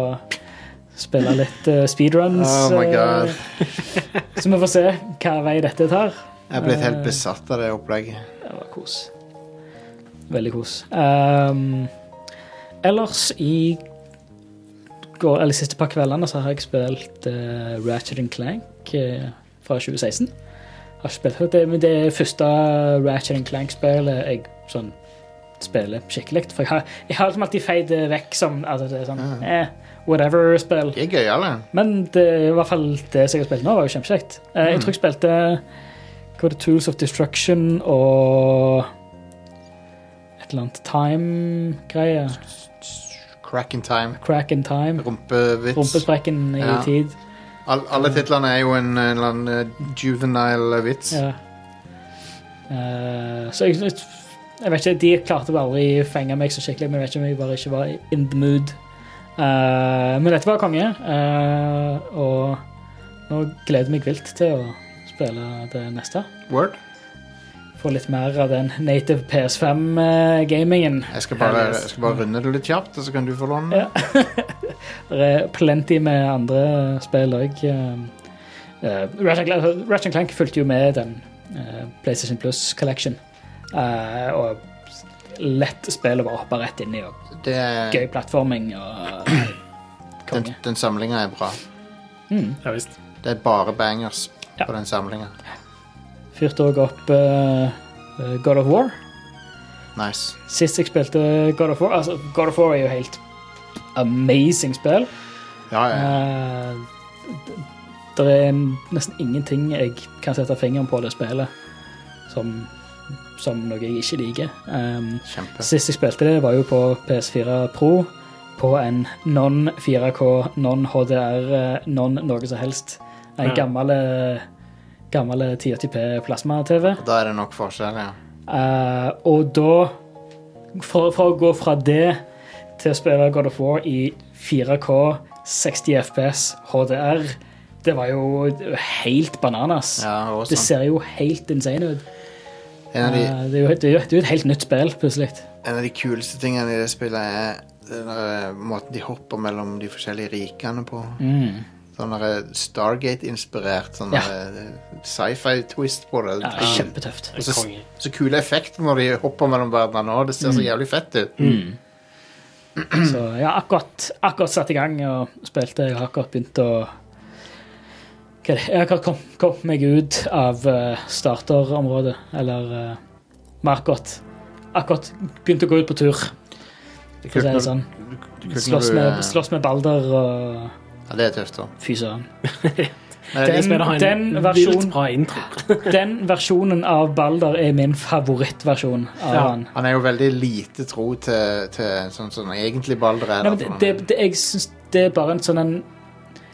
Speaker 3: spille litt eh, speedruns.
Speaker 1: Oh my god.
Speaker 3: eh, så vi får se hva vei dette tar.
Speaker 1: Jeg er blitt helt besatt av det opplegget.
Speaker 3: Det var kos. Veldig kos. Ehm, ellers i går, eller siste par kveldene så har jeg spilt eh, Ratchet and Clank eh, fra 2016. Har ikke spilt det, men det er første Ratchet and Clank-spillet jeg sånn spiller skikkelig. For jeg har, jeg har liksom alltid feid det vekk som altså det er sånn eh, whatever-spill.
Speaker 1: De er gøyale.
Speaker 3: Men det, i hvert fall det som jeg har spilt nå, var jo kjempekjekt. Eh, Jeg tror jeg spilte hva var det, Tools of Destruction og et eller annet Time-greie.
Speaker 1: Crack in time.
Speaker 3: Crack in Time.
Speaker 1: Rumpevits.
Speaker 3: Rumpesprekken i
Speaker 1: Ja.
Speaker 3: tid.
Speaker 1: All, alle titlene er jo en, en eller annen eh, juvenile vits.
Speaker 3: Ja. Eh, så jeg, jeg vet ikke, de klarte bare aldri å fenge meg så skikkelig, men jeg vet ikke om jeg bare ikke var in the mood. Eh, men dette var konge, eh, og nå gleder jeg meg vilt til å spille det neste.
Speaker 1: Word.
Speaker 3: Få litt mer av den native PS5-gamingen.
Speaker 1: Jeg skal, bare,
Speaker 3: Herlig.
Speaker 1: jeg skal bare runde det litt kjapt, og så kan du få låne.
Speaker 3: Ja. Det er plenty med andre spill òg. Ratchet Clank- Ratchet Clank fulgte jo med den eh, PlayStation Plus Collection. Eh, og lett spill å bare hoppe rett inn i. Og
Speaker 1: Det er,
Speaker 3: gøy plattforming og eh,
Speaker 1: den
Speaker 3: konge.
Speaker 1: den samlinga er bra.
Speaker 2: Ja visst.
Speaker 1: Det er bare bangers
Speaker 3: Ja.
Speaker 1: på den samlinga.
Speaker 3: Fyrte òg opp eh, eh, God of War.
Speaker 1: Nice.
Speaker 3: Sist jeg spilte God of War altså God of War er jo helt amazing spill.
Speaker 1: Ja, ja.
Speaker 3: Eh, det er nesten ingenting jeg kan sette fingeren på det spillet som, som noe jeg ikke liker. Um,
Speaker 1: Kjempe.
Speaker 3: Sist jeg spilte det, var jo på PS4 Pro. På en non-4K, non-HDR, eh, non-noe som helst. En
Speaker 2: Ja.
Speaker 3: gammel, eh, gammel 1080p plasma-TV.
Speaker 1: Da er det nok forskjell, ja.
Speaker 3: Eh, og da for, for å gå fra det til å spille God of War i 4K, 60 FPS, HDR Det var jo helt bananas.
Speaker 1: ja og
Speaker 3: det
Speaker 1: sånn.
Speaker 3: ser jo helt insane ut.
Speaker 1: En av de
Speaker 3: Eh, det, er jo, det, er jo, det er jo et helt nytt spill, plutselig.
Speaker 1: en av de kuleste tingene i det spillet er den der, eh, måten de hopper mellom de forskjellige rikene på. Sånn der Stargate-inspirert sånn
Speaker 3: Ja.
Speaker 1: der, eh, sci-fi-twist på det. Eh,
Speaker 3: Ja, det er kjempetøft.
Speaker 1: Og så,
Speaker 2: Konge.
Speaker 1: så kule effekter når de hopper mellom verdenene òg. Det ser
Speaker 3: Mm.
Speaker 1: så jævlig fett ut. Mm.
Speaker 3: Så jeg har akkurat, akkurat satt i gang og spilte. Jeg har akkurat begynt å Hva er det? Jeg har akkurat kom- kommet meg ut av eh, starterområdet, eller eh, mer godt. Akkurat begynt å gå ut på tur,
Speaker 1: Det er
Speaker 3: for å si
Speaker 1: kult
Speaker 3: det
Speaker 1: når-
Speaker 3: sånn.
Speaker 1: kult når
Speaker 3: Slåss
Speaker 1: du, eh,
Speaker 3: med, slåss med Balder og
Speaker 1: Ja, det er tøft, da.
Speaker 3: Fy søren.
Speaker 1: Nei,
Speaker 2: Det
Speaker 3: Den-
Speaker 2: spillet har en
Speaker 3: den versjonen-
Speaker 2: vilt bra intro.
Speaker 3: Den versjonen av Balder er min favorittversjon av
Speaker 2: Ja.
Speaker 3: han.
Speaker 1: Han er jo veldig lite tro til, til sånn som egentlig Balder er.
Speaker 3: Nei,
Speaker 1: da,
Speaker 3: men det,
Speaker 1: for han er-
Speaker 3: det, det, jeg syns det er bare en sånn en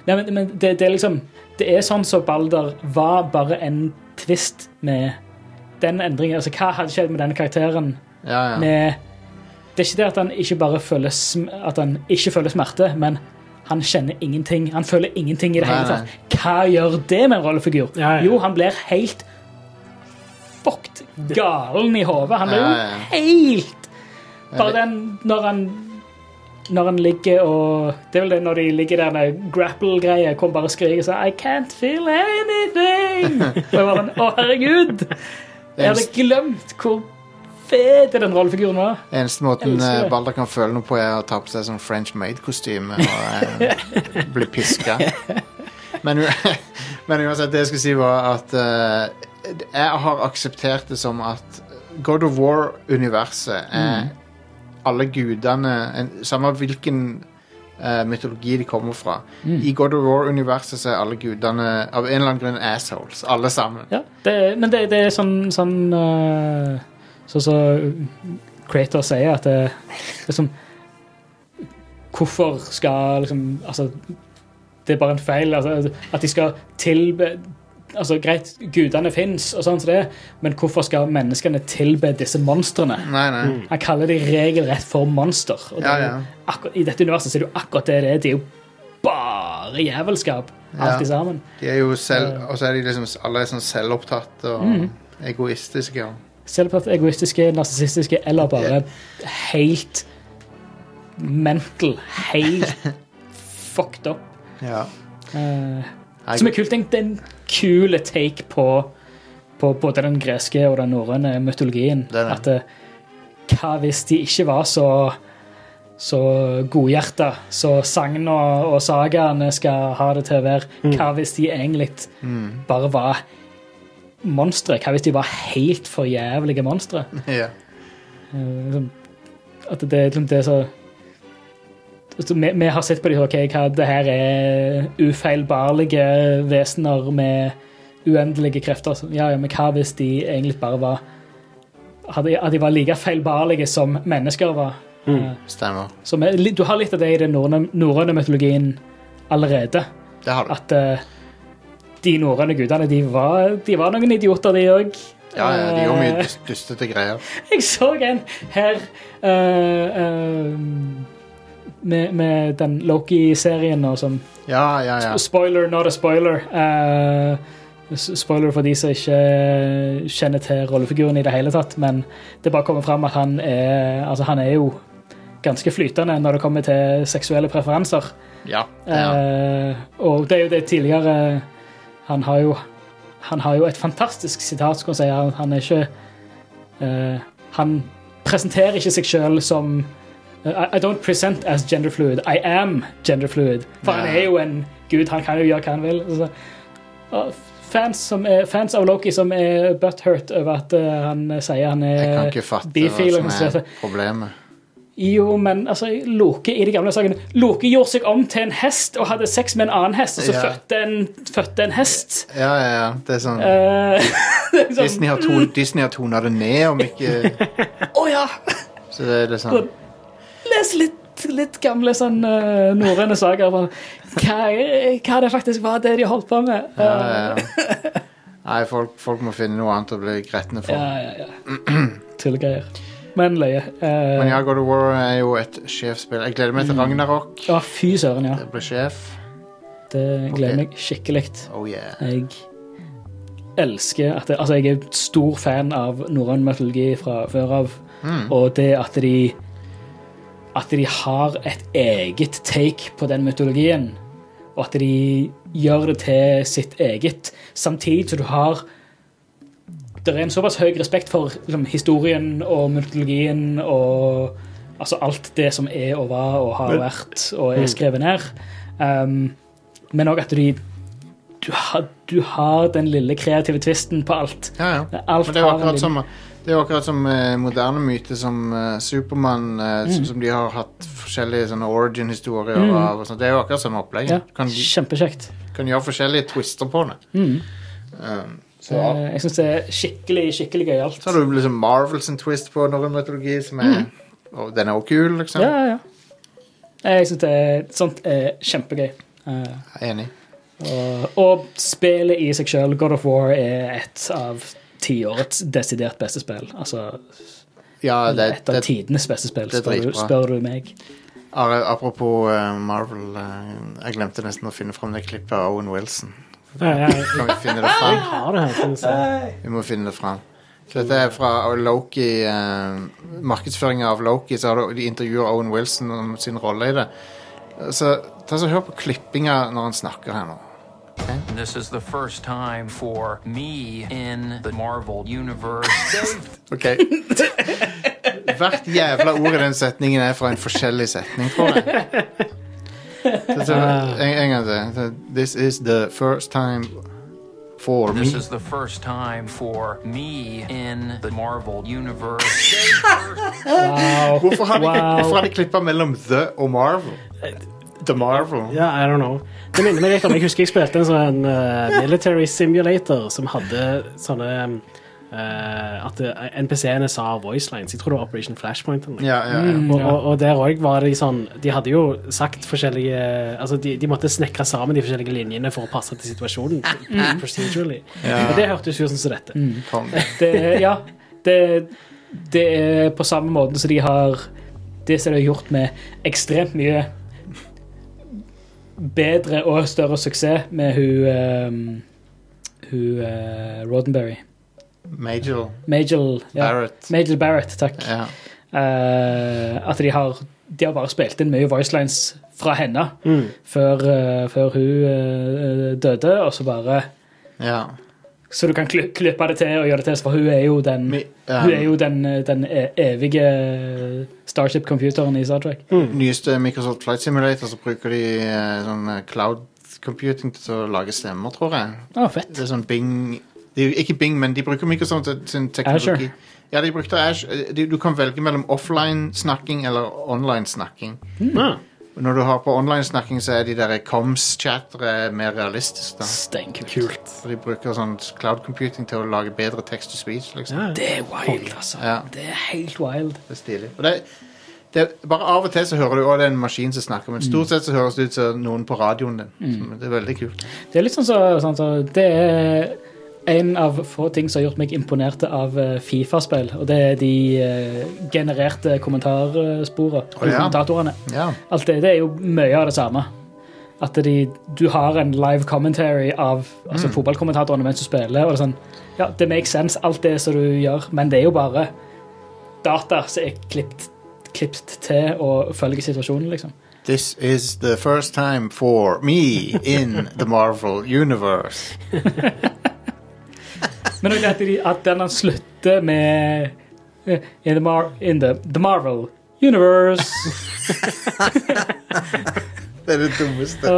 Speaker 3: Nei, men, men det, det er liksom Det er sånn som Balder var bare en twist med den endringen. Altså, hva hadde skjedd med denne karakteren?
Speaker 1: ja, ja.
Speaker 3: Med, det er ikke det at han ikke bare føler, sm- at han ikke føler smerte, men han kjenner ingenting. Han føler ingenting i det
Speaker 1: Nei,
Speaker 3: hele tatt. Hva gjør det med en rollefigur?
Speaker 2: Ja, ja.
Speaker 3: Jo, han blir helt fucked galen i hodet. Han blir
Speaker 1: Ja,
Speaker 3: jo
Speaker 1: ja.
Speaker 3: helt
Speaker 1: Jeg
Speaker 3: bare den når han når han ligger og Det er vel det når de ligger der med grapple-greier, hvor han bare skriker sånn I can't
Speaker 1: (laughs)
Speaker 3: feel anything! Og jeg bare sånn, Å, herregud!
Speaker 1: Det
Speaker 3: Jeg hadde glemt hvor fet den rollefiguren var.
Speaker 1: Eneste måten
Speaker 3: elsker
Speaker 1: eh,
Speaker 3: det.
Speaker 1: Balder kan føle noe på, er å ta på seg sånn French maid-kostyme og eh, bli piska.
Speaker 3: (laughs)
Speaker 1: Men, u- (laughs) men uansett, det jeg skulle si, var at eh, jeg har akseptert det som at God of War-universet
Speaker 3: Mm.
Speaker 1: er alle gudene en, Samme hvilken eh, mytologi de kommer fra.
Speaker 3: Mm.
Speaker 1: I God of War-universet så er alle gudene av en eller annen grunn assholes, alle sammen.
Speaker 3: Ja, det, men det, det er sånn sånn øh, Sånn som Creator sier, at det liksom Hvorfor skal liksom Altså, det er bare en feil. Altså, at de skal tilbe Altså, greit, gudene fins, og sånn som det, men hvorfor skal menneskene tilbe disse monstrene?
Speaker 1: Nei, nei.
Speaker 3: Han kaller de regelrett for monster. Og det
Speaker 1: Ja,
Speaker 3: er jo
Speaker 1: ja.
Speaker 3: akkur- I dette universet så er det jo akkurat det det er. Det er jo bare jævelskap,
Speaker 1: Ja.
Speaker 3: alt i sammen.
Speaker 1: De er jo selv Og så er de liksom alle er sånn selvopptatt og
Speaker 3: Mm.
Speaker 1: egoistiske. og-
Speaker 3: Selvpåtatt egoistiske, narsissistiske eller bare helt mental, helt fucked up.
Speaker 1: Ja.
Speaker 3: Eh,
Speaker 1: Jeg-
Speaker 3: som er kult. Tenk, det er en kul take på, på både den greske og den norrøne mytologien.
Speaker 1: er det.
Speaker 3: At eh, hva hvis de ikke var så så godhjerta, så sagna og sagaene skal ha det til å være. Hva hvis de egentlig bare var monstre? Hva hvis de var helt for jævlige monstre?
Speaker 1: ja.
Speaker 3: Eh, liksom, At det er liksom det som Altså, vi, vi har sett på de, ok, hva det her er ufeilbarlige vesener med uendelige krefter. Så, Ja, ja, men hva hvis de egentlig bare var Hadde at de var like feilbarlige som mennesker var? Eh,
Speaker 1: Stemmer.
Speaker 3: Så vi, li- du har litt av det i den norrøne norrøne mytologien allerede.
Speaker 1: Det har du.
Speaker 3: At eh, de norrøne gudene, de var, de var noen idioter, de òg.
Speaker 1: Ja, ja, de gjør
Speaker 3: eh,
Speaker 1: mye dus- dustete greier.
Speaker 3: (laughs) Jeg så en her eh, eh, med, med den Loki-serien nå som
Speaker 1: Ja, ja, ja.
Speaker 3: Spoiler, not a spoiler. Eh, s- spoiler for de som ikke kjenner til rollefiguren i det hele tatt, men det bare kommer fram at han er Altså, han er jo ganske flytende når det kommer til seksuelle preferanser.
Speaker 1: ja, ja.
Speaker 3: Eh, og det er jo det tidligere Han har jo, han har jo et fantastisk sitat, skal man si. Han, han er ikke eh, Han presenterer ikke seg sjøl som eh, I, I don't present as gender fluid. I am gender fluid. For han
Speaker 1: Ja.
Speaker 3: er jo en gud. Han kan jo gjøre hva han vil. Så, og fans, som er, fans av Loki som er butthurt over at eh, han sier han
Speaker 1: Jeg kan
Speaker 3: er
Speaker 1: ikke fatte hva
Speaker 3: bifil. og sånn,
Speaker 1: som er
Speaker 3: så-
Speaker 1: problemet.
Speaker 3: Jo, men altså, Loke i de gamle sakene Loke gjorde seg om til en hest og hadde sex med en annen hest, og så
Speaker 1: Ja.
Speaker 3: fødte, en, fødte en hest.
Speaker 1: Ja, ja, ja. Det er sånn
Speaker 3: Eh, (laughs) det er sånn,
Speaker 1: Disney har, ton, Disney har tonet det ned, om
Speaker 3: (laughs)
Speaker 1: ikke
Speaker 3: Å ja!
Speaker 1: Så det er litt sånn
Speaker 3: Les litt, litt gamle sånn uh, norrøne saker. Bare, hva, hva det faktisk var det de holdt på med.
Speaker 1: ja, ja, ja. Nei, folk, folk må finne noe annet å bli gretne for.
Speaker 3: Ja, Eh, ja, ja. Tullegreier. Men løye. Eh,
Speaker 1: Men ja, God of War er jo et sjefsspill. Jeg gleder meg
Speaker 3: Mm.
Speaker 1: til Ragnarok.
Speaker 3: ja, fy søren, ja.
Speaker 1: Jeg blir sjef.
Speaker 3: Det gleder
Speaker 1: Ok.
Speaker 3: meg skikkelig.
Speaker 1: Oh yeah.
Speaker 3: Jeg elsker at det, Altså, jeg er stor fan av norrøn mytologi fra før av, og det at de At de har et eget take på den mytologien, og at de gjør det til sitt eget, samtidig som du har det er en såpass høy respekt for liksom, historien og mytologien og altså, alt det som er og var og har vært og er skrevet ned. Um, men òg at de du har, du har den lille kreative tvisten på alt.
Speaker 1: Ja, ja.
Speaker 3: Alt
Speaker 1: Men det er jo
Speaker 3: har en
Speaker 1: akkurat
Speaker 3: liten-
Speaker 1: som, det er jo akkurat som eh, moderne myte som eh, Supermann,
Speaker 3: Mm.
Speaker 1: som de har hatt forskjellige sånne origin-historier av. Og sånt. det er jo akkurat samme opplegg.
Speaker 3: Ja,
Speaker 1: Du kan,
Speaker 3: Kjempekjekt.
Speaker 1: kan gjøre forskjellige twister på det.
Speaker 3: Mm.
Speaker 1: Um, så,
Speaker 3: Eh, Jeg syns det er skikkelig skikkelig gøyalt.
Speaker 1: så har du liksom Marvels en twist på norrøn mytologi, som er Og den er jo kul, liksom.
Speaker 3: Mm. Ja, ja, ja. Eh, Jeg syns det er sånt er kjempegøy. Eh,
Speaker 1: Jeg er Enig.
Speaker 3: Og, og spillet i seg sjøl, God of War, er et av tiårets desidert beste spill. Altså
Speaker 1: Ja, det,
Speaker 3: et av
Speaker 1: det,
Speaker 3: tidenes beste spill,
Speaker 1: det er
Speaker 3: spør, du-
Speaker 1: dritbra.
Speaker 3: spør du meg.
Speaker 1: Ar- Apropos eh, Marvel eh, Jeg glemte nesten å finne fram det klippet av Owen Wilson.
Speaker 2: Ja, ja, jeg
Speaker 1: Kan vi finne det
Speaker 3: (laughs)
Speaker 1: fram?
Speaker 2: har det her. Kan jeg si.
Speaker 1: Vi må finne det fram. Så dette er fra Loki eh, Markedsføringa av Loki. Så har du- de intervjuer Owen Wilson om sin rolle i det. Så ta så Hør på klippinga når han snakker her nå.
Speaker 9: This is the first time for me in the Marvel universe.
Speaker 2: (laughs)
Speaker 1: OK. Hvert jævla ord i den setningen er fra en forskjellig setning, tror jeg. Så- så,
Speaker 2: Ah.
Speaker 1: En, en gang til. Så, This is the first time for me.
Speaker 9: this is the first time for me in the Marvel universe.
Speaker 1: Hvorfor har de,
Speaker 2: Wow. Eh,
Speaker 1: wow. de klippa mellom The og Marvel? The Marvel.
Speaker 2: Ja, I don't know. Det minner meg litt om Jeg husker jeg spilte en sånn eh, military simulator som hadde sånne eh, At eh, NPC-ene sa voice lines. Jeg tror det var Operation Flashpoint. eller noe.
Speaker 1: Ja, ja, Mm, ja.
Speaker 2: Og, og, og der òg var de sånn De hadde jo sagt forskjellige Altså, de, de måtte snekre sammen de forskjellige linjene for å passe til situasjonen.
Speaker 3: Mm.
Speaker 2: Procedurally. Og det hørtes jo ut som dette.
Speaker 1: Kong.
Speaker 3: Det, ja, det, det er på samme måten som de har Det som de har gjort med ekstremt mye bedre og større suksess med hun ehm, Hun eh, Roddenberry.
Speaker 1: Major
Speaker 3: Majel ja.
Speaker 1: Barrett.
Speaker 3: Majel Barrett, takk.
Speaker 1: Ja.
Speaker 3: Eh, at de har, de har bare spilt inn mye voicelines fra henne
Speaker 2: Mm.
Speaker 3: før, eh, før hun eh, døde, og så bare
Speaker 1: ja.
Speaker 3: Så du kan kli- klippe det til og gjøre det til, for hun er jo den,
Speaker 1: Mi- ehm, ja.
Speaker 3: hun er jo den, eh, den e- evige Starship-computeren i Star
Speaker 1: Mm.
Speaker 3: Trek.
Speaker 1: Nyeste Microsoft Flight Simulator, så bruker de eh, sånn eh, cloud computing til å lage stemmer, tror jeg.
Speaker 3: Å, fett.
Speaker 1: Det er sånn Bing det er jo Ikke Bing, men de bruker Microsoft sin teknologi.
Speaker 3: Azure.
Speaker 1: Ja, de brukte Azure. Eh, De- Du kan velge mellom offline-snakking eller online-snakking.
Speaker 2: Ja.
Speaker 1: Og Når du har på online-snakking, så er de der coms-chattere mer realistiske. da.
Speaker 3: Steinkult.
Speaker 1: For de bruker sånn cloud computing til å lage bedre text to speech, liksom.
Speaker 2: Ja.
Speaker 3: Det er wild, altså.
Speaker 1: Ja.
Speaker 3: Det er helt wild.
Speaker 1: Det er stilig. Og det, det, bare av og til så hører du at det er en maskin som snakker, men
Speaker 2: Mm.
Speaker 1: stort sett så høres det ut som noen på radioen din. Så Det er veldig kult.
Speaker 3: Det er litt sånn så, sånn så Det er en av få ting som har gjort meg imponert av eh, Fifa-spill, og det er de eh, genererte kommentarsporene.
Speaker 1: Å, ja.
Speaker 3: Kommentatorene.
Speaker 1: Ja.
Speaker 3: Alt det, det er jo mye av det samme. At de, du har en live commentary av altså,
Speaker 1: Mm.
Speaker 3: fotballkommentatorene mens du spiller. og det er sånn, ja, Det makes sense, alt det som du gjør, men det er jo bare data som er klippt, klippt til og følger situasjonen, liksom.
Speaker 1: This is the first time for me in the Marvel universe.
Speaker 3: Men også at, de, at den han slutter med eh, In the,
Speaker 1: (laughs)
Speaker 3: Mar in the, the Marvel Universe.
Speaker 1: Det er det dummeste,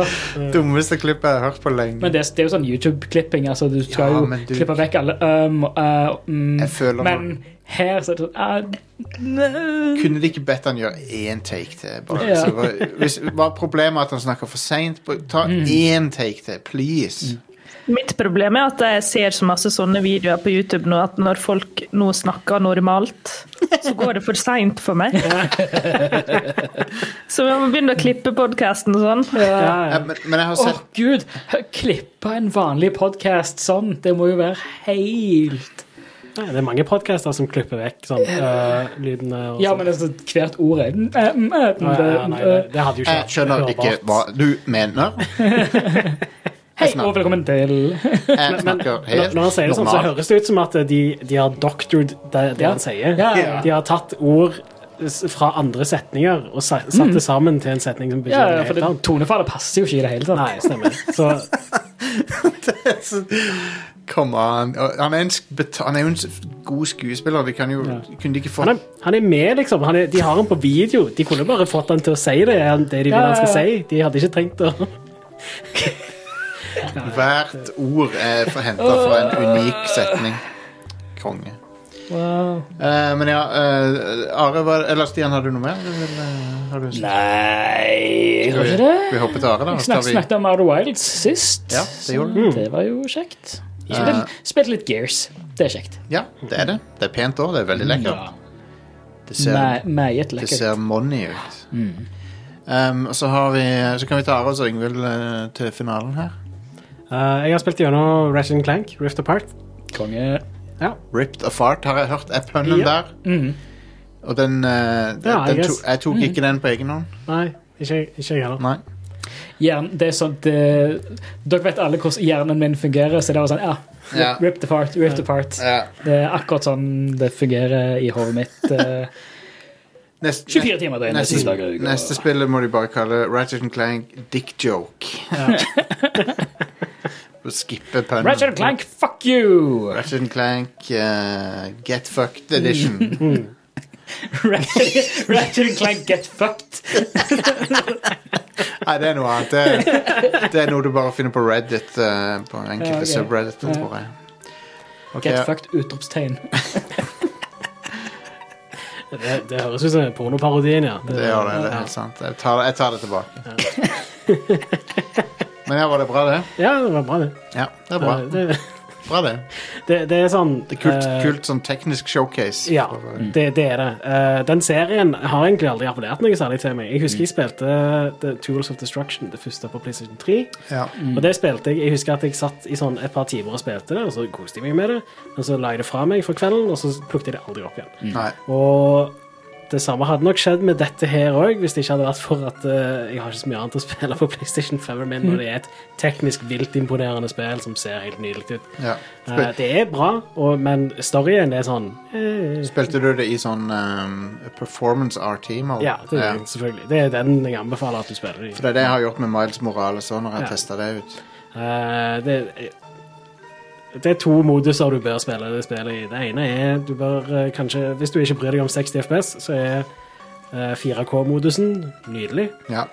Speaker 1: dummeste klippet jeg har hørt på lenge.
Speaker 3: Men det, det er jo sånn YouTube-klipping. altså Du skal
Speaker 1: Ja,
Speaker 3: jo
Speaker 1: men du-
Speaker 3: klippe vekk alle um, og, uh, mm,
Speaker 1: Jeg føler
Speaker 3: Men her så er det sånn ah, nei.
Speaker 1: Kunne de ikke bedt han gjøre én take til? Bare,
Speaker 3: Ja.
Speaker 1: så bare, hvis, var problemet at han snakker for seint? Ta
Speaker 2: Mm.
Speaker 1: én take til, please.
Speaker 4: Mitt problem er at jeg ser så masse sånne videoer på YouTube nå at når folk nå snakker normalt, så går det for seint for
Speaker 2: (laughs)
Speaker 4: meg. Så vi må begynne å klippe podkasten og sånn.
Speaker 3: Ja.
Speaker 2: Ja,
Speaker 1: Ja,
Speaker 2: ja.
Speaker 1: men, men jeg har
Speaker 3: Å,
Speaker 1: sett
Speaker 3: gud! Klippe en vanlig podkast sånn, det må jo være helt
Speaker 2: Nei, Det er mange podcaster som klipper vekk sånn, øh, lydene. Og
Speaker 3: Ja,
Speaker 2: sånn.
Speaker 3: men altså, hvert ord er mm, eh, mm, eh, mm,
Speaker 2: Nei, nei, nei, det,
Speaker 3: eh,
Speaker 2: det hadde jo ikke
Speaker 1: Jeg skjønner
Speaker 2: vært
Speaker 1: ikke
Speaker 2: hørbart.
Speaker 1: hva du mener.
Speaker 3: Hei,
Speaker 1: snakker.
Speaker 3: og velkommen til
Speaker 1: Jeg snakker
Speaker 2: Når
Speaker 1: helt
Speaker 2: når han sier det sånn, så
Speaker 1: normalt.
Speaker 2: høres det ut som at de, de har doctored det, det
Speaker 3: Ja.
Speaker 2: han sier.
Speaker 3: Ja, ja, ja.
Speaker 2: De har tatt ord s- fra andre setninger og sa-
Speaker 1: Mm.
Speaker 2: satt det sammen til en setning som
Speaker 3: Ja,
Speaker 2: betyr
Speaker 3: ja,
Speaker 2: noe
Speaker 3: for
Speaker 2: helt
Speaker 3: det,
Speaker 2: annet.
Speaker 3: tonefallet passer jo ikke i det hele tatt.
Speaker 2: Nei, stemmer. Så
Speaker 1: Come on. Og Han er, en, sk- bet- han er jo en s- god skuespiller. De kan jo, kunne de ikke
Speaker 2: han
Speaker 1: fått
Speaker 2: er, han er med, liksom. Han er, de har han på video. De kunne bare fått han til å si det, det de vil
Speaker 3: Ja,
Speaker 2: han skal
Speaker 3: ja,
Speaker 2: si. De hadde ikke trengt å
Speaker 1: Hvert ord er henta fra en unik setning. Konge.
Speaker 3: Wow.
Speaker 1: Eh, men ja, eh, Are var, Eller Stian, har du noe mer? Du vil, eh, har du,
Speaker 3: Nei, jeg
Speaker 1: skal
Speaker 3: tror
Speaker 1: vi,
Speaker 3: ikke det.
Speaker 1: vi hopper til Are, da. så
Speaker 3: Jeg
Speaker 1: tar
Speaker 3: snak,
Speaker 1: vi-
Speaker 3: snakket om Outer Wilds sist.
Speaker 1: Ja, det gjorde Mm.
Speaker 3: så det var jo kjekt. Spill, spill litt Gears. Det er kjekt.
Speaker 1: Ja, det er det. Det er pent òg. Det er veldig lekkert. Det ser,
Speaker 3: Me- Meget
Speaker 1: det
Speaker 3: Mm. lekkert. Mm.
Speaker 1: ser money ut. Um, og så, har vi, så kan vi ta Are og Yngvild eh, til finalen her.
Speaker 2: Eh, Jeg har spilt gjennom Ratchet Clank, Rift Apart.
Speaker 3: Konge.
Speaker 2: Ja.
Speaker 1: Ripped apart, har jeg hørt. Er pønnen
Speaker 2: Ja.
Speaker 1: der?
Speaker 3: Mm.
Speaker 1: Og den, eh,
Speaker 2: I
Speaker 1: den to,
Speaker 2: guess.
Speaker 1: Jeg tok ikke den på egen hånd.
Speaker 2: Nei, ikke, ikke jeg heller.
Speaker 1: Nei.
Speaker 3: Hjern, det er sånn, det, dere vet alle hvordan hjernen min fungerer, så det var sånn, ja,
Speaker 1: Ja.
Speaker 3: rip the part, rip the part.
Speaker 1: Ja.
Speaker 3: Det er akkurat sånn det fungerer i hodet
Speaker 2: (laughs)
Speaker 3: mitt. eh,
Speaker 1: Nest-
Speaker 3: 24 timer i døgnet, seks dager i
Speaker 1: neste,
Speaker 3: uka.
Speaker 1: neste spillet må de bare kalle Ratchet Clank Dick Joke. (laughs) Og skippe pønnen.
Speaker 3: Ratchet Clank, fuck you! (laughs)
Speaker 1: Ratchet Clank eh, Get Fucked
Speaker 3: Mm.
Speaker 1: Edition.
Speaker 3: Ratchet, Ratchet Clank, get fucked.
Speaker 1: Nei, det er noe annet. Det, det er noe du bare finner på Reddit. eh, på enkelte
Speaker 3: Ja, ok.
Speaker 1: subredditer,
Speaker 3: Ja.
Speaker 1: tror jeg. Ok,
Speaker 3: Get fucked, utropstegn.
Speaker 2: Det, det høres ut som pornoparodien, ja.
Speaker 1: Det gjør det. Det er helt sant. Jeg tar, jeg tar det tilbake. (laughs) Men ja, var det bra, det?
Speaker 2: Ja, det var bra, det.
Speaker 1: Ja, det er bra.
Speaker 2: Det,
Speaker 1: Bra det.
Speaker 2: det, det er sånn
Speaker 1: Det er kult,
Speaker 2: eh,
Speaker 1: kult sånn teknisk showcase.
Speaker 2: Ja, det, det er det. Eh, den serien har egentlig aldri appellert noe særlig til meg. Jeg husker jeg spilte eh, The Tools of Destruction, det første på PlayStation 3.
Speaker 1: Ja.
Speaker 2: Og det spilte jeg. Jeg husker at jeg satt i sånn et par timer og spilte det, og så koste jeg meg med det. Men så la jeg det fra meg for kvelden, og så plukket jeg det aldri opp igjen.
Speaker 1: Nei.
Speaker 2: Og det samme hadde nok skjedd med dette her òg, hvis det ikke hadde vært for at eh, jeg har ikke så mye annet å (laughs) spille på PlayStation 5 min, og det er et teknisk vilt imponerende spill som ser helt nydelig ut.
Speaker 1: Ja.
Speaker 2: Eh,
Speaker 1: Spil,
Speaker 2: det er bra, og, men storyen er sånn eh,
Speaker 1: spilte du det i sånn ehm, performance RT-mode?
Speaker 2: Ja, det er, selvfølgelig. Det er den jeg anbefaler at du spiller i.
Speaker 1: For det er det jeg har gjort med Miles Morales òg, når jeg
Speaker 2: Ja.
Speaker 1: testet det ut.
Speaker 2: Eh, det, det er to moduser du bør spille det spillet i. Det ene er du bør eh, kanskje Hvis du ikke bryr deg om 60 FPS, så er eh, 4K-modusen nydelig.
Speaker 1: Ja.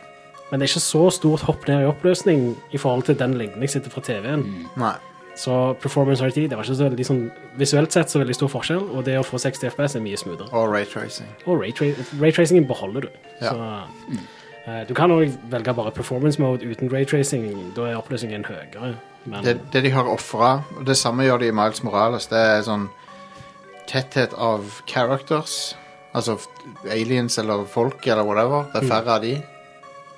Speaker 2: Men det er ikke så stort hopp ned i oppløsning i forhold til den lengden jeg sitter fra TV-en.
Speaker 1: Nei.
Speaker 2: Så performance RT det var ikke så veldig sånn visuelt sett så veldig stor forskjell, og det å få 60 FPS er mye smoothere.
Speaker 1: Og raytracing.
Speaker 2: Og raytra raytracingen beholder du.
Speaker 1: Ja.
Speaker 2: Så, eh, du kan òg velge bare performance mode uten raytracing. Da er oppløsningen høyere. Men
Speaker 1: Det, det de har ofra, og det samme gjør de i Miles Morales, det er sånn tetthet av characters. Altså f- aliens eller folk eller whatever. Det
Speaker 2: Mm.
Speaker 1: er færre av de.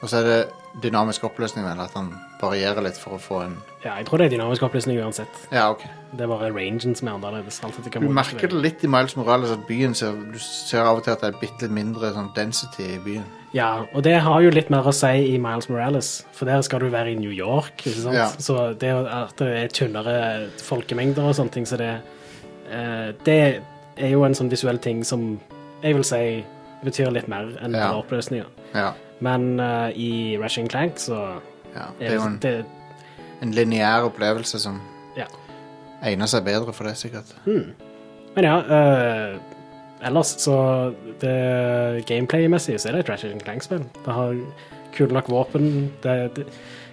Speaker 1: Og så er det dynamisk oppløsning, vel, at han varierer litt for å få en
Speaker 2: ja, jeg tror det er dynamisk oppløsning uansett.
Speaker 1: Ja, ok.
Speaker 2: Det er bare rangen som er annerledes. Alt etter
Speaker 1: Du
Speaker 2: hva mode
Speaker 1: merker det
Speaker 2: velger.
Speaker 1: litt i Miles Morales at byen ser, du ser av og til at det er bitte litt mindre sånn density i byen.
Speaker 2: Ja, og det har jo litt mer å si i Miles Morales, for der skal du være i New York. Ikke sant?
Speaker 1: Ja.
Speaker 2: Så det at det er tynnere folkemengder og sånne ting, så det eh, Det er jo en sånn visuell ting som jeg vil si betyr litt mer enn
Speaker 1: Ja.
Speaker 2: bare oppløsninger.
Speaker 1: Ja,
Speaker 2: Men eh, i Ratchet Clank så
Speaker 1: ja. Det
Speaker 2: er
Speaker 1: er jo en,
Speaker 2: det, det
Speaker 1: en lineær opplevelse som
Speaker 2: Ja.
Speaker 1: egner seg bedre for det, sikkert.
Speaker 2: Men ja, eh, ellers så det Gameplay-messig så er det et Ratchet Clank-spill. Det har kule nok våpen. Det, det,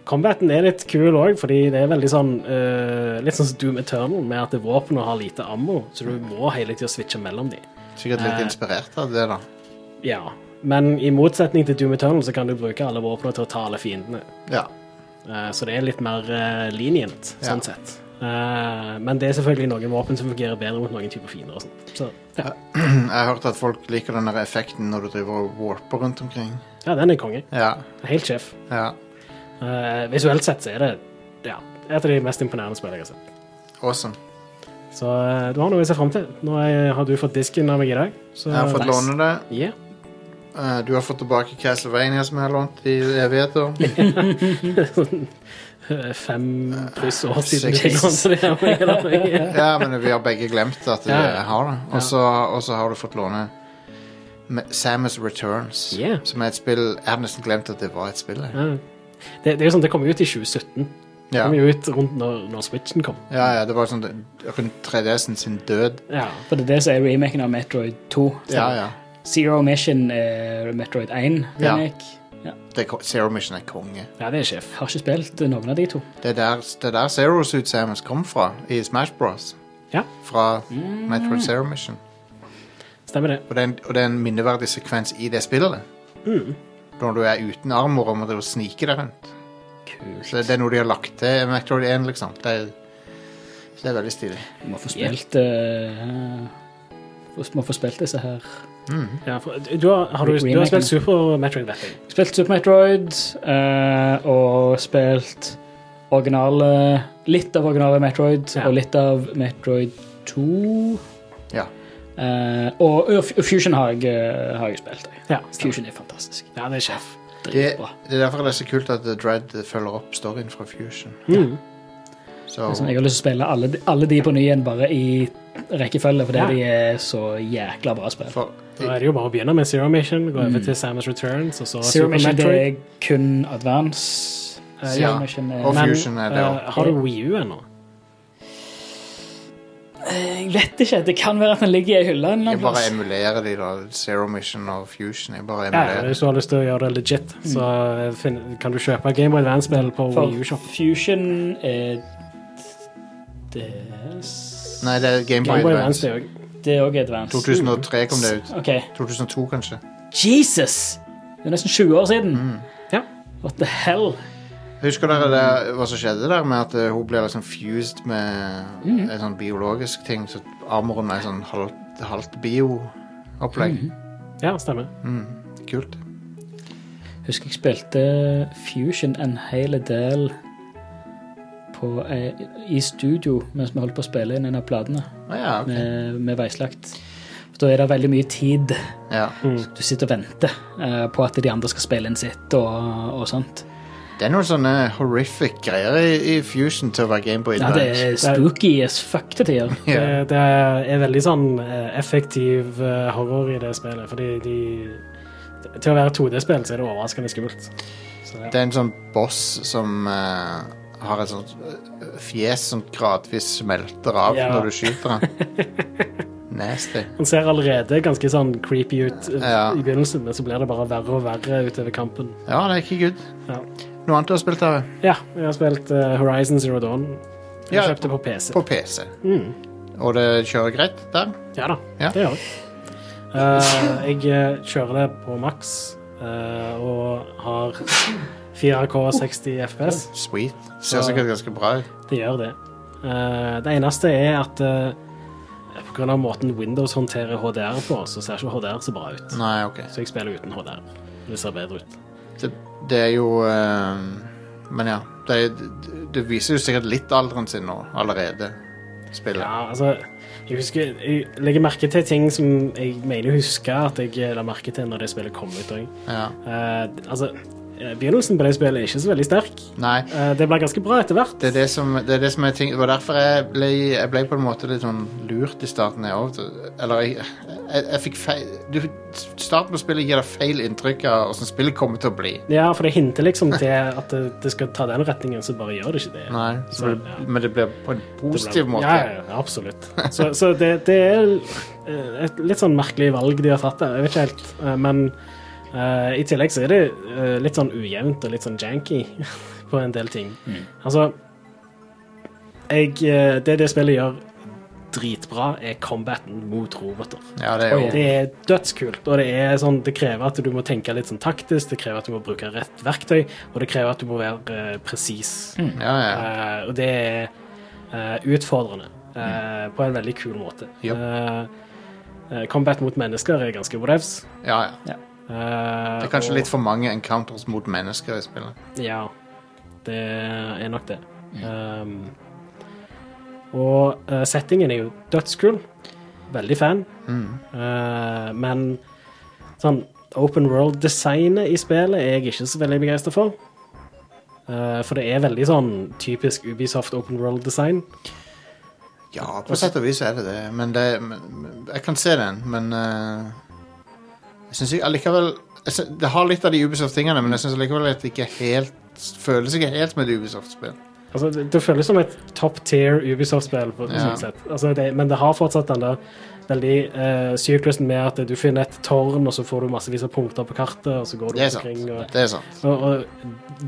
Speaker 2: combaten er litt kul òg, fordi det er veldig sånn eh, Litt sånn som Doom Eternal, med at det er våpen og har lite ammo, så du må hele tida switche mellom dem.
Speaker 1: Sikkert litt
Speaker 2: Eh.
Speaker 1: inspirert av det, da.
Speaker 2: Ja. Men i motsetning til Doom Eternal så kan du bruke alle våpnene til å ta alle fiendene.
Speaker 1: Ja.
Speaker 2: Eh, Så det er litt mer eh, lenient, sånn
Speaker 1: Ja.
Speaker 2: sett. Eh, Men det er selvfølgelig noen våpen som fungerer bedre mot noen typer fiender. og sånt. Så, ja.
Speaker 1: Jeg har hørt at folk liker den der effekten når du driver og warper rundt omkring.
Speaker 2: ja, den er konge.
Speaker 1: Ja.
Speaker 2: Helt sjef.
Speaker 1: ja.
Speaker 2: Eh, Visuelt sett så er det ja, et av de mest imponerende spillene jeg har sett.
Speaker 1: Awesome.
Speaker 2: Så eh, du har noe å se fram til. Nå er- har du fått disken av meg i dag. Så,
Speaker 1: Jeg har fått låne det.
Speaker 2: Ja. (laughs)
Speaker 1: Eh, Du har fått tilbake Castlevania, som jeg har lånt i evigheter.
Speaker 2: Eh, Fem pluss år siden
Speaker 1: Seks.
Speaker 2: du lånte det av meg. eller noe.
Speaker 1: (laughs) Ja, men vi har begge glemt at
Speaker 2: Ja, ja.
Speaker 1: jeg har det. Og så og så har du fått låne Ma- Samus Returns,
Speaker 2: Yeah.
Speaker 1: som er et spill Jeg hadde nesten glemt at det var et spill. jeg.
Speaker 2: Ja. Det, det er jo sånn, det kom jo ut i 2017. Det
Speaker 1: Ja,
Speaker 2: kom jo ut rundt når, når Switchen kom.
Speaker 1: ja, ja det var sånn det- rundt 3DS-en sin død.
Speaker 2: Ja.
Speaker 3: For det er det som er remaken av Metroid 2.
Speaker 1: Ja, ja.
Speaker 3: Zero Mission er Metroid 1
Speaker 1: Ja.
Speaker 3: remake. Ja.
Speaker 1: Det er, ko- Zero Mission er konge.
Speaker 2: ja, det er sjef.
Speaker 3: Har ikke spilt eh, noen av de to.
Speaker 1: Det er der, det er der Zero Suit Samus kom fra, i Smash Bros.
Speaker 2: Ja. Mm.
Speaker 1: Fra Metroid Zero Mission.
Speaker 2: Stemmer det.
Speaker 1: Og det er en, og det er en minneverdig sekvens i det spillet.
Speaker 2: Mm.
Speaker 1: Når du er uten armor og må drive og snike deg rundt. Så det er noe de har lagt til i Metroid 1, liksom. Det er, så det er veldig stilig.
Speaker 3: Må få spilt eh, få- Må få spilt disse her.
Speaker 2: Ja, for, du har, har, du, du har
Speaker 3: Remaken.
Speaker 2: spilt Super Metroid, vet jeg.
Speaker 3: Spilt Super Metroid eh, og spilt originale Litt av originale Metroid
Speaker 2: Ja.
Speaker 3: og litt av Metroid 2.
Speaker 1: Ja.
Speaker 3: Eh, og, og F- Fusion har jeg, eh, har jeg spilt. Jeg.
Speaker 2: Ja,
Speaker 3: Fusion er fantastisk.
Speaker 2: ja det er sjef.
Speaker 1: Det,
Speaker 3: Dritbra.
Speaker 1: det er derfor det er så kult at The Dread følger opp storyen fra Fusion.
Speaker 2: Mm.
Speaker 1: Så,
Speaker 3: Det er Sånn, jeg har lyst til å spille alle, de- alle de på ny igjen, bare i rekkefølge, fordi
Speaker 2: Ja.
Speaker 3: de er så jækla bra spill.
Speaker 1: for,
Speaker 2: Da er det jo bare å begynne med Zero Mission, gå over til Samus Returns, og så
Speaker 3: Zero
Speaker 2: Super
Speaker 3: Mission det
Speaker 2: Metroid.
Speaker 3: er kun advance.
Speaker 2: Eh,
Speaker 3: Zero
Speaker 1: ja.
Speaker 3: Mission er
Speaker 1: Og
Speaker 2: Men,
Speaker 1: Fusion er det
Speaker 2: eh,
Speaker 1: også.
Speaker 2: har du Wii U ennå?
Speaker 3: Eh, Jeg vet ikke. Det kan være at den ligger i hylla en eller
Speaker 1: Jeg
Speaker 3: annen
Speaker 1: bare
Speaker 3: plass.
Speaker 1: emulerer de, da. Zero Mission og Fusion. Jeg bare
Speaker 2: Ja, ja,
Speaker 1: emulerer.
Speaker 2: hvis du har lyst til å gjøre det legit, så eh, finn- kan du kjøpe Game Boy Advance-spill på
Speaker 3: For
Speaker 2: Wii U-shop.
Speaker 3: Fusion er DS
Speaker 1: Nei, det er Game Boy
Speaker 2: Game Boy
Speaker 1: Advance.
Speaker 2: Advance, det òg.
Speaker 3: Det er også advance.
Speaker 1: 2003 kom det ut.
Speaker 3: OK.
Speaker 1: 2002, kanskje.
Speaker 3: Jesus! Det er nesten 20 år siden.
Speaker 2: Ja.
Speaker 3: What the hell?
Speaker 1: Husker dere det, hva som skjedde der med at eh, hun ble liksom fused med en sånn biologisk ting? Så armoren er sånn halvt, halvt bio-opplegg.
Speaker 2: Ja, stemmer.
Speaker 1: Kult.
Speaker 3: Husker jeg spilte Fusion en hel del på, eh, i studio mens vi holdt på å spille inn en av platene
Speaker 1: Å ja, ok.
Speaker 3: med, med veislagt. For Da er det veldig mye tid.
Speaker 1: Ja.
Speaker 3: Du sitter og venter eh, på at de andre skal spille inn sitt og, og sånt.
Speaker 1: Det er noen sånne horrific greier i, i Fusion til å være Gameboy
Speaker 3: Ja, det
Speaker 1: Advance.
Speaker 3: er spooky as fuck til tider.
Speaker 1: Ja.
Speaker 2: Det, det er veldig sånn eh, effektiv eh, horror i det spillet, fordi de Til å være 2D-spill så er det overraskende skummelt. Så, ja.
Speaker 1: Det er en sånn boss som eh, har et sånt eh, fjes som gradvis smelter av
Speaker 2: Ja.
Speaker 1: når du skyter han. Nasty.
Speaker 2: Han ser allerede ganske sånn creepy ut eh,
Speaker 1: Ja.
Speaker 2: i begynnelsen, men så blir det bare verre og verre utover kampen.
Speaker 1: Ja, det er ikke good.
Speaker 2: Ja,
Speaker 1: Noe annet du har spilt av?
Speaker 2: ja jeg har spilt eh, Horizon Zero Dawn. Jeg
Speaker 1: Ja,
Speaker 2: kjøpte på PC.
Speaker 1: på PC. Og det kjører greit der?
Speaker 2: Ja da,
Speaker 1: Ja.
Speaker 2: det gjør jeg. Eh, jeg eh, kjører det på maks eh, og har 4K 60 FPS.
Speaker 1: Sweet. Ser sikkert ganske bra ut.
Speaker 2: Det gjør det. Eh, det eneste er at eh, på grunn av måten Windows håndterer HDR på, så ser ikke HDR så bra ut.
Speaker 1: Nei, ok.
Speaker 2: Så jeg spiller uten HDR. Det ser bedre ut.
Speaker 1: Det, det er jo eh, Men ja. Det, er- det- det viser jo sikkert litt alderen sin nå allerede. Spillet.
Speaker 2: Ja, altså Jeg husker Jeg legger merke til ting som jeg mener å huske at jeg eh, la merke til når det spillet kom ut òg.
Speaker 1: Ja.
Speaker 2: altså eh, Begynnelsen på det spillet er ikke så veldig sterk.
Speaker 1: Nei.
Speaker 2: Eh, det blir ganske bra etter hvert.
Speaker 1: Det er det som, det er, det som er ting, det var derfor jeg ble, jeg ble på en måte litt sånn lurt i starten. Jeg, også. eller jeg, jeg, jeg fikk feil du, Starten på spillet gir deg feil inntrykk av hvordan spillet kommer til å bli.
Speaker 2: Ja, for det hinter liksom til at det, det skal ta den retningen, så bare gjør det ikke det.
Speaker 1: Nei, så,
Speaker 2: Så, ja.
Speaker 1: Men det blir på en
Speaker 2: Det
Speaker 1: positiv
Speaker 2: ble-
Speaker 1: måte.
Speaker 2: Ja, ja, ja, absolutt. Så, så det, det er eh, et litt sånn merkelig valg de har tatt der. Jeg vet ikke helt. eh, Men Eh, I tillegg så er det eh, litt sånn ujevnt og litt sånn janky (laughs) på en del ting.
Speaker 1: Mm.
Speaker 2: Altså jeg, eh, Det det spillet gjør dritbra, er combaten mot roboter.
Speaker 1: Ja, det er jo
Speaker 2: Det er dødskult, og det, er sånn, det krever at du må tenke litt sånn taktisk, det krever at du må bruke rett verktøy, og det krever at du må være eh, presis.
Speaker 1: Ja, ja.
Speaker 2: Eh, og det er eh, utfordrende
Speaker 1: Mm.
Speaker 2: eh, på en veldig kul måte.
Speaker 1: Japp.
Speaker 2: Eh, eh, combat mot mennesker er ganske whatevs.
Speaker 1: ja, ja.
Speaker 2: Eh,
Speaker 1: Det er kanskje
Speaker 2: og-
Speaker 1: litt for mange encounters mot mennesker i spillet.
Speaker 2: Ja, det er nok det.
Speaker 1: Mm.
Speaker 2: Um, og eh, settingen er jo dødskul. Veldig fan. Eh, men sånn open world-designet i spillet er jeg ikke så veldig begeistra for. Eh, for det er veldig sånn typisk Ubisoft open world-design.
Speaker 1: Ja, på sett og vis er det det, men det men, men- Jeg kan se den, men eh, Jeg syns allikevel jeg syns- Det har litt av de Ubisoft-tingene, men jeg syns allikevel at det ikke helt føles ikke helt som et Ubisoft-spill.
Speaker 2: Altså, det, det føles som et top tier Ubisoft-spill. på- på
Speaker 1: Ja.
Speaker 2: sånn sett. Altså, det, men det har fortsatt den der veldig eh, syklusen med at du finner et tårn, og så får du massevis av punkter på kartet, og så går du
Speaker 1: Det er
Speaker 2: rundt
Speaker 1: sant.
Speaker 2: omkring. Og,
Speaker 1: Det er sant.
Speaker 2: Og, og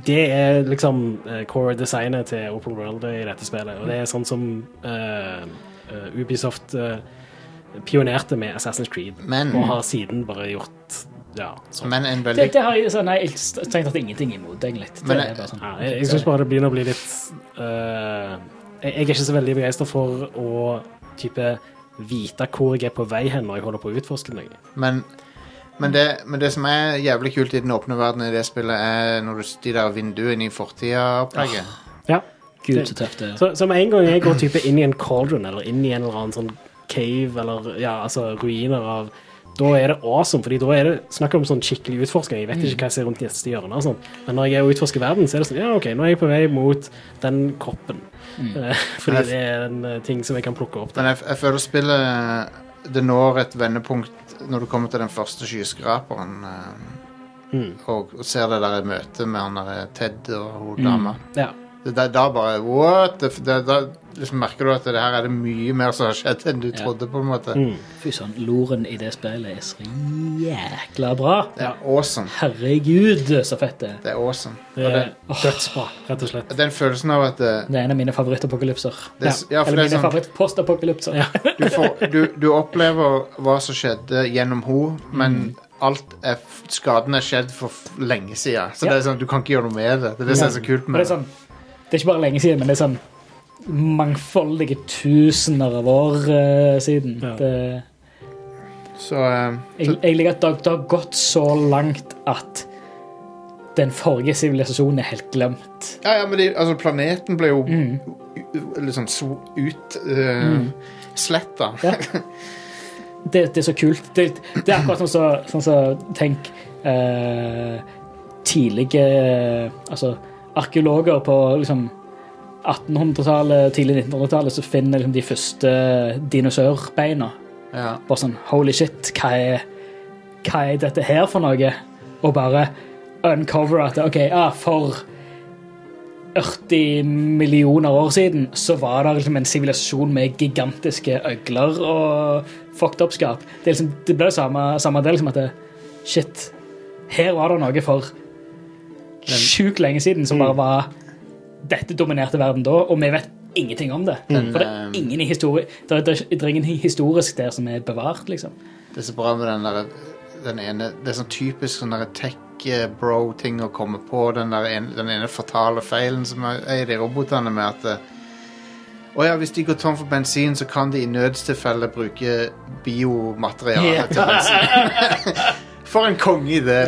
Speaker 2: det er liksom eh, core designet til Open World i dette spillet. Og det er sånn som eh, eh, Ubisoft eh, pionerte med Assassin's Creed.
Speaker 1: Men,
Speaker 2: Og har siden bare gjort ja, sånn.
Speaker 1: men en
Speaker 3: Det,
Speaker 1: veldig
Speaker 3: det har jeg sånn, nei, jeg tenkte at det er ingenting imot, egentlig. Det
Speaker 1: Men eh,
Speaker 3: er
Speaker 1: jeg-
Speaker 3: bare sånn.
Speaker 2: Ja, jeg jeg syns bare det begynner å bli litt eh, jeg, jeg er ikke så veldig begeistra for å type vite hvor jeg er på vei hen når jeg holder på å utforske noe.
Speaker 1: Men, men, det, men det som er jævlig kult i den åpne verden i det spillet, er når du de der vinduene i fortida-opplegget.
Speaker 2: Ja.
Speaker 3: Gud, så tøft det er.
Speaker 2: Så, så med en gang jeg går type inn i en cauldron, eller inn i en eller annen sånn cave, eller ja, altså ruiner av Da er det awesome, fordi da er det snakk om sånn skikkelig utforsking. Jeg vet ikke hva jeg ser rundt neste hjørne, og sånn. men når jeg er og utforsker verden, så er det sånn Ja, OK, nå er jeg på vei mot den koppen. Eh, Fordi det er en eh, ting som jeg kan plukke opp.
Speaker 1: Men jeg, jeg føler spillet Det når et vendepunkt når du kommer til den første skyskraperen eh,
Speaker 3: Mm.
Speaker 1: og, og ser det der møtet med han der Ted og
Speaker 3: Mm.
Speaker 1: hun dama.
Speaker 2: Ja.
Speaker 1: Det- Da, da bare What? Det, det, da liksom merker du at det her er det mye mer som har skjedd enn du trodde, på en måte.
Speaker 3: Fy sånn, loren i det spillet er så jækla bra.
Speaker 1: Det er awesome.
Speaker 3: Herregud, så fett det er.
Speaker 1: Det er awesome.
Speaker 2: Det
Speaker 1: Og
Speaker 2: er
Speaker 1: det,
Speaker 2: dødsbra, rett og slett.
Speaker 1: den følelsen av at eh, det,
Speaker 3: Det er en av mine favorittapokalypser.
Speaker 1: det,
Speaker 2: Ja.
Speaker 1: ja, for
Speaker 3: Eller
Speaker 1: det er
Speaker 3: mine
Speaker 1: sånn
Speaker 3: favorittpostapokalypser. (laughs)
Speaker 1: du, får, du, du opplever hva som skjedde gjennom henne, men
Speaker 3: Mm.
Speaker 1: alt er, f- skaden er skjedd for f- lenge siden. Så
Speaker 3: Ja.
Speaker 1: det er sånn, du kan ikke gjøre noe med det. Det er det som er så kult
Speaker 3: Og det
Speaker 1: med
Speaker 3: er sånn, det er ikke bare lenge siden, men det er sånn mangfoldige tusener av år eh, siden.
Speaker 2: Ja.
Speaker 3: Det,
Speaker 1: det. Så, eh,
Speaker 3: jeg, jeg liker at det, har- det har gått så langt at den forrige sivilisasjonen er helt glemt.
Speaker 1: ja, ja, men de, altså, planeten ble
Speaker 3: Mm.
Speaker 1: jo u- u- litt sånn so, ut eh, sletta.
Speaker 3: Ja. Det, det er så kult. Det, det er akkurat sånn som sånn som- Tenk eh, tidlige eh, Altså arkeologer på liksom 1800-tallet, tidlig 1900-tallet, så finner liksom, de første dinosaurbeina.
Speaker 1: Ja.
Speaker 3: Bare sånn Holy shit, hva er, hva er dette her for noe? Og bare uncover at OK, ah, for 40 millioner år siden så var det liksom en sivilisasjon med gigantiske øgler og fucked up-skap. Det, er liksom, det ble det samme, samme det, liksom at det, Shit, her var det noe for sjukt lenge siden som bare var Dette dominerte verden da, og vi vet ingenting om det. For det
Speaker 1: ehm,
Speaker 3: er ingen i historie det er, det er- det er ingen historisk der som er bevart, liksom.
Speaker 1: Det er så bra med den der den ene, Det er sånn typisk sånn der tech-bro-ting å komme på. Den, der en, den ene fatale feilen som er er i de robotene med at eh, å ja, hvis de går tom for bensin, så kan de i nødstilfelle bruke biomateriale
Speaker 3: Ja.
Speaker 1: til bensin. for en konge i det!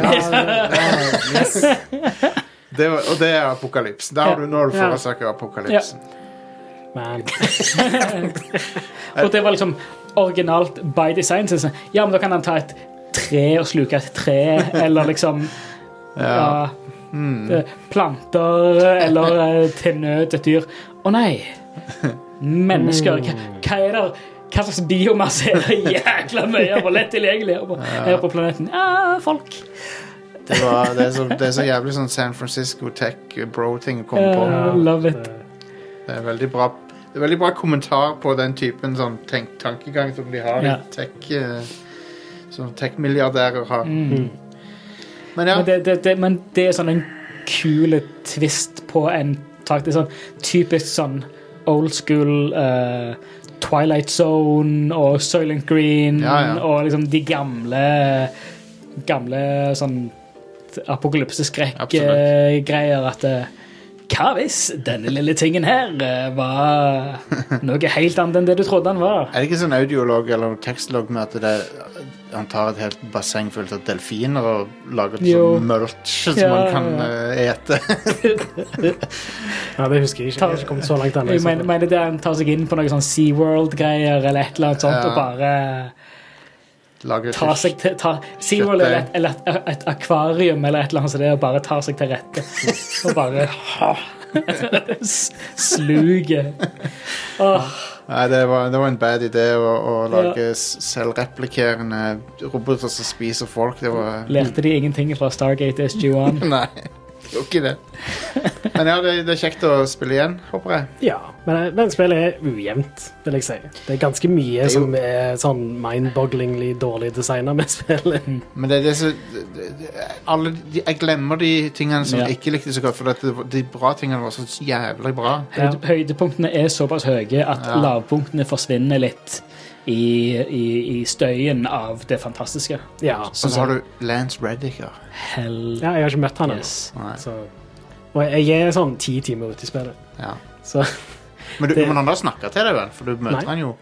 Speaker 1: det var, og det er apokalypsen. Da har du, nå har du
Speaker 2: Ja.
Speaker 1: forårsaket apokalypsen.
Speaker 2: Men
Speaker 3: Og det var liksom originalt by design. Så det er sånn, ja, men da kan han ta et tre og sluke et tre, eller liksom ja. eh, Planter, eller eh, til nød et dyr. Å nei! Mennesker. Hva, hva er det? Hva slags biomasse er det jækla mye av og lett tilgjengelig her på, her på planeten? Ja, folk.
Speaker 1: Det, var, det, er så, det er så jævlig sånn San Francisco tech-bro-ting å komme på.
Speaker 3: Eh, love it.
Speaker 1: Det er veldig bra Det er veldig bra kommentar på den typen sånn tenk, tankegang som de har
Speaker 3: Ja.
Speaker 1: i tech eh, Som tech-milliardærer har. Men ja.
Speaker 3: Mm. Men, det, det, det, men det er sånn en kul twist på en tak. Det er sånn typisk sånn old school eh, Twilight Zone og Soylent Green
Speaker 1: Ja, ja.
Speaker 3: og liksom de gamle gamle sånn
Speaker 1: Absolutt.
Speaker 3: apokalypseskrekk-greier. At eh, hva hvis denne lille tingen her eh,
Speaker 1: (laughs)
Speaker 3: var noe helt annet enn det du trodde han var?
Speaker 1: Er det ikke sånn audiolog eller tekstlog med at det han tar et helt basseng fullt av delfiner og lager det
Speaker 3: Jo.
Speaker 1: som mulch som
Speaker 3: Ja,
Speaker 1: man kan
Speaker 3: ja.
Speaker 1: eh, ete?
Speaker 3: (laughs)
Speaker 2: Ja, det husker jeg ikke. Jeg har ikke kommet så langt ennå.
Speaker 3: Jeg mener, mener det han tar seg inn på noe sånn SeaWorld-greier eller et eller annet sånt,
Speaker 1: Ja.
Speaker 3: og bare
Speaker 1: Lager
Speaker 3: tar seg til ta, SeaWorld eller, et, eller et, et akvarium eller et eller annet sånt, og bare tar seg til
Speaker 1: (laughs)
Speaker 3: rette. Og bare (laughs) s- sluger. Åh,
Speaker 1: Nei, det var, det var en bad idé å, å lage
Speaker 3: Ja.
Speaker 1: s- selvreplikerende roboter som spiser folk. Det var
Speaker 3: lærte de ingenting fra Stargate SG-1?
Speaker 1: (laughs) Nei, det var ikke det. Men ja, det, det er kjekt å spille igjen, håper jeg.
Speaker 2: Ja, men, men spillet er ujevnt, vil jeg si. Det er ganske mye
Speaker 1: er jo-
Speaker 2: som er sånn mind-bogglingly dårlig designa med spillet.
Speaker 1: Men det er det som det- det- alle, de, Jeg glemmer de tingene som
Speaker 3: Ja.
Speaker 1: jeg ikke likte så godt, for at det var- de bra tingene var så jævlig bra.
Speaker 2: Ja.
Speaker 3: Høyde- Høydepunktene er såpass høye at
Speaker 1: Ja.
Speaker 3: lavpunktene forsvinner litt i, i, i støyen av det fantastiske.
Speaker 2: Ja.
Speaker 1: Og så har du Lance Reddicker.
Speaker 3: Hell
Speaker 2: ja, jeg har ikke møtt han ennå.
Speaker 3: yes.
Speaker 1: Nei,
Speaker 2: så- Og jeg er sånn ti timer ute i spillet.
Speaker 1: Ja.
Speaker 2: Så
Speaker 1: Men, du,
Speaker 2: Det-
Speaker 1: men han har snakka til deg, vel? For du møter
Speaker 2: Nei.
Speaker 1: han jo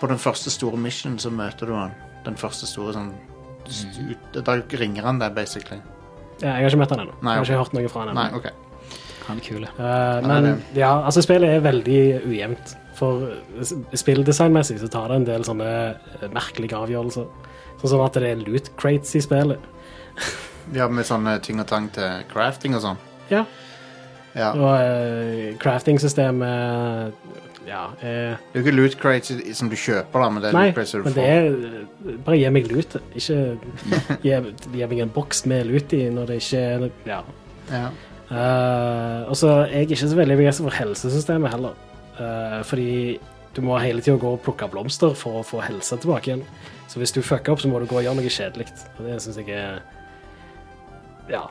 Speaker 1: På den første store mission så møter du han. Den første store sånn stu- Da ringer han deg, basically.
Speaker 2: ja, jeg har ikke møtt han ennå. Jeg
Speaker 1: Nei,
Speaker 2: har
Speaker 1: ok.
Speaker 2: ikke hørt noe fra han ennå.
Speaker 1: Nei, OK.
Speaker 3: Han er kule.
Speaker 2: Eh,
Speaker 1: Nei,
Speaker 2: men ja, altså spillet er veldig ujevnt. For s- spilldesignmessig så tar det en del sånne eh, merkelige avgjørelser. Sånn som at det er loot crates i spillet.
Speaker 1: Ja, med sånne ting og tang til crafting og sånn.
Speaker 2: Ja.
Speaker 1: Ja.
Speaker 2: Og eh, crafting-systemet ja, er
Speaker 1: Det er jo ikke loot crates i- som du kjøper, da, men det er
Speaker 2: Nei,
Speaker 1: loot crates du
Speaker 2: men
Speaker 1: får.
Speaker 2: det er eh, Bare gi meg lut.
Speaker 1: (laughs)
Speaker 2: Ikke gi, gi meg en boks med lut i når det ikke er Ja.
Speaker 1: Ja.
Speaker 2: Eh, og så er jeg ikke så veldig begeistret for helsesystemet heller. Eh, fordi du må hele tida gå og plukke blomster for å få helsa tilbake igjen. Så hvis du fucker opp, så må du gå og gjøre noe kjedelig. Og det syns jeg er Ja.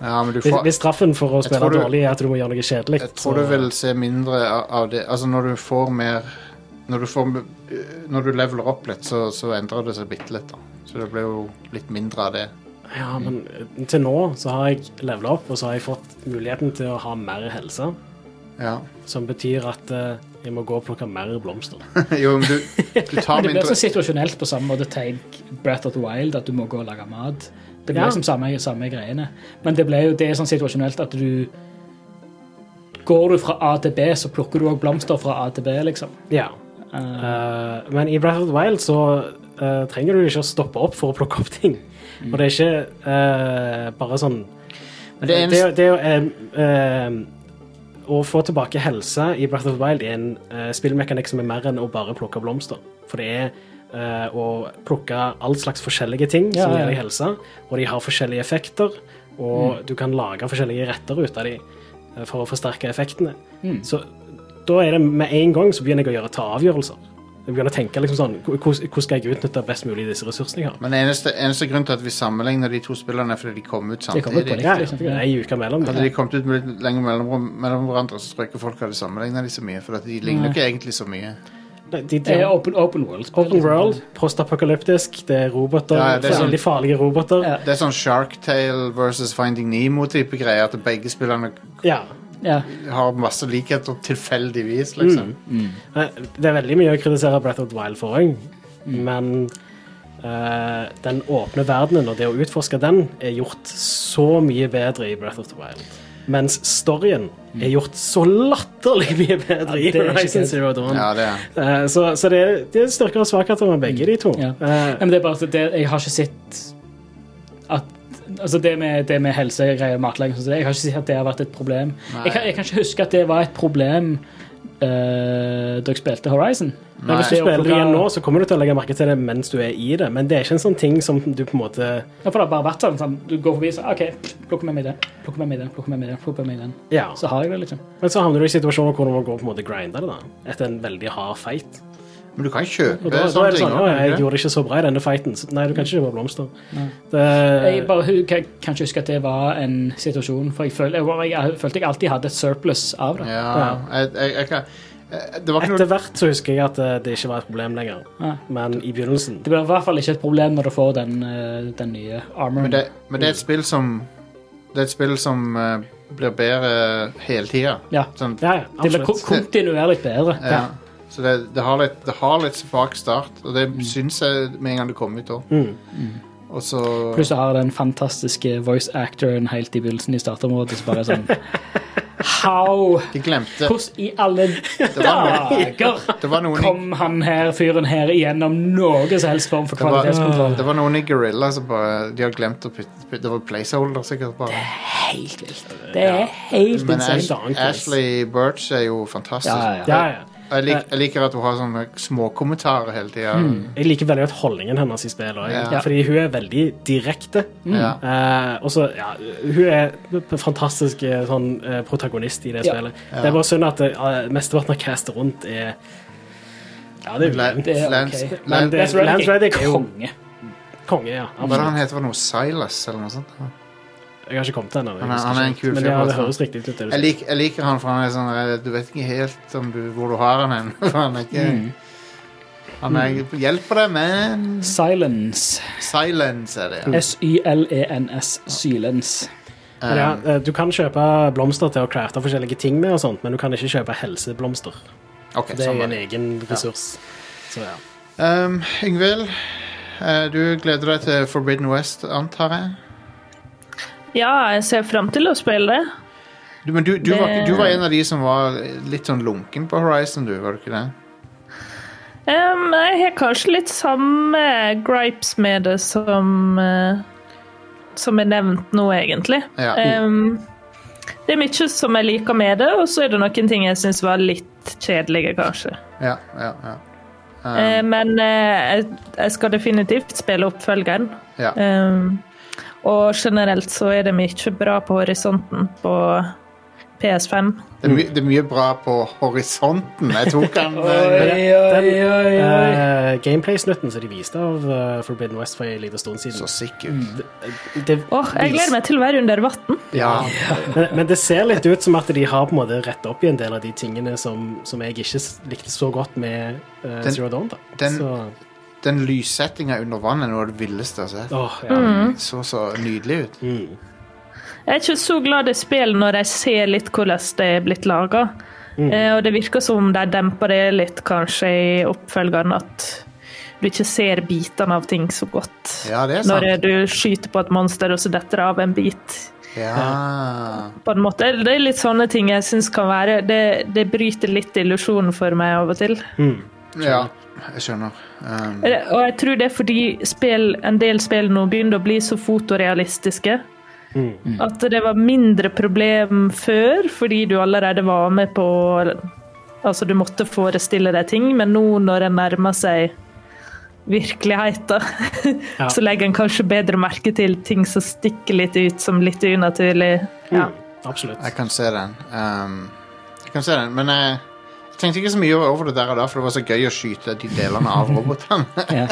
Speaker 1: ja, men du
Speaker 2: Hvis,
Speaker 1: får
Speaker 2: hvis straffen for å spille
Speaker 1: tror du-
Speaker 2: dårlig er at du må gjøre noe kjedelig,
Speaker 1: Jeg tror du vil se mindre av- av det Altså, når du får mer Når du, får, øh, når du leveler opp litt, så, så endrer det seg bitte litt, da. Så det blir jo litt mindre av det.
Speaker 2: Ja, men eh, til nå så har jeg levela opp, og så har jeg fått muligheten til å ha mer helse.
Speaker 1: Ja. (laughs)
Speaker 2: Som betyr at eh, jeg må gå og plukke mer blomster.
Speaker 1: Jo, men du, du tar
Speaker 3: Men det blir
Speaker 1: mindre
Speaker 3: så situasjonelt på samme måte tenk Breath of the Wild, at du må gå og lage mat. Det blir
Speaker 2: Ja.
Speaker 3: liksom samme, samme greiene. Men det blir jo det er sånn situasjonelt at du Går du fra A til B, så plukker du òg blomster fra A til B, liksom.
Speaker 2: Ja. Eh, men i Breath of the Wild så eh, trenger du ikke å stoppe opp for å plukke opp ting. Og det er ikke eh, bare sånn
Speaker 1: Men
Speaker 2: Det,
Speaker 1: det
Speaker 2: det,
Speaker 1: eneste
Speaker 2: er jo eh, eh, Å få tilbake helse i Breath of the Wild er en eh, spillmekanikk som er mer enn å bare plukke blomster. For det er eh, å plukke all slags forskjellige ting
Speaker 3: Ja,
Speaker 2: som
Speaker 3: ja.
Speaker 2: gir deg helse, og de har forskjellige effekter, og du kan lage forskjellige retter ut av de eh, for å forsterke effektene. Så da er det med en gang så begynner jeg å gjøre ta avgjørelser. Jeg begynner å tenke liksom sånn, "Hvor- hvordan hvordan skal jeg utnytte best mulig disse ressursene jeg har?
Speaker 1: Men eneste, eneste grunn til at vi sammenligner de to spillerne, er fordi de kom ut
Speaker 3: Det
Speaker 1: samtidig.
Speaker 3: kommer ut på likt.
Speaker 2: Ja,
Speaker 3: liksom.
Speaker 2: ja, ei uke mellom.
Speaker 1: Hadde de kommet ut med litt lenge mellom, mellom hverandre, så tror jeg ikke folk hadde sammenligna de så mye. For at de ligner jo ikke egentlig så mye.
Speaker 2: De, de,
Speaker 3: Det
Speaker 2: de,
Speaker 3: er open, open world. liksom
Speaker 2: Open world, postapokalyptisk, det er roboter,
Speaker 1: Ja, det er
Speaker 2: veldig farlige roboter.
Speaker 3: Ja.
Speaker 1: Det er sånn Shark Tale versus Finding Nemo-type greier. At begge spillerne
Speaker 2: Ja.
Speaker 3: sånn- Ja.
Speaker 1: har masse likheter tilfeldigvis, liksom.
Speaker 2: Eh, Det er veldig mye å kritisere Breath of the Wild for òg, men eh, den åpne verdenen og det å utforske den er gjort så mye bedre i Breath of the Wild. Mens storyen er gjort så latterlig mye bedre i
Speaker 3: Ja, det er ikke
Speaker 2: Horizon
Speaker 3: kødd.
Speaker 2: Zero Dawn.
Speaker 1: Ja, det er
Speaker 2: Eh, Så, så det, er, det er styrker og svakheter med begge de to.
Speaker 3: Ja.
Speaker 2: Eh,
Speaker 3: Nei, Men det er bare at det, jeg har ikke sett at Altså det med, det med helsegreier og matlaging og sånt, Jeg har ikke sett at det har vært et problem. Jeg kan, jeg kan ikke huske at det var et problem eh, da jeg spilte Horizon.
Speaker 1: Nei.
Speaker 2: Hvis du spiller igjen nå, så kommer du til å legge merke til det mens du er i det, men det er ikke en sånn ting som du på en måte
Speaker 3: Ja, for det har bare vært sånn, sånn Du går forbi så, OK, plukker med meg den, plukker med meg den, plukker med meg den. plukker med meg den.
Speaker 2: Ja.
Speaker 3: Så har jeg det, liksom.
Speaker 2: Men så havner du i situasjoner hvor du må gå og på en måte grinde det da, etter en veldig hard fight.
Speaker 1: Men du kan
Speaker 2: Og
Speaker 1: kjøpe
Speaker 2: da, da
Speaker 1: sånne
Speaker 2: er det
Speaker 1: ting.
Speaker 2: sånn,
Speaker 1: også,
Speaker 2: «Å,
Speaker 1: kan du
Speaker 2: jeg
Speaker 1: ikke det?
Speaker 2: gjorde det ikke så bra i denne fighten. Så, nei, du kan ikke kjøpe blomster.
Speaker 3: Nei.
Speaker 2: Det,
Speaker 1: Eh.
Speaker 3: Jeg bare hu- kan kan ikke huske at det var en situasjon, for jeg, føl, jeg, bare- jeg følte jeg alltid hadde et surplus av det.
Speaker 1: Ja, jeg, jeg, jeg kan eh, Det var ikke
Speaker 2: etter
Speaker 1: noe
Speaker 2: hvert så husker jeg at eh, det ikke var et problem lenger.
Speaker 3: Nei.
Speaker 2: Men i begynnelsen
Speaker 3: Det blir i hvert fall ikke et problem når du får den, eh, den nye armoren.
Speaker 1: men det, men det er et spill som Det er et spill som eh, blir bedre hele tida.
Speaker 3: Ja.
Speaker 1: Sånn,
Speaker 2: Ja, ja,
Speaker 3: det blir ko-
Speaker 2: absolutt.
Speaker 3: kontinuerlig bedre.
Speaker 1: ja. Så det, det, har litt, det har litt svak start, og det syns jeg med en gang det kom ut òg.
Speaker 2: Mm.
Speaker 1: Og så
Speaker 3: Pluss du har den fantastiske voice actoren helt i begynnelsen i startområdet som bare er sånn (laughs) How?
Speaker 1: De glemte
Speaker 3: Hvordan i
Speaker 1: (laughs)
Speaker 3: alle
Speaker 1: var
Speaker 3: dager
Speaker 1: Det var noen i,
Speaker 3: kom han her, fyren her igjennom noe som helst form for
Speaker 1: det var,
Speaker 3: kvalitetskontroll?
Speaker 1: det var noen i Gorilla som bare De har glemt å putte, putte Det var placeholder, sikkert. bare
Speaker 3: Helt vilt. Det er helt
Speaker 1: Men
Speaker 3: insane.
Speaker 1: Ash, Ashley Birch er jo fantastisk.
Speaker 3: Ja, ja,
Speaker 2: Ja, ja.
Speaker 1: Jeg, lik, jeg liker at hun har sånne småkommentarer hele tida.
Speaker 3: Hmm,
Speaker 2: Jeg liker veldig godt holdningen hennes i spillet. også,
Speaker 1: Ja.
Speaker 2: egentlig, Fordi hun er veldig direkte.
Speaker 3: hmm.
Speaker 1: Ja.
Speaker 2: Eh, og så, ja, hun er en fantastisk eh, sånn, eh, protagonist i det
Speaker 3: Ja.
Speaker 2: spillet. Det er bare synd at eh, mesteparten av castet rundt er Ja, det er
Speaker 1: Lan-
Speaker 2: ujevnt.
Speaker 3: Det er ok.
Speaker 1: Lance-
Speaker 3: Men
Speaker 1: Lan-
Speaker 2: det-
Speaker 3: Lance Reddick
Speaker 2: Lance Reddick er
Speaker 3: er
Speaker 2: jo-
Speaker 3: konge.
Speaker 2: Konge, ja.
Speaker 1: Hva er det
Speaker 2: Absolutt.
Speaker 1: han heter for noe? Silas, eller noe sånt?
Speaker 2: Jeg har ikke kommet til henne. jeg
Speaker 1: Han er-
Speaker 2: husker
Speaker 1: han er
Speaker 2: ikke
Speaker 1: en kul
Speaker 2: helt. Men
Speaker 1: fyr,
Speaker 2: ja, det
Speaker 1: altså.
Speaker 2: høres riktig ut. det du
Speaker 1: Jeg,
Speaker 2: sier.
Speaker 1: lik, jeg liker han, for han er sånn eh, Du vet ikke helt om du, hvor du har han hen. (laughs) for han er ikke
Speaker 3: Hmm.
Speaker 1: Han er, hjelper deg, men
Speaker 3: Silence.
Speaker 1: Silence er det, ja.
Speaker 3: S-Y-L-E-N-S. E Silence.
Speaker 2: Men ja, eh, du kan kjøpe blomster til å crafte forskjellige ting med, og sånt, men du kan ikke kjøpe helseblomster.
Speaker 1: Ok,
Speaker 2: Det
Speaker 1: sånn
Speaker 2: er
Speaker 1: var
Speaker 2: en
Speaker 1: det.
Speaker 2: egen ressurs. Så ja.
Speaker 1: Um, Yngvild, eh, du gleder deg til Forbidden West, antar jeg?
Speaker 4: Ja, jeg ser fram til å spille det.
Speaker 1: Du, men du, du,
Speaker 4: Det-
Speaker 1: var, ikke- du var en av de som var litt sånn lunken på Horizon, du, var du ikke det?
Speaker 4: Em, jeg har kanskje litt samme gripes med det som eh, som er nevnt nå, egentlig.
Speaker 1: Ja.
Speaker 4: Em, det er mye som jeg liker med det, og så er det noen ting jeg syns var litt kjedelige, kanskje.
Speaker 1: Ja, ja, ja.
Speaker 4: Eh, men eh, jeg, jeg skal definitivt spille oppfølgeren.
Speaker 1: ja.
Speaker 4: Em, og generelt så er det mye bra på horisonten på PS5.
Speaker 1: Det, er my, det er mye bra på horisonten. Jeg tok han eh,
Speaker 2: Uh, Gameplay-snutten som de viste av eh, Forbidden West for en liten stund
Speaker 1: så
Speaker 2: siden
Speaker 1: sikk ut.
Speaker 2: det
Speaker 4: Åh, jeg gleder meg til å være under vann.
Speaker 1: Ja.
Speaker 2: Men, men det ser litt ut som at de har på en måte retta opp i en del av de tingene som, som jeg ikke s- likte så godt med eh,
Speaker 1: Den-
Speaker 2: Zero Dawn. da.
Speaker 1: den-
Speaker 2: så,
Speaker 1: Den lyssettinga under vannet er noe av det villeste jeg har sett.
Speaker 2: åh, ja.
Speaker 4: Mm.
Speaker 1: Så så nydelig ut.
Speaker 2: Mm.
Speaker 4: Jeg er ikke så glad i spill når jeg ser litt hvordan det er blitt laga.
Speaker 1: Mm.
Speaker 4: Eh, og det virker som de demper det litt, kanskje, i oppfølgeren, at du ikke ser bitene av ting så godt.
Speaker 1: Ja, det er
Speaker 4: når
Speaker 1: sant.
Speaker 4: du skyter på et monster, og så detter det av en bit.
Speaker 1: Ja.
Speaker 4: På en måte. Det er litt sånne ting jeg syns kan være Det, det bryter litt illusjonen for meg av og til.
Speaker 1: ja jeg skjønner. Um,
Speaker 4: Og jeg tror det er fordi spill, en del spill nå begynner å bli så fotorealistiske. At det var mindre problem før, fordi du allerede var med på Altså, du måtte forestille deg ting, men nå når en nærmer seg virkeligheten, (laughs)
Speaker 2: Ja.
Speaker 4: så legger en kanskje bedre merke til ting som stikker litt ut som litt unaturlig. Ja.
Speaker 2: Absolutt.
Speaker 1: jeg kan se den. Um, jeg kan se den, men jeg, jeg tenkte ikke så mye over det der og da, for det var så gøy å skyte de delene av
Speaker 3: (laughs)
Speaker 1: robotene.
Speaker 3: Ja.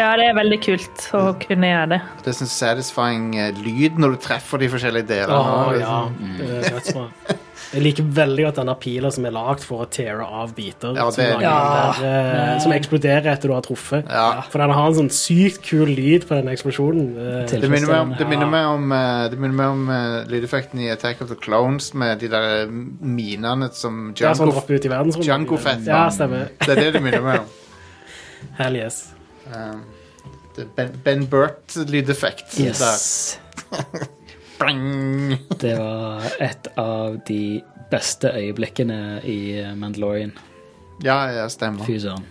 Speaker 4: ja, det er veldig kult å kunne gjøre det.
Speaker 1: Det er sånn satisfying eh, lyd når du treffer de forskjellige delene.
Speaker 2: Åh,
Speaker 1: Det er
Speaker 2: ja.
Speaker 1: sånn-
Speaker 2: Det er dødsbra. Jeg liker veldig godt denne pila som er lagd for å teare av biter
Speaker 1: Ja, det-
Speaker 2: som, lager
Speaker 3: Ja.
Speaker 2: den der, eh, som eksploderer etter du har truffet.
Speaker 1: Ja.
Speaker 2: For den har en sånn sykt kul lyd på den eksplosjonen. eh,
Speaker 3: Til-
Speaker 1: Det minner meg om, det
Speaker 2: Ja.
Speaker 1: minner meg om, eh, det minner meg om eh, lydeffekten i Attack of the Clones med de der eh, minene som
Speaker 2: Ja, som
Speaker 1: Django,
Speaker 2: dropper sånn ut i verdensrommet.
Speaker 1: Django Fett.
Speaker 2: Ja, stemmer.
Speaker 1: (laughs) Det er det det minner meg om.
Speaker 2: Hell yes.
Speaker 1: Um, det er ben, ben Burt-lydeffekt.
Speaker 3: Yes.
Speaker 1: Bang!
Speaker 3: Det var et av de beste øyeblikkene i eh, Mandalorian.
Speaker 1: Ja, ja, stemmer.
Speaker 3: Fy søren.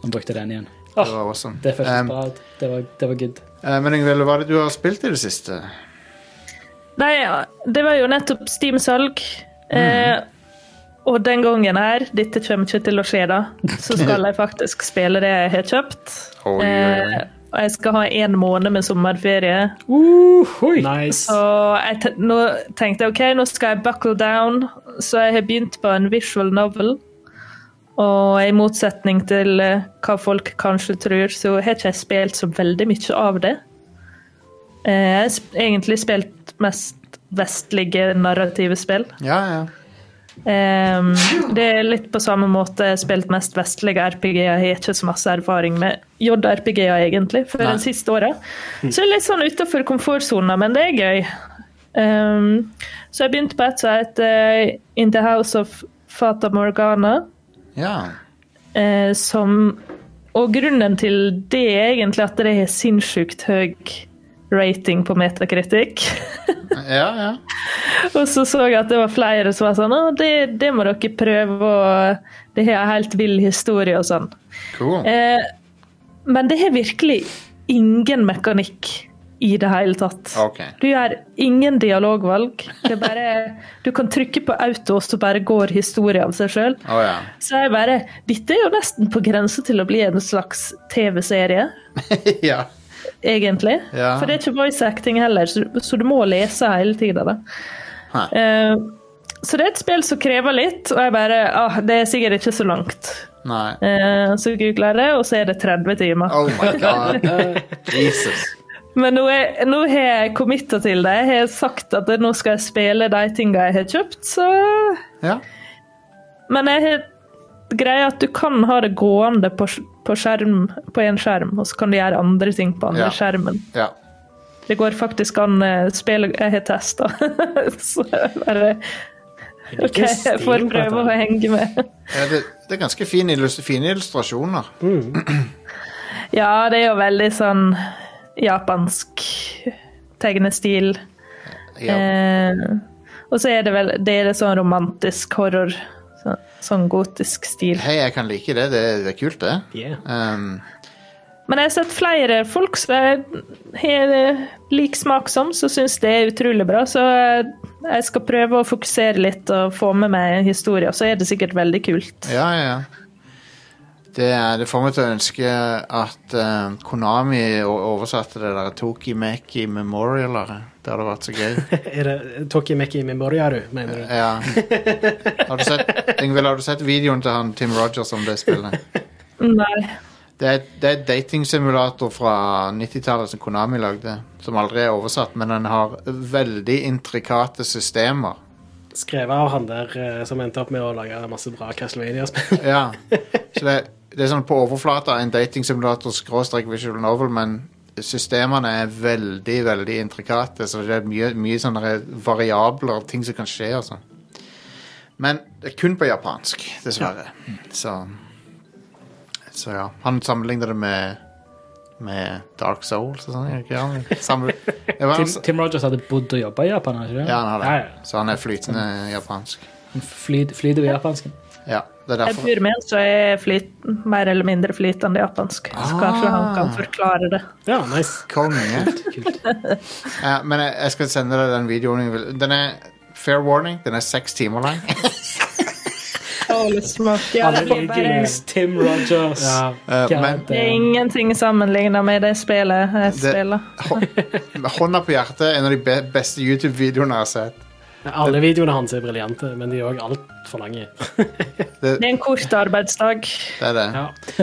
Speaker 3: Han brukte den igjen.
Speaker 1: Det var awesome.
Speaker 3: Det føltes
Speaker 1: Um,
Speaker 3: bra. Det var, det var good.
Speaker 1: eh, men Yngvild, hva er det du har spilt i det siste?
Speaker 4: Nei, ja, det var jo nettopp Steam-salg.
Speaker 1: Mm.
Speaker 4: Eh, og den gangen her, dette kommer ikke til å skje da,
Speaker 1: (laughs)
Speaker 4: så skal jeg faktisk spille det jeg har kjøpt.
Speaker 1: Oi, oi, oi.
Speaker 4: Eh, og jeg skal ha en måned med sommerferie.
Speaker 3: Hoi.
Speaker 4: (laughs)
Speaker 2: Nice.
Speaker 4: Så jeg te nå tenkte jeg OK, nå skal jeg buckle down. Så jeg har begynt på en visual novel. Og i motsetning til eh, hva folk kanskje tror, så har ikke jeg spilt så veldig mye av det. Eh, Jeg har sp- egentlig spilt mest vestlige narrative spill.
Speaker 1: Ja, ja.
Speaker 4: Ehm, det er litt på samme måte jeg har spilt mest vestlige RPG-er. Jeg har ikke så masse erfaring med JRPG-er, egentlig, før
Speaker 1: Nei.
Speaker 4: de siste åra. Så jeg er litt sånn utafor komfortsona, men det er gøy. Ehm, så jeg begynte på et som heter eh, In the House of Fata Morgana.
Speaker 1: ja.
Speaker 4: eh, som Og grunnen til det er egentlig at det har sinnssykt høy rating på (laughs) metakritikk.
Speaker 1: Ja, ja.
Speaker 4: Og så så jeg at det var flere som var sånn Å, det, det må dere prøve, og det har en helt vill historie og sånn.
Speaker 1: Cool.
Speaker 4: Eh, men det har virkelig ingen mekanikk i det hele tatt.
Speaker 1: OK.
Speaker 4: Du gjør ingen dialogvalg. Det er bare, du kan trykke på auto, og så bare går historien av seg sjøl.
Speaker 1: Å ja. (laughs)
Speaker 4: Så jeg bare Dette er jo nesten på grense til å bli en slags TV-serie,
Speaker 1: ja.
Speaker 4: egentlig.
Speaker 1: Ja.
Speaker 4: For det er ikke voice acting heller, så, så du må lese hele tida, da.
Speaker 1: Hæ.
Speaker 4: Eh, så det er et spill som krever litt, og jeg bare ah, Det er sikkert ikke så langt.
Speaker 1: Nei.
Speaker 4: Eh, så googler jeg det, og så er det 30 timer.
Speaker 1: Oh my god.
Speaker 4: Eh.
Speaker 1: Jesus.
Speaker 4: Men nå, er, nå har jeg committa til det. Jeg har sagt at nå skal jeg spille de tinga jeg har kjøpt, så
Speaker 1: Ja.
Speaker 4: Men jeg har greia at du kan ha det gående på, sk- på skjerm på én skjerm, og så kan du gjøre andre ting på andre
Speaker 1: Ja.
Speaker 4: skjermen.
Speaker 1: Ja. Eh,
Speaker 4: Det går faktisk an eh, spill jeg har testa. (laughs) så jeg bare OK, jeg får prøve å henge med.
Speaker 1: ja det, det er ganske fine, illus fine illustrasjoner.
Speaker 4: Ja, det er jo veldig sånn japansk tegnestil.
Speaker 1: Ja.
Speaker 4: Eh, og så er det vel det er det sånn romantisk horror. Så, sånn gotisk stil.
Speaker 1: Hei, jeg kan like det. Det, det er kult, det.
Speaker 2: Yeah.
Speaker 1: Um,
Speaker 4: Men jeg har sett flere folk som jeg har eh, lik smak som, som syns det er utrolig bra. Så eh, jeg skal prøve å fokusere litt og få med meg historien, så er det sikkert veldig kult.
Speaker 1: Ja, ja, ja. Det, er, det får meg til å ønske at eh, Konami o- oversatte det der Tokimeki Memorialaret. Det hadde vært så gøy.
Speaker 2: Er det Tokimeki Memoriaru, mener du?
Speaker 1: Ja. Har du sett, Ingvild, har du sett videoen til han Tim Rogers om det spillet?
Speaker 4: Nei.
Speaker 1: Det er, det er et datingsimulator fra 90-tallet som Konami lagde. Som aldri er oversatt, men den har veldig intrikate systemer.
Speaker 2: Skrevet av han der eh, som endte opp med å lage masse bra Castlevania-spill. (laughs)
Speaker 1: Ja. Så det, det er sånn på overflata en datingsimulator skråstrek visual novel, men systemene er veldig, veldig intrikate, så det er mye, mye sånne variabler, ting som kan skje og sånn. Men det er kun på japansk, dessverre. Så, så ja. Han sammenligner det med med Dark Souls og sånn. gjør ikke han? Samme-
Speaker 2: (laughs)
Speaker 1: Det var
Speaker 3: Tim,
Speaker 1: han-
Speaker 3: Tim Rogers hadde bodd og jobba i Japan, hadde ikke det?
Speaker 1: Ja, han har
Speaker 2: Ja,
Speaker 1: det.
Speaker 2: ja.
Speaker 1: Så han er flytende japansk.
Speaker 3: Han flyd- flyter ved japansken.
Speaker 1: Ja, det er
Speaker 4: Jeg
Speaker 1: derfor.
Speaker 4: bor med en som er flyt, mer eller mindre flytende japansk, så kanskje han kan forklare det.
Speaker 2: Ja, nice.
Speaker 1: Konge.
Speaker 2: Kult.
Speaker 1: (laughs) Ja, men jeg, jeg skal sende deg den videoen. jeg vil- Den er fair warning. Den er seks timer lang.
Speaker 4: Dårlig smak. Ja,
Speaker 2: Alle
Speaker 4: det, er
Speaker 2: liker
Speaker 4: bare,
Speaker 2: det.
Speaker 3: Tim Rogers.
Speaker 2: (laughs) Ja.
Speaker 1: Eh,
Speaker 3: God
Speaker 1: men
Speaker 4: det er
Speaker 3: damn.
Speaker 4: ingenting sammenlignet med det spillet jeg spiller.
Speaker 1: med hånda på hjertet, en av de be beste YouTube-videoene jeg har sett.
Speaker 2: Alle videoene hans er briljante, men de er òg altfor lange.
Speaker 4: Det er en kort arbeidsdag.
Speaker 1: Det er det.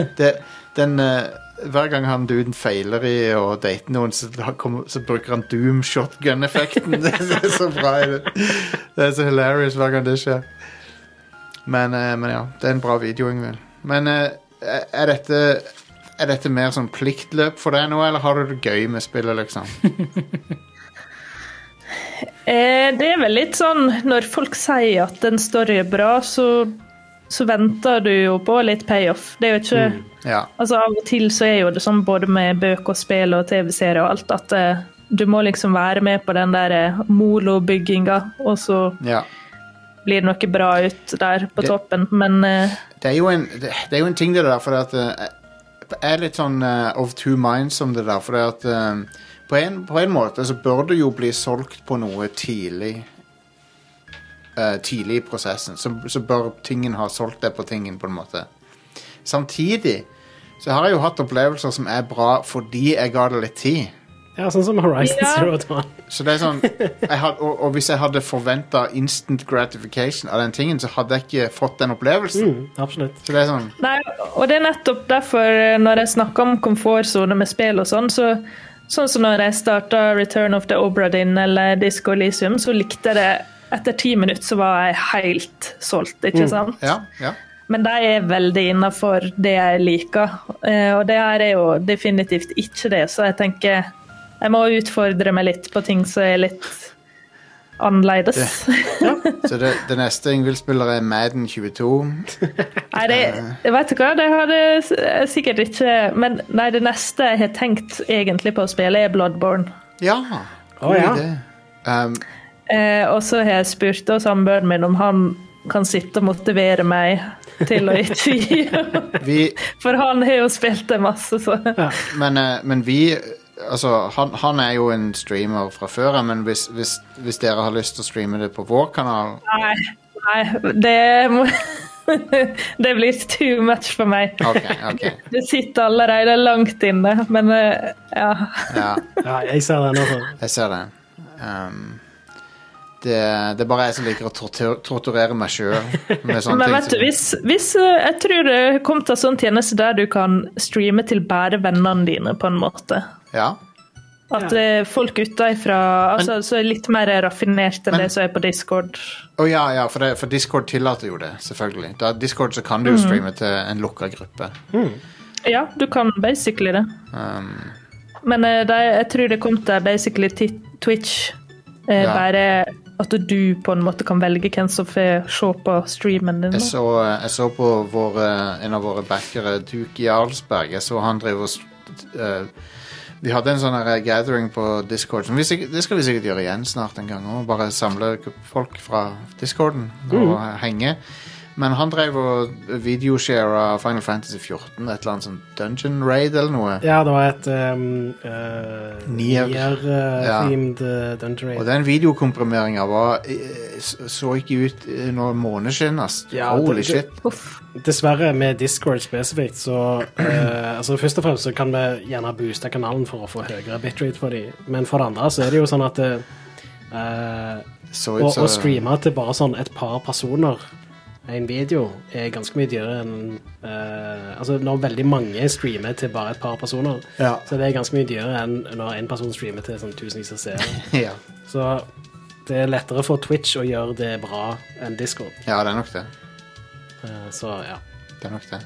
Speaker 2: Ja.
Speaker 1: det den, eh, hver gang han duden feiler i å date noen, så, da kommer- så bruker han doom shotgun-effekten. (laughs) det er så bra. i Det. det er så hilarious hver gang det skjer. Men, eh, men ja, det er en bra video, Ingvild. Men eh, er dette er dette mer sånn pliktløp for deg nå, eller har du det gøy med spillet, liksom?
Speaker 4: Eh, det er vel litt sånn når folk sier at en story er bra, så, så venter du jo på litt payoff. Det er jo ikke
Speaker 1: Ja.
Speaker 4: Altså Av og til så er jo det sånn både med bøker og spill og TV-serier og alt at eh, du må liksom være med på den der eh, molo-bygginga, og så
Speaker 1: ja.
Speaker 4: blir det noe bra ut der på
Speaker 1: Det-
Speaker 4: toppen. Men eh,
Speaker 1: Det er jo en, det, det er jo en ting det der, for at eh, Jeg er litt sånn eh, of two minds om det der, for at eh, på, en, på en måte så bør du jo bli solgt på noe tidlig. eh, tidlig i prosessen. Så, så bør tingen ha solgt deg på tingen, på en måte. Samtidig så har jeg jo hatt opplevelser som er bra fordi jeg ga det litt tid.
Speaker 2: Ja, sånn som Horizon
Speaker 4: Ja.
Speaker 2: Zero Dawn.
Speaker 1: Så det er sånn jeg had, og, og hvis jeg hadde forventa instant gratification av den tingen, så hadde jeg ikke fått den opplevelsen.
Speaker 2: Mm, (laughs) absolutt.
Speaker 1: Så det er sånn
Speaker 4: Nei, og det er nettopp derfor eh, når jeg snakker om komfortsone med spill og sånn, så sånn som når jeg starta Return of the Obra Dinn eller Disco Elysium, så likte jeg det etter ti minutter så var jeg helt solgt, ikke sant?
Speaker 1: Ja, ja.
Speaker 4: Men de er veldig innafor det jeg liker, eh, og det her er jo definitivt ikke det, så jeg tenker jeg må utfordre meg litt på ting som er litt annerledes.
Speaker 1: Så det, det neste Yngvild spiller, er Madden 22.
Speaker 4: Nei, det, jeg vet du hva, det hadde jeg sikkert ikke Men nei, det neste jeg har tenkt egentlig på å spille, er Bloodborne.
Speaker 1: Ja, god
Speaker 2: ja.
Speaker 1: idé. Um,
Speaker 4: Eh, og så har jeg spurt da samboeren min om han kan sitte og motivere meg til å ikke gi opp. (laughs)
Speaker 1: vi,
Speaker 4: For han har jo spilt det masse, så
Speaker 1: men, eh, men vi Altså, han, han er jo en streamer fra før, men hvis, hvis, hvis dere har lyst til å streame det på vår kanal
Speaker 4: Nei, nei det må (laughs) Det blir too much for meg.
Speaker 1: OK. ok
Speaker 4: Det sitter allerede langt inne, men eh, ja.
Speaker 1: Ja,
Speaker 2: Ja, jeg ser det nå. så-
Speaker 1: jeg ser det. Um, det. Det er bare jeg som liker å tortur, torturere meg sjøl med sånne
Speaker 4: (laughs) Men
Speaker 1: ting.
Speaker 4: vet du,
Speaker 1: som-
Speaker 4: hvis, hvis eh, Jeg tror det kom til en sånn tjeneste der du kan streame til bare vennene dine, på en måte.
Speaker 1: Ja.
Speaker 4: At eh, folk utenfra altså, så er litt mer raffinert enn
Speaker 1: Men-
Speaker 4: det som er på Discord.
Speaker 1: Å ja, ja for, det, for Discord tillater jo det, selvfølgelig. Da, Discord så kan du jo
Speaker 4: Mm.
Speaker 1: streame til en lukka gruppe.
Speaker 4: Ja, du kan basically det.
Speaker 1: Um,
Speaker 4: Men eh, de, jeg tror det kom til basically ti- Twitch. Eh,
Speaker 1: Ja.
Speaker 4: Bare at du på en måte kan velge hvem som får se på streamen din.
Speaker 1: jeg,
Speaker 4: da.
Speaker 1: så, jeg så på våre, en av våre backere, Duke Jarlsberg. Jeg så han driver og st- eh, Vi hadde en sånn her gathering på Discord. Som vi sikkert, det skal vi sikkert gjøre igjen snart en gang òg. Bare samle folk fra Discorden og
Speaker 2: Mm.
Speaker 1: henge. Men han drev og videoshara Final Fantasy 14, et eller annet sånn Dungeon Raid eller noe.
Speaker 2: Ja, det var et um, uh,
Speaker 1: Nier. Ja.
Speaker 2: Nier-themed eh, Dungeon Raid.
Speaker 1: Og den videokomprimeringa var eh, så så ikke ut eh, under måneskinn, ass.
Speaker 2: Ja,
Speaker 1: Holy
Speaker 2: det- det-
Speaker 1: shit.
Speaker 4: Uff.
Speaker 2: Dessverre, med Discord spesifikt, så eh, altså Først og fremst så kan vi gjerne booste kanalen for å få høyere bitrate for dem, men for det andre så er det jo sånn at eh, eh,
Speaker 1: Så
Speaker 2: å,
Speaker 1: ut som
Speaker 2: å streame til bare sånn et par personer en video er ganske mye dyrere enn eh, Altså, når veldig mange streamer til bare et par personer,
Speaker 1: Ja.
Speaker 2: så det er ganske mye dyrere enn når en person streamer til sånn tusenvis av seere.
Speaker 1: (laughs) ja.
Speaker 2: Så det er lettere for Twitch å gjøre det bra enn Discord.
Speaker 1: ja, det er nok det.
Speaker 2: Eh, så ja.
Speaker 1: Det er nok det.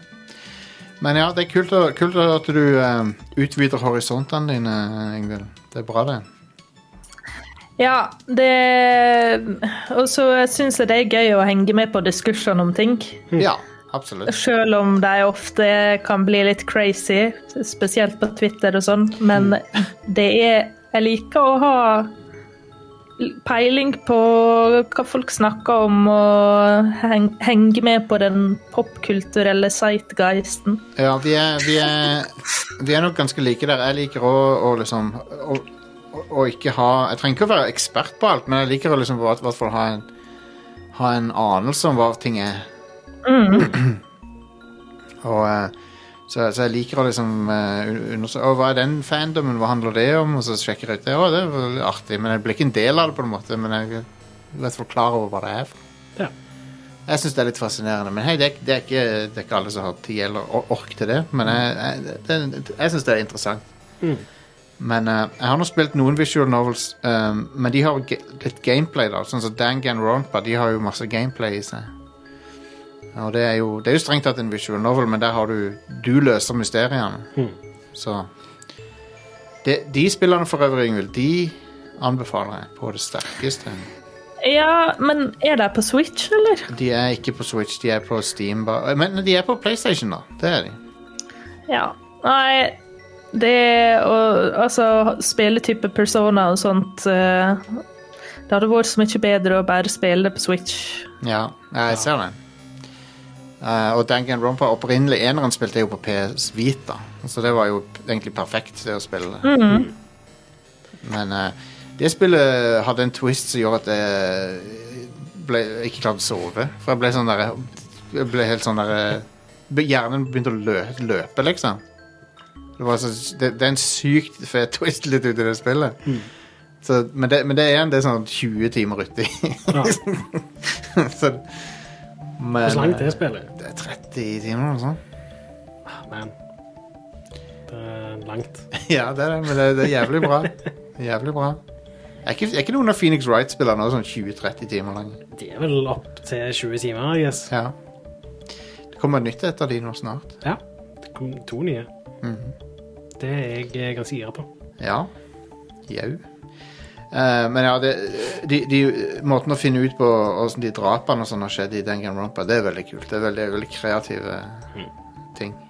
Speaker 1: Men ja, det er kult, å, kult at du eh, utvider horisontene dine, Ingvild. Det er bra, det.
Speaker 4: Ja, det Og så syns jeg det er gøy å henge med på diskusjon om ting.
Speaker 1: Ja, absolutt.
Speaker 4: Selv om de ofte kan bli litt crazy, spesielt på Twitter og sånn. Men det er Jeg liker å ha peiling på hva folk snakker om, og heng, henge med på den popkulturelle sightgeisten.
Speaker 1: Ja, vi er, vi er, vi er nok ganske like der. Jeg liker å, å liksom å, å- å ikke ha Jeg trenger ikke å være ekspert på alt, men jeg liker å liksom i hvert fall ha en, ha en anelse om hva ting er. Og eh, så, så jeg liker å liksom eh, un- undersøke Å, hva er den fandomen, hva handler det om? Og så sjekker jeg ut det. Å, det var litt artig. Men jeg blir ikke en del av det, på en måte. Men jeg er i hvert fall klar over hva det er. for.
Speaker 2: Ja.
Speaker 1: Jeg syns det er litt fascinerende. Men hei, det er, det er, ikke, det er ikke alle som har tid eller or- ork til det. Men jeg, jeg, det- det, jeg syns det er interessant. Men eh, jeg har nå spilt noen visual novels, eh, men de har ge litt gameplay, da. Sånn som Dan Ganronpa, de har jo masse gameplay i seg. Og det er jo, det er jo strengt tatt en visual novel, men der har du Du løser mysteriene. Så de, de spillerne for øvrig, Yngvild, de anbefaler jeg på det sterkeste.
Speaker 4: Ja, men er de på Switch, eller?
Speaker 1: De er ikke på Switch, de er på Steam. ba- Men de er på PlayStation, da. Det er de.
Speaker 4: Ja. Nei, det å Altså, spilletype persona og sånt eh, Det hadde vært så mye bedre å bare spille det på Switch.
Speaker 1: Ja, jeg ser den. Uh, og Dangan Rompa opprinnelig eneren spilte jeg jo på PS Vita, så det var jo egentlig perfekt det å spille. Men eh, det spillet hadde en twist som gjorde at jeg ble, ikke klarte å sove. For jeg ble sånn der Jeg ble helt sånn der eh, be- Hjernen begynte å lø, løpe, liksom. Det, var så, det, det er en sykt fet twist litt ut i det spillet. Så, men, det, men det er igjen det er sånn 20 timer uti. (laughs)
Speaker 2: Ja.
Speaker 1: så, men,
Speaker 2: Hvor langt
Speaker 1: eh,
Speaker 2: det spillet?
Speaker 1: Det er 30 timer eller noe sånt. (laughs)
Speaker 2: Ah, man. Det er langt.
Speaker 1: Ja, det er det, men det, det er jævlig bra. Jævlig bra. Er ikke, er ikke noen av Phoenix Wright-spillerne også sånn 20-30 timer lang?
Speaker 2: Det er vel opp til 20 timer, I guess.
Speaker 1: Ja. Det kommer nytt etter de nå snart.
Speaker 2: Ja. Det kom to nye.
Speaker 1: Mhm.
Speaker 2: Det er jeg eh, ganske gira på.
Speaker 1: Ja. Jau. Eh, men ja, det, de, de, måten å finne ut på åssen de drapene og sånn har skjedd i Danganronpa, det er veldig kult. Det er veldig, veldig kreative ting. Så,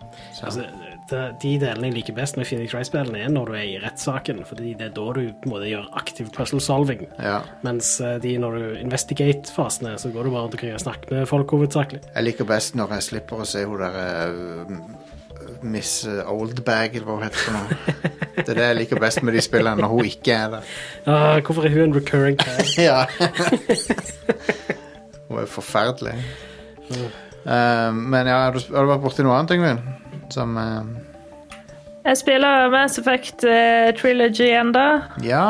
Speaker 2: Mm. Altså, det, de delene jeg liker best med Phoenix Wright-spillene, er når du er i rettssaken, fordi det er da du på en måte gjør aktiv puzzle solving.
Speaker 1: ja.
Speaker 2: Mens eh, de, når du investigate-fasene, så går du bare rundt omkring og snakker med folk hovedsakelig.
Speaker 1: Jeg liker best når jeg slipper å se hun der eh, Miss Oldbag, eller hva hun heter for noe. Det er det jeg liker best med de spillene, når hun ikke er der.
Speaker 2: Ah, hvorfor er hun en recurring character?
Speaker 1: (laughs) Ja. Hun er forferdelig. Eh, men ja, har du, har du vært borti noe annet, Yngvild? Som eh,
Speaker 4: Jeg spiller Mass Effect eh, Trilogy ennå.
Speaker 1: Ja.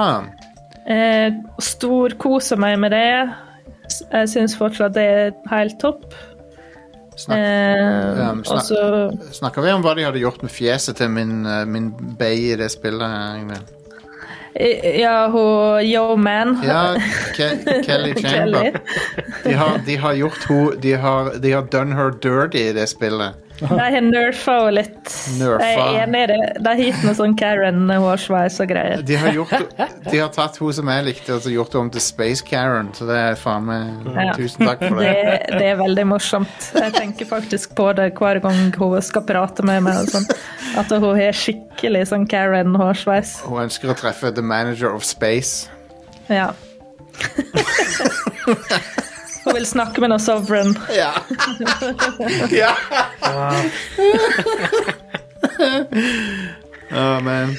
Speaker 4: Eh, Storkoser meg med det. S- Jeg syns fortsatt det er helt topp.
Speaker 1: Snak,
Speaker 4: Eh,
Speaker 1: um,
Speaker 4: og
Speaker 1: snak,
Speaker 4: så
Speaker 1: snakker vi om hva de hadde gjort med fjeset til min, eh, min bay i det spillet, Yngvild?
Speaker 4: I- eh, Ja, hun Yo Man.
Speaker 1: Ja,
Speaker 4: (laughs)
Speaker 1: Ke Kelly
Speaker 4: Kelly.
Speaker 1: Chamber. De har, de har gjort henne de, har- de har done her dirty i det spillet.
Speaker 4: De har nerfa henne litt.
Speaker 1: Nerfa.
Speaker 4: Jeg er enig i det. De har gitt noe sånn Karen-hårsveis og greier.
Speaker 1: De har, gjort, de har tatt henne som jeg likte, og så gjort henne om til Space Karen, så det er faen meg
Speaker 4: Ja.
Speaker 1: Tusen takk for
Speaker 4: Det,
Speaker 1: det.
Speaker 4: det er veldig morsomt. Jeg tenker faktisk på det hver gang hun skal prate med meg. og Sånn. At hun har skikkelig sånn Karen-hårsveis.
Speaker 1: Hun ønsker å treffe The Manager of Space.
Speaker 4: Ja. hun (laughs) vil snakke med noe sovereign.
Speaker 1: Ja. ja. Å, men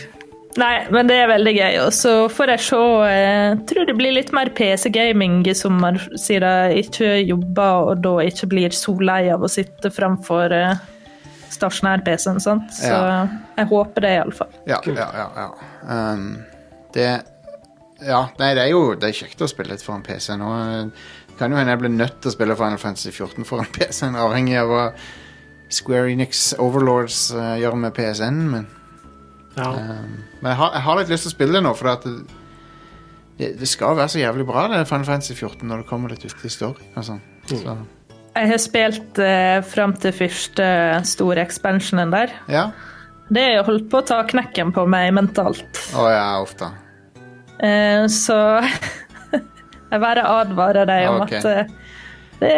Speaker 4: Nei, men det er veldig gøy. Og så får jeg se eh, Tror det blir litt mer PC-gaming i sommer, siden jeg ikke jobber og da ikke blir så lei av å sitte framfor eh, stasjonær-PC-en. sant? Så
Speaker 1: Ja.
Speaker 4: jeg håper det, iallfall.
Speaker 1: Ja, ja, ja. ja. Um, det Ja, nei, det er jo det er kjekt å spille litt for en PC nå. Det Kan jo hende jeg blir nødt til å spille Final Fantasy 14 for en PC, avhengig av hva Square Enix Overlords eh, gjør med PSN, men
Speaker 2: Ja.
Speaker 1: Um, men jeg har, jeg har litt lyst til å spille det nå, for at det, det, det skal være så jævlig bra, det Final Fantasy 14, når det kommer litt ut i story. Og sånn. så,
Speaker 4: Jeg har spilt eh, fram til første store expansionen der.
Speaker 1: ja.
Speaker 4: Det har holdt på å ta knekken på meg mentalt.
Speaker 1: Å ja, uff da.
Speaker 4: Eh, så (laughs) jeg bare advarer deg om
Speaker 1: Ok.
Speaker 4: at eh, det,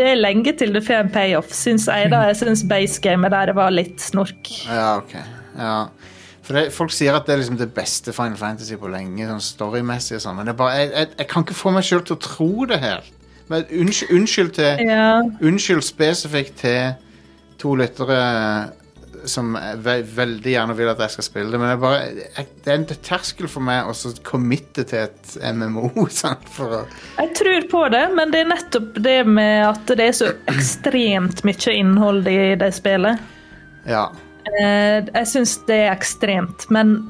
Speaker 4: det er lenge til du får en payoff, syns jeg. da. Jeg syns basegamet der var litt snork.
Speaker 1: Ja, ok. Ja. For det, folk sier at det er liksom det beste Final Fantasy på lenge, sånn storymessig og sånn, men det er bare, jeg, jeg, jeg kan ikke få meg sjøl til å tro det helt. Men unnskyld, unnskyld til
Speaker 4: Ja,
Speaker 1: Unnskyld spesifikt til to lyttere som er ve veldig gjerne vil at jeg skal spille det, men jeg bare, jeg, det er en terskel for meg å så committe til et MMO. (laughs) Sant? For å,
Speaker 4: jeg tror på det, men det er nettopp det med at det er så ekstremt mye innhold i det spillet.
Speaker 1: ja.
Speaker 4: Eh, jeg syns det er ekstremt, men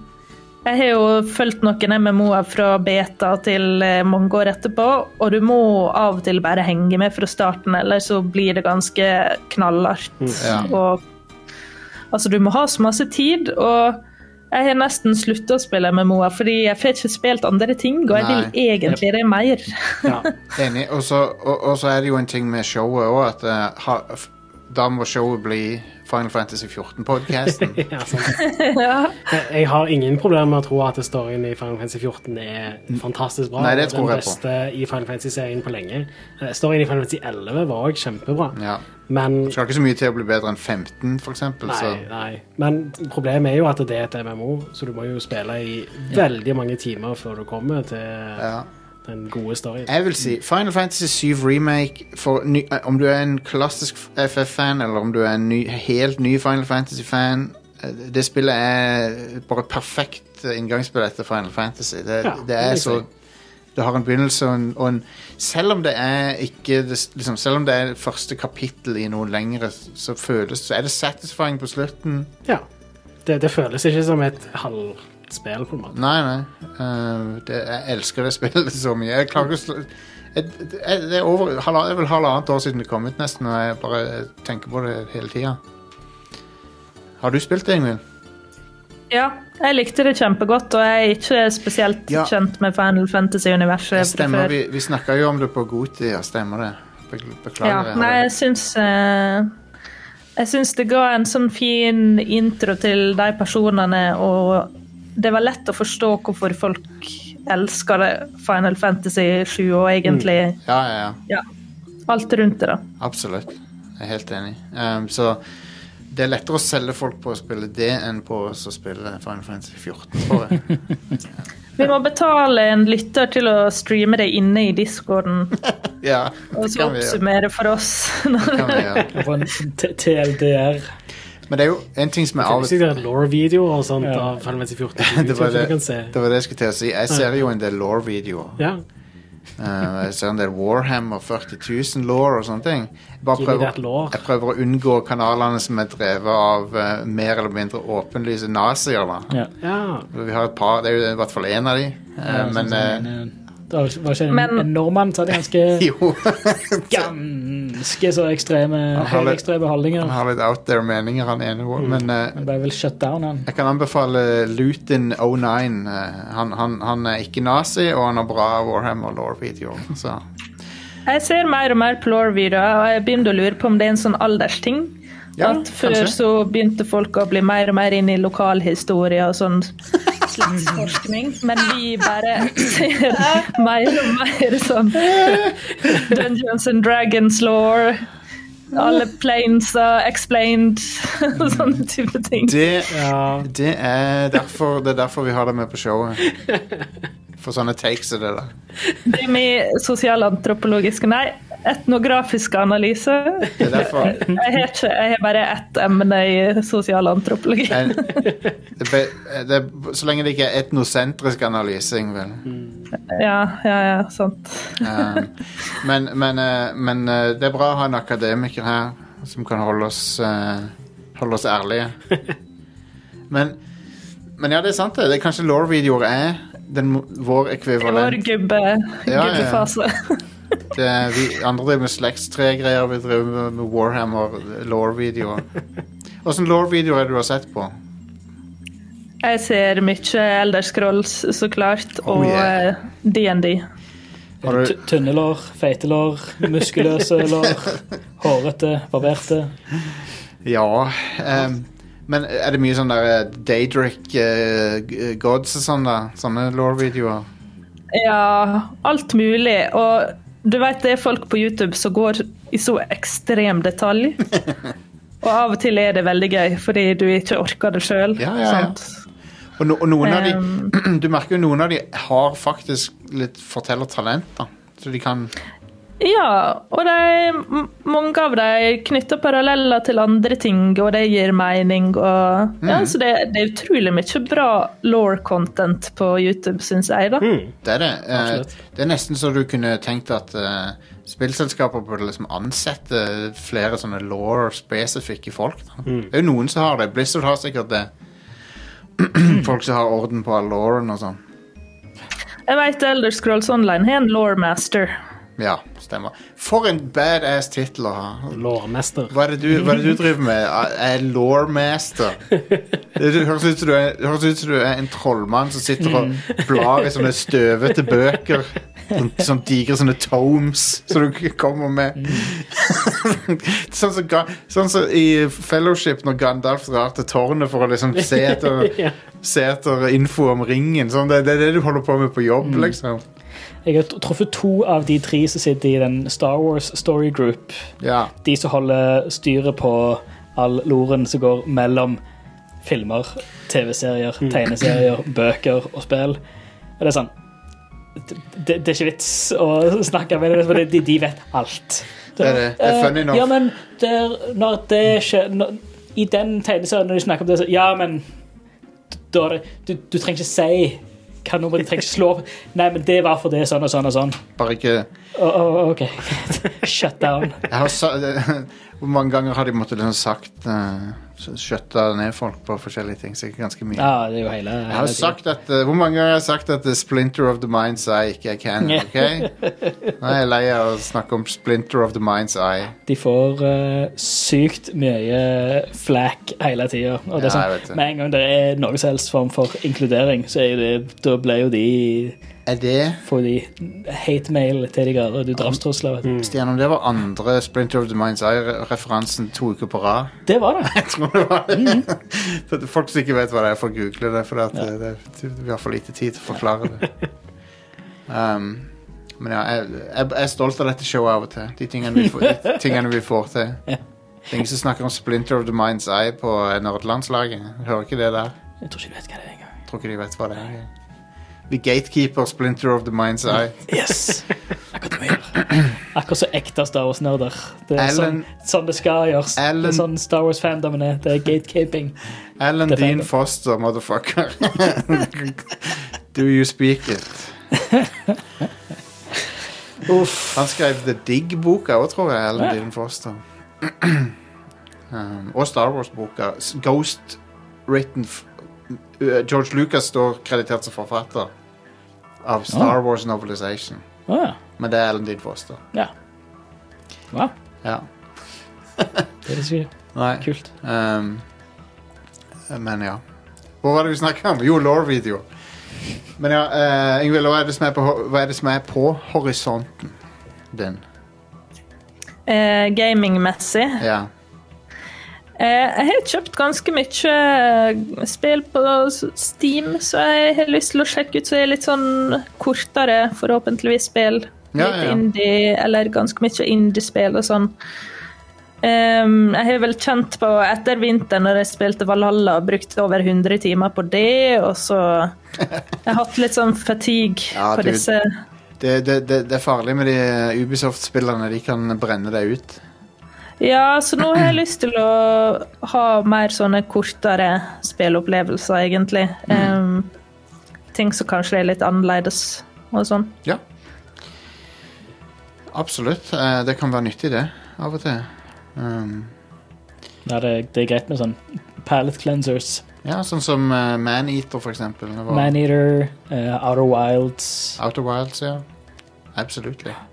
Speaker 4: jeg har jo fulgt noen MMO-er fra beta til eh, mange år etterpå, og du må av og til bare henge med fra starten, eller så blir det ganske knallhardt.
Speaker 1: Mm, Ja.
Speaker 4: Og altså, du må ha så masse tid, og jeg har nesten slutta å spille MMO-er, fordi jeg får ikke spilt andre ting, og jeg
Speaker 1: Nei.
Speaker 4: vil egentlig det mer. (laughs)
Speaker 2: ja.
Speaker 1: Enig. Og så, og, og så er det jo en ting med showet òg, at eh, ha, f- da må showet bli Final Fantasy 14-podkasten.
Speaker 2: (laughs) ja, sant.
Speaker 1: (laughs)
Speaker 2: Jeg- Jeg har ingen problemer med å tro at storyen i Final Fantasy 14 er fantastisk bra.
Speaker 1: Nei, det
Speaker 2: og
Speaker 1: tror jeg
Speaker 2: Den
Speaker 1: på.
Speaker 2: beste i Final Fantasy-serien på lenge. Eh, Storyen i Final Fantasy 11 var òg kjempebra,
Speaker 1: Ja.
Speaker 2: men
Speaker 1: Skal ikke så mye til å bli bedre enn 15, for eksempel. Så.
Speaker 2: Nei, nei. Men problemet er jo at det er et MMO, så du må jo spille i veldig mange timer før du kommer til
Speaker 1: Ja.
Speaker 2: den gode storyen.
Speaker 1: Jeg vil si Final Fantasy 7 Remake for ny, eh, Om du er en klassisk FF-fan Eller om du er en ny, helt ny Final Fantasy-fan eh, Det spillet er bare perfekt inngangsspill etter Final Fantasy Det,
Speaker 2: Ja,
Speaker 1: det er
Speaker 2: det vil jeg
Speaker 1: så Det har en begynnelse og en, og en Selv om det er ikke det s- liksom, Selv om det er første kapittel i noe lengre Så føles Så er det satisfying på slutten
Speaker 2: Ja. det, det føles ikke som et halvspill, på en måte.
Speaker 1: Nei, nei. Eh, det, jeg elsker det spillet så mye. Jeg klarer ikke å slå jeg, jeg, Det er over halva, det er vel halvannet år siden det kom ut, nesten, og jeg bare tenker på det hele tida. Har du spilt det, Ingvild?
Speaker 4: Ja, jeg likte det kjempegodt, og jeg er ikke spesielt
Speaker 1: Ja.
Speaker 4: kjent med Final Fantasy-universet fra
Speaker 1: Stemmer,
Speaker 4: før.
Speaker 1: vi vi snakka jo om det på Gotia, stemmer det? Be-
Speaker 4: Ja,
Speaker 1: Beklager. jeg
Speaker 4: nei,
Speaker 1: hadde-
Speaker 4: jeg syns eh, Jeg syns det ga en sånn fin intro til de personene, og det var lett å forstå hvorfor folk elsker det Final Fantasy 7 og egentlig
Speaker 1: ja, ja, ja.
Speaker 4: ja, alt rundt det. da.
Speaker 1: Absolutt. Jeg er helt enig. Ehm, så det er lettere å selge folk på å spille det enn på å så spille Final Fantasy 14, tror
Speaker 4: (laughs)
Speaker 1: jeg.
Speaker 4: Vi må betale en lytter til å streame det inne i
Speaker 1: (laughs)
Speaker 4: discorden
Speaker 1: Ja,
Speaker 4: og
Speaker 1: det
Speaker 4: så
Speaker 1: kan vi gjøre.
Speaker 4: oppsummere for oss. (laughs)
Speaker 1: Det kan vi gjøre.
Speaker 3: Og en T-
Speaker 1: Eh,
Speaker 3: TLDR.
Speaker 1: Men det er jo en ting
Speaker 4: (laughs)
Speaker 1: som er av
Speaker 2: Hvis det er law-videoer og sånt
Speaker 3: Ja.
Speaker 2: av Final Fantasy 14 på
Speaker 1: (laughs) det var
Speaker 2: YouTube, så
Speaker 1: det,
Speaker 2: du kan se.
Speaker 1: det var det jeg skulle til å si. Jeg ser jo en del law-videoer.
Speaker 2: Ja,
Speaker 1: Eh, jeg ser en del Warhammer 40 000 law og sånne ting. Jeg, bare
Speaker 2: give me
Speaker 1: prøver,
Speaker 2: that law.
Speaker 1: jeg prøver å unngå kanalene som er drevet av eh, mer eller mindre åpenlyse nazier. da.
Speaker 3: Ja.
Speaker 2: Ja.
Speaker 1: Vi har et par, Det er jo i hvert fall én av de. Eh,
Speaker 3: Ja,
Speaker 1: men
Speaker 3: sånn som
Speaker 1: eh,
Speaker 3: en, eh, det var var ikke en,
Speaker 4: Men-
Speaker 3: en nordmann som hadde ganske,
Speaker 1: (laughs) jo,
Speaker 3: ganske så ekstreme,
Speaker 1: har litt-
Speaker 3: ekstreme
Speaker 1: han
Speaker 3: holdninger.
Speaker 1: har litt out there meninger, han ene. Men eh,
Speaker 3: Han ble vel shut down, han.
Speaker 1: Jeg kan anbefale Lutin 09. eh, Han, han, han er ikke nazi, og han har bra Warhammer Law-videoer. Så
Speaker 4: Jeg ser mer og mer Plore-videoer, og jeg begynner å lure på om det er en sånn aldersting.
Speaker 1: Ja,
Speaker 4: at før
Speaker 1: kanskje.
Speaker 4: så begynte folk å bli mer og mer inn i lokalhistorie og sånn slektsforskning, men vi bare ser mer og mer sånn Dungeons and Dragons law, alle planes are explained, (laughs) og sånne type ting.
Speaker 1: det,
Speaker 2: ja.
Speaker 1: det, er derfor, det er derfor vi har det med på showet. For sånne takes er det der.
Speaker 4: Det er med sosialantropologiske, nei, etnografiske analyser.
Speaker 1: Det er derfor
Speaker 4: Jeg har, ikke, jeg har bare ett emne i sosialantropologi.
Speaker 1: en, det be- det, er- Så lenge det ikke er etnosentrisk analyse, Ingvild.
Speaker 4: Ja, ja, ja, sant.
Speaker 1: Um, men, men, eh, men eh, det er bra å ha en akademiker her som kan holde oss, eh, holde oss ærlige. Men, men ja, det er sant det. det er kanskje Law-videoer er den, mo- vår
Speaker 4: Det var
Speaker 1: ekvivalent.
Speaker 4: gubbe,
Speaker 1: ja, ja.
Speaker 4: gubbefase. (laughs)
Speaker 1: Det er, vi andre driver med slektstregreier, vi driver med- med Warhammer Law-videoer. Åssen Law-videoer er det du har sett på?
Speaker 4: Jeg ser mye Elder Scrolls, så klart,
Speaker 1: Oh,
Speaker 4: og
Speaker 1: yeah.
Speaker 4: eh, DND.
Speaker 1: Har du-
Speaker 3: T- Tynne lår, feite lår,
Speaker 1: (laughs)
Speaker 3: muskuløse lår, hårete, barberte.
Speaker 1: Ja ehm, Men er det mye sånn der eh, Daedric eh, g- Gods og sånn, da? Sånne Law-videoer?
Speaker 4: Ja, alt mulig. Og du vet det er folk på YouTube som går i så ekstrem detalj.
Speaker 1: (laughs)
Speaker 4: Og av og til er det veldig gøy, fordi du ikke orker det sjøl.
Speaker 1: Ja, ja, ja. Og, no, og noen av de (clears throat) Du merker jo noen av de har faktisk litt fortellertalent, da. Så de kan
Speaker 4: Ja, og de, m- mange av dem knytter paralleller til andre ting, og det gir mening. Og, ja, så det, det er utrolig mye bra law-content på YouTube, syns jeg. da.
Speaker 1: Det er det. Eh,
Speaker 2: Absolutt.
Speaker 1: det er nesten så du kunne tenkt at eh, spillselskaper burde liksom ansette flere sånne law-spesifikke folk. Da. Det er jo noen som har det. Blizzard har sikkert det. folk som har orden på all lawen og sånn.
Speaker 4: Jeg vet Elder Scrolls Online har en law-master.
Speaker 1: Ja, stemmer. For en badass tittel å ha. (laughs)
Speaker 2: Lårmester.
Speaker 1: Hva er, det du, hva er det du driver med? Jeg er lawmaster. Det du- høres ut som du er, det høres ut som du er en trollmann som sitter og blar i sånne støvete bøker. Som, som digre sånne tomes som du kommer med. (laughs) sånn som Ga- sånn som i Fellowship, når Gandalf drar til tårnet for å liksom se etter,
Speaker 2: Ja.
Speaker 1: se etter info om ringen. Sånn, det, det er det du holder på med på jobb, liksom.
Speaker 3: Jeg har tr- truffet to av de tre som sitter i den Star Wars Story Group.
Speaker 1: Ja.
Speaker 3: De som holder styret på all loren som går mellom filmer, TV-serier, tegneserier, bøker og spill. Og det er sånn det, det, det er ikke vits å snakke med dem, for de, de vet alt.
Speaker 1: Det er det. Det er
Speaker 3: Eh,
Speaker 1: funny enough.
Speaker 3: Ja, men der, når det skjer når, I den tegneserien, når de snakker om det, så Ja, men da er det, du, du trenger ikke si hva nummer de trenger ikke slå opp. Nei, men det var for det, sånn og sånn og sånn.
Speaker 1: Bare ikke
Speaker 3: Å, å, OK. (laughs) Shut down.
Speaker 1: Jeg har sa, (laughs) hvor mange ganger har de måttet liksom sagt eh, s- Skjøtta ned folk på forskjellige ting? Sikkert ganske mye.
Speaker 3: Ja, det er jo hele, hele
Speaker 1: Jeg har
Speaker 3: tiden.
Speaker 1: sagt at, eh, Hvor mange ganger har jeg sagt at eh, Splinter of the Mind's Eye ikke er canon? ok? Nå er jeg lei av å snakke om Splinter of the Mind's Eye.
Speaker 3: De får eh, sykt mye flak hele tida. Og det
Speaker 1: Ja,
Speaker 3: er
Speaker 1: jeg vet det.
Speaker 3: sånn, med en gang det er noen som helst form for inkludering, så er jo det, da ble jo de
Speaker 1: Er det
Speaker 3: Får de hate-mail til de grader. Du drapstrusler.
Speaker 1: Stian, om det var andre Splinter of the Mind's Eye-referansen to uker på rad?
Speaker 3: Det var det.
Speaker 1: Jeg tror det var (laughs) det. Så Folk som ikke vet hva det er, får google det, for at det, det, vi har for lite tid til å forklare det. Um, men ja, jeg, jeg, jeg er stolt av dette showet av og til. De tingene vi, får- de tingene vi får til.
Speaker 3: Ja.
Speaker 1: Det er ingen som snakker om Splinter of the Mind's Eye på eh, nerdlandslaget. Jeg Hører ikke det der.
Speaker 3: Jeg tror ikke du vet hva det er engang.
Speaker 1: Jeg tror ikke de vet hva det er. The Gatekeeper, Splinter of the Mind's Eye.
Speaker 3: Yes. Akkurat det vi gjør. Akkurat så ekte Star Wars-nerder. Det er
Speaker 1: Alan-
Speaker 3: sånn, sånn det skal gjøres. Det
Speaker 1: Alan-
Speaker 3: er sånn Star Wars-fandomen er. Det er gatekeeping.
Speaker 1: Alan
Speaker 3: Det er
Speaker 1: Dean
Speaker 3: feil.
Speaker 1: Foster,
Speaker 3: (laughs)
Speaker 1: motherfucker. Do you speak it?
Speaker 3: Uff.
Speaker 1: Han skrev The Dig-boka òg, tror jeg. Alan Dean Foster. (clears throat) um, og Star Wars-boka. S- Ghost written f uh, George Lucas står kreditert som forfatter av Star Wars Novelization.
Speaker 3: Å ja.
Speaker 1: Men det er Alan Dean Foster.
Speaker 3: ja. Wow.
Speaker 1: Ja.
Speaker 3: Det er sikkert
Speaker 1: Nei.
Speaker 3: kult.
Speaker 1: Um, men ja. Hvor var det vi snakket om? Jo, law-video. Men ja, uh, Ingvild, hva er det som er på, ho- hva er det som er på horisonten din?
Speaker 4: Eh, Gamingmessig.
Speaker 1: Ja.
Speaker 4: Eh, jeg har kjøpt ganske mye eh, spill på s- Steam, så jeg har lyst til å sjekke ut så er litt sånn kortere, forhåpentligvis, spill.
Speaker 1: Ja,
Speaker 4: litt
Speaker 1: ja, ja.
Speaker 4: indie, eller ganske mye indie-spill og sånn. Ehm, jeg har vel kjent på etter vinteren når jeg spilte Valhalla og brukte over 100 timer på det, og
Speaker 1: (laughs)
Speaker 4: så Jeg har hatt litt sånn fatigue
Speaker 1: Ja,
Speaker 4: på
Speaker 1: du-
Speaker 4: disse
Speaker 1: Det, det, det, det er farlig med de eh, Ubisoft-spillerne. De kan brenne deg ut.
Speaker 4: Ja, så nå har jeg lyst til å ha mer sånne kortere spillopplevelser, egentlig. Em, ting som kanskje er litt annerledes og sånn.
Speaker 1: Ja. Absolutt. eh, Det kan være nyttig, det. Av og til. Um,
Speaker 3: Nei, det, det er greit med sånn palate cleansers.
Speaker 1: ja, sånn som eh, Maneater, for eksempel. Det var-
Speaker 3: Maneater, uh, Outer Wilds,
Speaker 1: Outer Wilds, ja. Absolutt.
Speaker 3: Ratchet,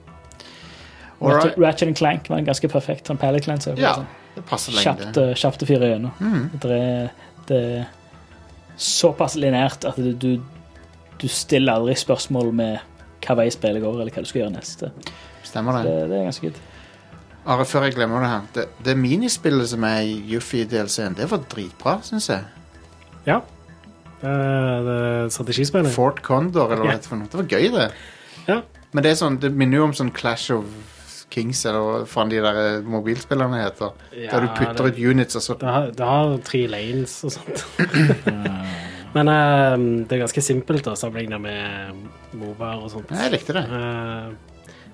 Speaker 1: Alright.
Speaker 3: Ratchet and Clank var en ganske perfekt sånn palate cleanser.
Speaker 1: Ja,
Speaker 3: Sånn,
Speaker 1: det Mm. passer
Speaker 3: Kjapt,
Speaker 1: lengde.
Speaker 3: eh, kjapt å fyre gjennom. Det, er- det er såpass linært at du, du, du stiller aldri spørsmål med hva vei spillet går, eller hva du skal gjøre neste.
Speaker 1: Stemmer det.
Speaker 3: Det, det er ganske good.
Speaker 1: Are, før jeg glemmer det her. Det, det minispillet som er i Yuffie i DLC-en, det var dritbra, syns jeg.
Speaker 2: Ja. Det er det er strategispillet.
Speaker 1: Fort Condor, eller hva det heter for noe. Det var gøy, det.
Speaker 2: Ja.
Speaker 1: Men det, er sånn, det minner jo om sånn Clash of Kings, eller hva faen de der eh, mobilspillerne heter.
Speaker 2: Ja,
Speaker 1: der du putter
Speaker 2: det-
Speaker 1: ut units, og så
Speaker 2: Det har, det har tre lanes og sånt. Men eh, det er ganske simpelt da, sammenlignet med Movaer og sånt.
Speaker 1: Nei, Jeg likte det.
Speaker 2: Eh,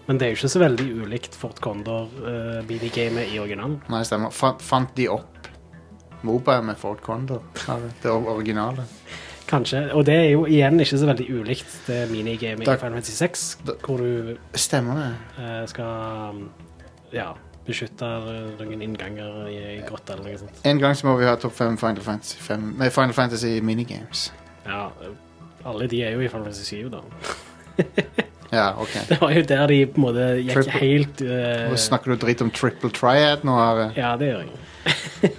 Speaker 2: men det er jo ikke så veldig ulikt Fort Condor-minigamet i originalen.
Speaker 1: Nei, stemmer. Fant, fant de opp Moba med Fort Condor? Det or- originale.
Speaker 2: Kanskje. Og det er jo igjen ikke så veldig ulikt det minigamet i
Speaker 1: Takk.
Speaker 2: Final Fantasy 6,
Speaker 1: Da-
Speaker 2: hvor du
Speaker 1: Stemmer det.
Speaker 2: eh, skal ja, beskytte eh, noen innganger i, i grotta eller noe sånt.
Speaker 1: En gang så må vi ha topp fem Final Fantasy, fem, nei, Final Fantasy minigames.
Speaker 2: Ja, eh, alle de er jo i Final Fantasy 7, da. (laughs)
Speaker 1: Ja, OK.
Speaker 2: Det var jo der de på en måte gikk
Speaker 1: Triple-
Speaker 2: helt eh,
Speaker 1: Nå snakker du dritt om Triple Triad nå, Are.
Speaker 2: Ja, det gjør jeg.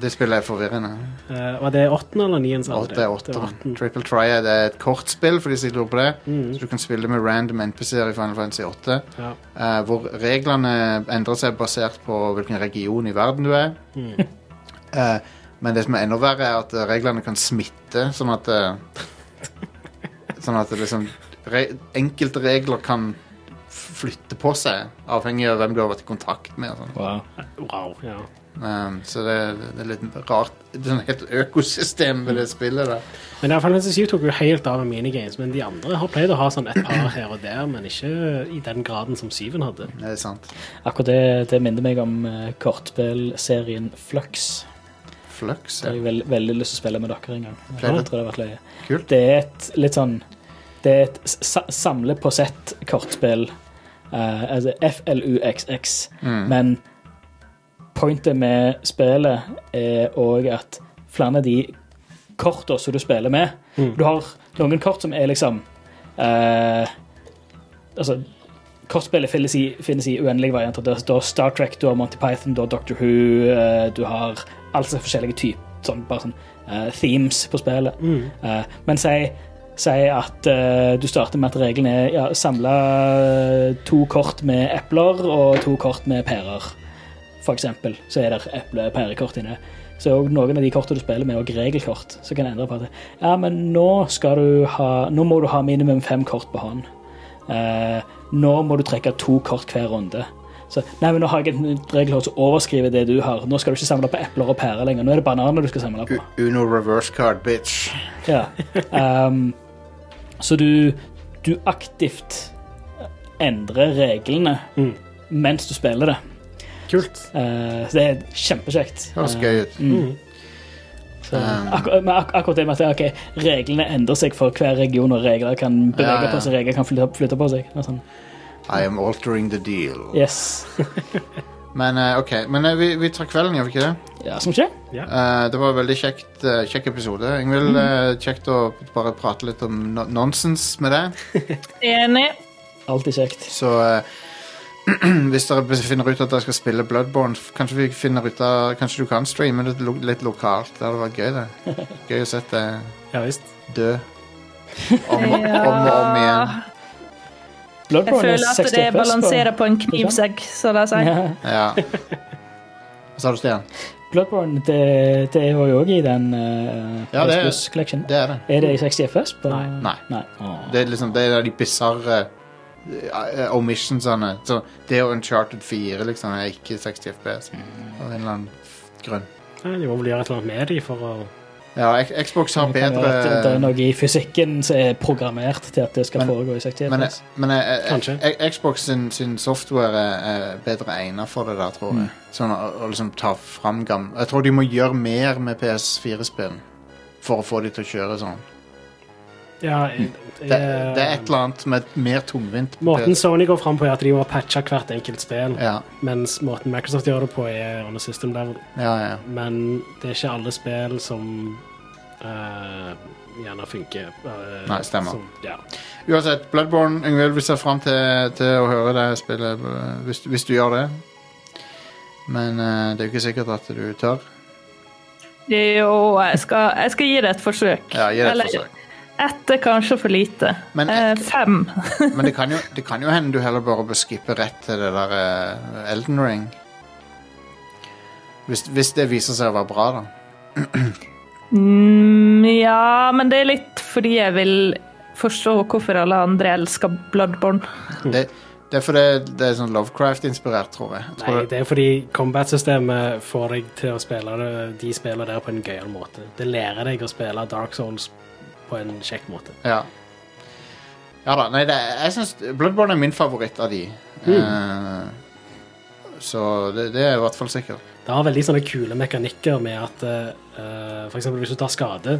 Speaker 1: Det spillet er forvirrende.
Speaker 2: Eh, var det åttende eller niende? som
Speaker 1: Åtte er
Speaker 2: hadde Det var Mm.
Speaker 1: åtteren.
Speaker 2: åtten.
Speaker 1: Triple Triad er et kortspill, for de som lurer på det. Så du kan spille med random NPC-er i Final Fantasy 8.
Speaker 2: Mhm. Ja.
Speaker 1: eh, hvor reglene endrer seg basert på hvilken region i verden du er.
Speaker 2: Mhm.
Speaker 1: (laughs) Eh, men det som er enda verre, er at eh, reglene kan smitte, sånn at
Speaker 2: (laughs)
Speaker 1: eh, Sånn at det liksom re Enkelte regler kan f- flytte på seg, avhengig av hvem du har vært i kontakt med. og Sånn.
Speaker 3: Wow.
Speaker 2: Wow. Ja.
Speaker 1: Um, så det, det er litt rart Det er sånn helt økosystem ved det spillet der.
Speaker 2: Men Final Fantasy 7 tok jo helt av med minigames, men de andre har pleid å ha sånn et par her og der, men ikke i den graden som syven hadde.
Speaker 1: Det er sant.
Speaker 3: Akkurat det, det minner meg om eh, kortspillserien Flux.
Speaker 1: Flux,
Speaker 3: Det har
Speaker 1: ja.
Speaker 3: jeg vel, veldig lyst til å spille med dere en gang.
Speaker 1: Pleier
Speaker 3: Jeg
Speaker 1: det.
Speaker 3: tror det har vært løye.
Speaker 1: Kult.
Speaker 3: Det er et litt sånn Det er et sa samle på sett-kortspill. eh, altså FLUXX.
Speaker 1: Mm.
Speaker 3: Men pointet med spillet er òg at flere av de kortene som du spiller med Du har noen kort som er liksom eh, Altså Kortspillet finnes i, finnes i uendelige varianter. Du har- Du har Star Trek, du har Monty Python, du har Doctor Who, eh, du har alt sånne forskjellige typer sånn, bare sånn, eh, themes på spillet. Eh, men si, si at eh, du starter med at reglene er ja, samle to kort med epler og to kort med pærer. For eksempel, så er det eple- og pærekort inne. Så er også noen av de kortene du spiller med, er også regelkort. Så kan jeg endre på at ja, men nå, skal du ha, nå må du ha minimum fem kort på hånd. Eh, nå må du trekke to kort hver runde. Så, nei, men nå har jeg et regelkort som overskriver det du har. Nå skal du ikke samle på epler og pærer lenger. Nå er det bananer du skal samle på.
Speaker 1: U- Uno reverse card, bitch.
Speaker 3: Ja. Ehm, så du, du aktivt endrer reglene mens du spiller det.
Speaker 2: Kult.
Speaker 3: Eh, så det er kjempekjekt.
Speaker 1: Høres gøy
Speaker 3: Mm.
Speaker 1: ut.
Speaker 3: Så akkur men ak akkurat det med at ok, reglene endrer seg for hver region, og regler kan bevege
Speaker 1: Ja, ja.
Speaker 3: på seg, regler kan flytte, flytte på seg. og Sånn.
Speaker 1: I am altering the deal.
Speaker 3: Yes.
Speaker 1: Men eh, ok, men eh, vi, vi tar kvelden, gjør vi ikke det?
Speaker 3: Ja, som skjer.
Speaker 1: Eh, det var en veldig kjekt, eh, kjekk episode.
Speaker 3: Mm.
Speaker 1: Ingvild, eh, kjekt å bare prate litt om no nonsens med deg.
Speaker 4: Enig.
Speaker 3: Alltid kjekt.
Speaker 1: Så eh, (clears throat) hvis dere finner ut at dere skal spille Bloodborne, f- kanskje vi finner ut av Kanskje du kan streame det lo litt lokalt. Det hadde vært gøy,
Speaker 3: (laughs)
Speaker 1: det. Gøy å se deg
Speaker 2: Ja visst.
Speaker 1: dø om, og- om og om igjen.
Speaker 4: Jeg
Speaker 3: Bloodborne er
Speaker 4: føler at
Speaker 3: 60
Speaker 4: det
Speaker 3: FPS på-
Speaker 4: balanserer på en knivsegg, så sånn, la oss si.
Speaker 3: (laughs) Ja.
Speaker 1: Ja. Hva sa du, Stian?
Speaker 3: Bloodborne det, det var jo òg i den uh,
Speaker 1: Ja, det er-
Speaker 3: Plus Collection.
Speaker 1: Det er det.
Speaker 3: Er det i 60 FPS? På, nei.
Speaker 1: Nei. Det er liksom det er de bisarre eh, omissionsene. Så det og Uncharted 4 liksom er ikke 60 FPS
Speaker 3: Mm.
Speaker 1: av en eller annen f- grunn.
Speaker 2: Nei, De må vel gjøre et eller annet med de for å
Speaker 1: Ja, X- Xbox har
Speaker 3: Det kan
Speaker 1: bedre
Speaker 3: være at det er noe i fysikken som er programmert til at det skal
Speaker 1: Men-
Speaker 3: foregå i 60
Speaker 1: Men,
Speaker 3: FPS.
Speaker 1: men eh, eh,
Speaker 2: Kanskje.
Speaker 1: eh, Xbox sin, sin software er, er bedre egnet for det der,
Speaker 3: Mm.
Speaker 1: tror jeg. Sånn å, å liksom ta fram gam... Jeg tror de må gjøre mer med PS4-spill for å få de til å kjøre sånn.
Speaker 2: Ja, jeg-
Speaker 1: Det, Mm.
Speaker 2: Eh,
Speaker 1: det er et eller annet med mer tungvint på
Speaker 2: Måten
Speaker 1: PS4.
Speaker 2: Sony går fram på, er at de må patche hvert enkelt spill.
Speaker 1: Ja,
Speaker 2: Mens måten Microsoft gjør det på, er on a system level.
Speaker 1: ja, ja.
Speaker 2: Men det er ikke alle spill som eh, gjerne funker. eh,
Speaker 1: Nei, stemmer.
Speaker 2: Som, ja.
Speaker 1: Uansett, Bloodborne, Yngvild, vi ser frem til, til å høre deg spille eh, hvis, hvis du gjør det. Men eh, det er jo ikke sikkert at du tør.
Speaker 4: Jo, jeg skal, jeg skal gi det et forsøk.
Speaker 1: Ja, gi det et
Speaker 4: Eller,
Speaker 1: forsøk.
Speaker 4: Ett er kanskje for lite.
Speaker 1: Men-
Speaker 4: eh, fem.
Speaker 1: Men det kan, jo, det kan jo hende du heller bare bør skippe rett til det der eh, Elden Ring. Hvis, hvis det viser seg å være bra, da.
Speaker 4: Mm, ja, men det er litt fordi jeg vil forstå hvorfor alle andre elsker Bloodborne.
Speaker 1: Det, det er fordi det er sånn Lovecraft-inspirert, tror jeg. jeg
Speaker 2: Nei,
Speaker 1: tror det,
Speaker 2: det er fordi combat-systemet får deg til å spille det, de spillene der på en gøyal måte. Det lærer deg å spille Dark Souls på en kjekk måte.
Speaker 1: ja. ja da. Nei, det, er- jeg syns Bloodborne er min favoritt av de.
Speaker 2: Mm.
Speaker 1: Eh, så det, det er i hvert fall sikkert.
Speaker 2: Det har veldig sånne kule mekanikker med at eh, for eksempel hvis du tar skade,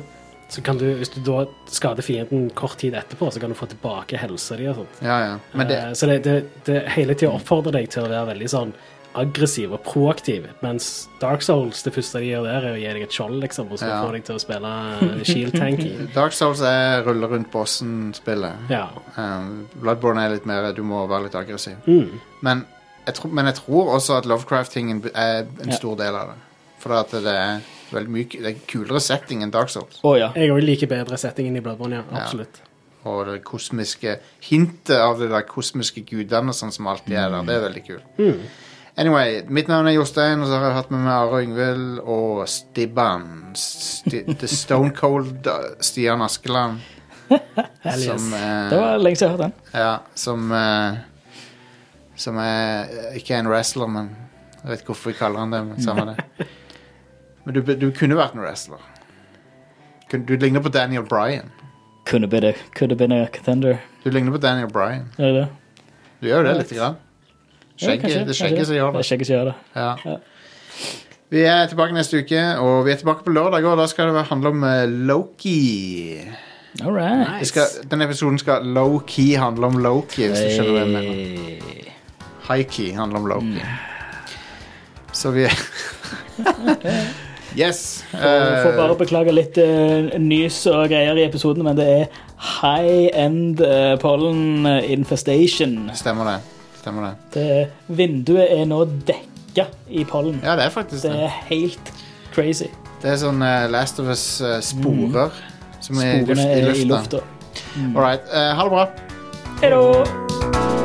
Speaker 2: så kan du, hvis du da skader fienden kort tid etterpå, så kan du få tilbake helsa di og sånt.
Speaker 1: Ja, ja. Men det,
Speaker 2: Eh, Så det, det, det hele tida oppfordrer deg til å være veldig sånn aggressiv og proaktiv, mens Dark Souls, det første de gjør der, er å gi deg et skjold, liksom, og så
Speaker 1: Ja.
Speaker 2: får deg til å spille eh, shield tank i.
Speaker 1: (laughs) Dark Souls er rulle rundt bossen-spillet.
Speaker 2: Ja.
Speaker 1: Um, Bloodborne er litt mer Du må være litt aggressiv.
Speaker 2: Mm.
Speaker 1: Men, jeg tror- men jeg tror også at Lovecraft-tingen er en stor del av det. For at det er veldig mye Det er en kulere setting enn Dark Souls.
Speaker 3: Å ja.
Speaker 2: Jeg òg liker bedre settingen i Bloodborne, ja. Absolutt.
Speaker 1: Og det kosmiske hintet av det der kosmiske gudene og sånn som alltid er der. Det er veldig kult. Anyway, mitt navn er Jostein, og så har jeg hatt med meg Are Yngvild og Stibban. Sti, the Stone Cold uh, Stian Askeland.
Speaker 2: Hell yes.
Speaker 1: Som, eh,
Speaker 3: Det var lenge siden jeg hørte den.
Speaker 1: Ja, som eh, Som er eh, ikke er en wrestler, men jeg vet ikke hvorfor vi kaller han det. Men samme det. Men du, du kunne vært en wrestler. Kun- Du ligner på Daniel Bryan.
Speaker 3: Kunne been a, could have been a contender.
Speaker 1: Du ligner på Daniel Bryan.
Speaker 3: Er det det?
Speaker 1: Du gjør jo det lite grann.
Speaker 3: Ja, kanskje,
Speaker 1: Skjegget, det er
Speaker 3: kanskje
Speaker 1: skjegget som gjør
Speaker 3: Det
Speaker 1: det.
Speaker 3: er skjegget som gjør det.
Speaker 1: Ja. Vi er tilbake neste uke, og vi er tilbake på lørdag, og da skal det være- handle om eh, Loki.
Speaker 3: All right.
Speaker 1: Det skal, den episoden skal low-key handle om Loki, hvis du skjønner hva jeg mener.
Speaker 3: Hey. Mm.
Speaker 1: High-key handler om Loki. Så vi
Speaker 3: (laughs)
Speaker 1: Yes!
Speaker 3: Jeg får
Speaker 1: eh,
Speaker 3: bare beklage litt eh, nys og greier i episoden, men det er high-end eh, pollen infestation.
Speaker 1: stemmer det. Stemmer det.
Speaker 3: Det, vinduet er nå dekka i pollen.
Speaker 1: Ja, det er faktisk
Speaker 3: Det
Speaker 1: det.
Speaker 3: er helt crazy.
Speaker 1: Det er sånn eh, Last of Us-sporer som er i, luft,
Speaker 3: Mm. Sporene
Speaker 1: i
Speaker 3: er
Speaker 1: lufta.
Speaker 3: i lufta.
Speaker 1: All right. eh, ha det bra.
Speaker 3: Hei da!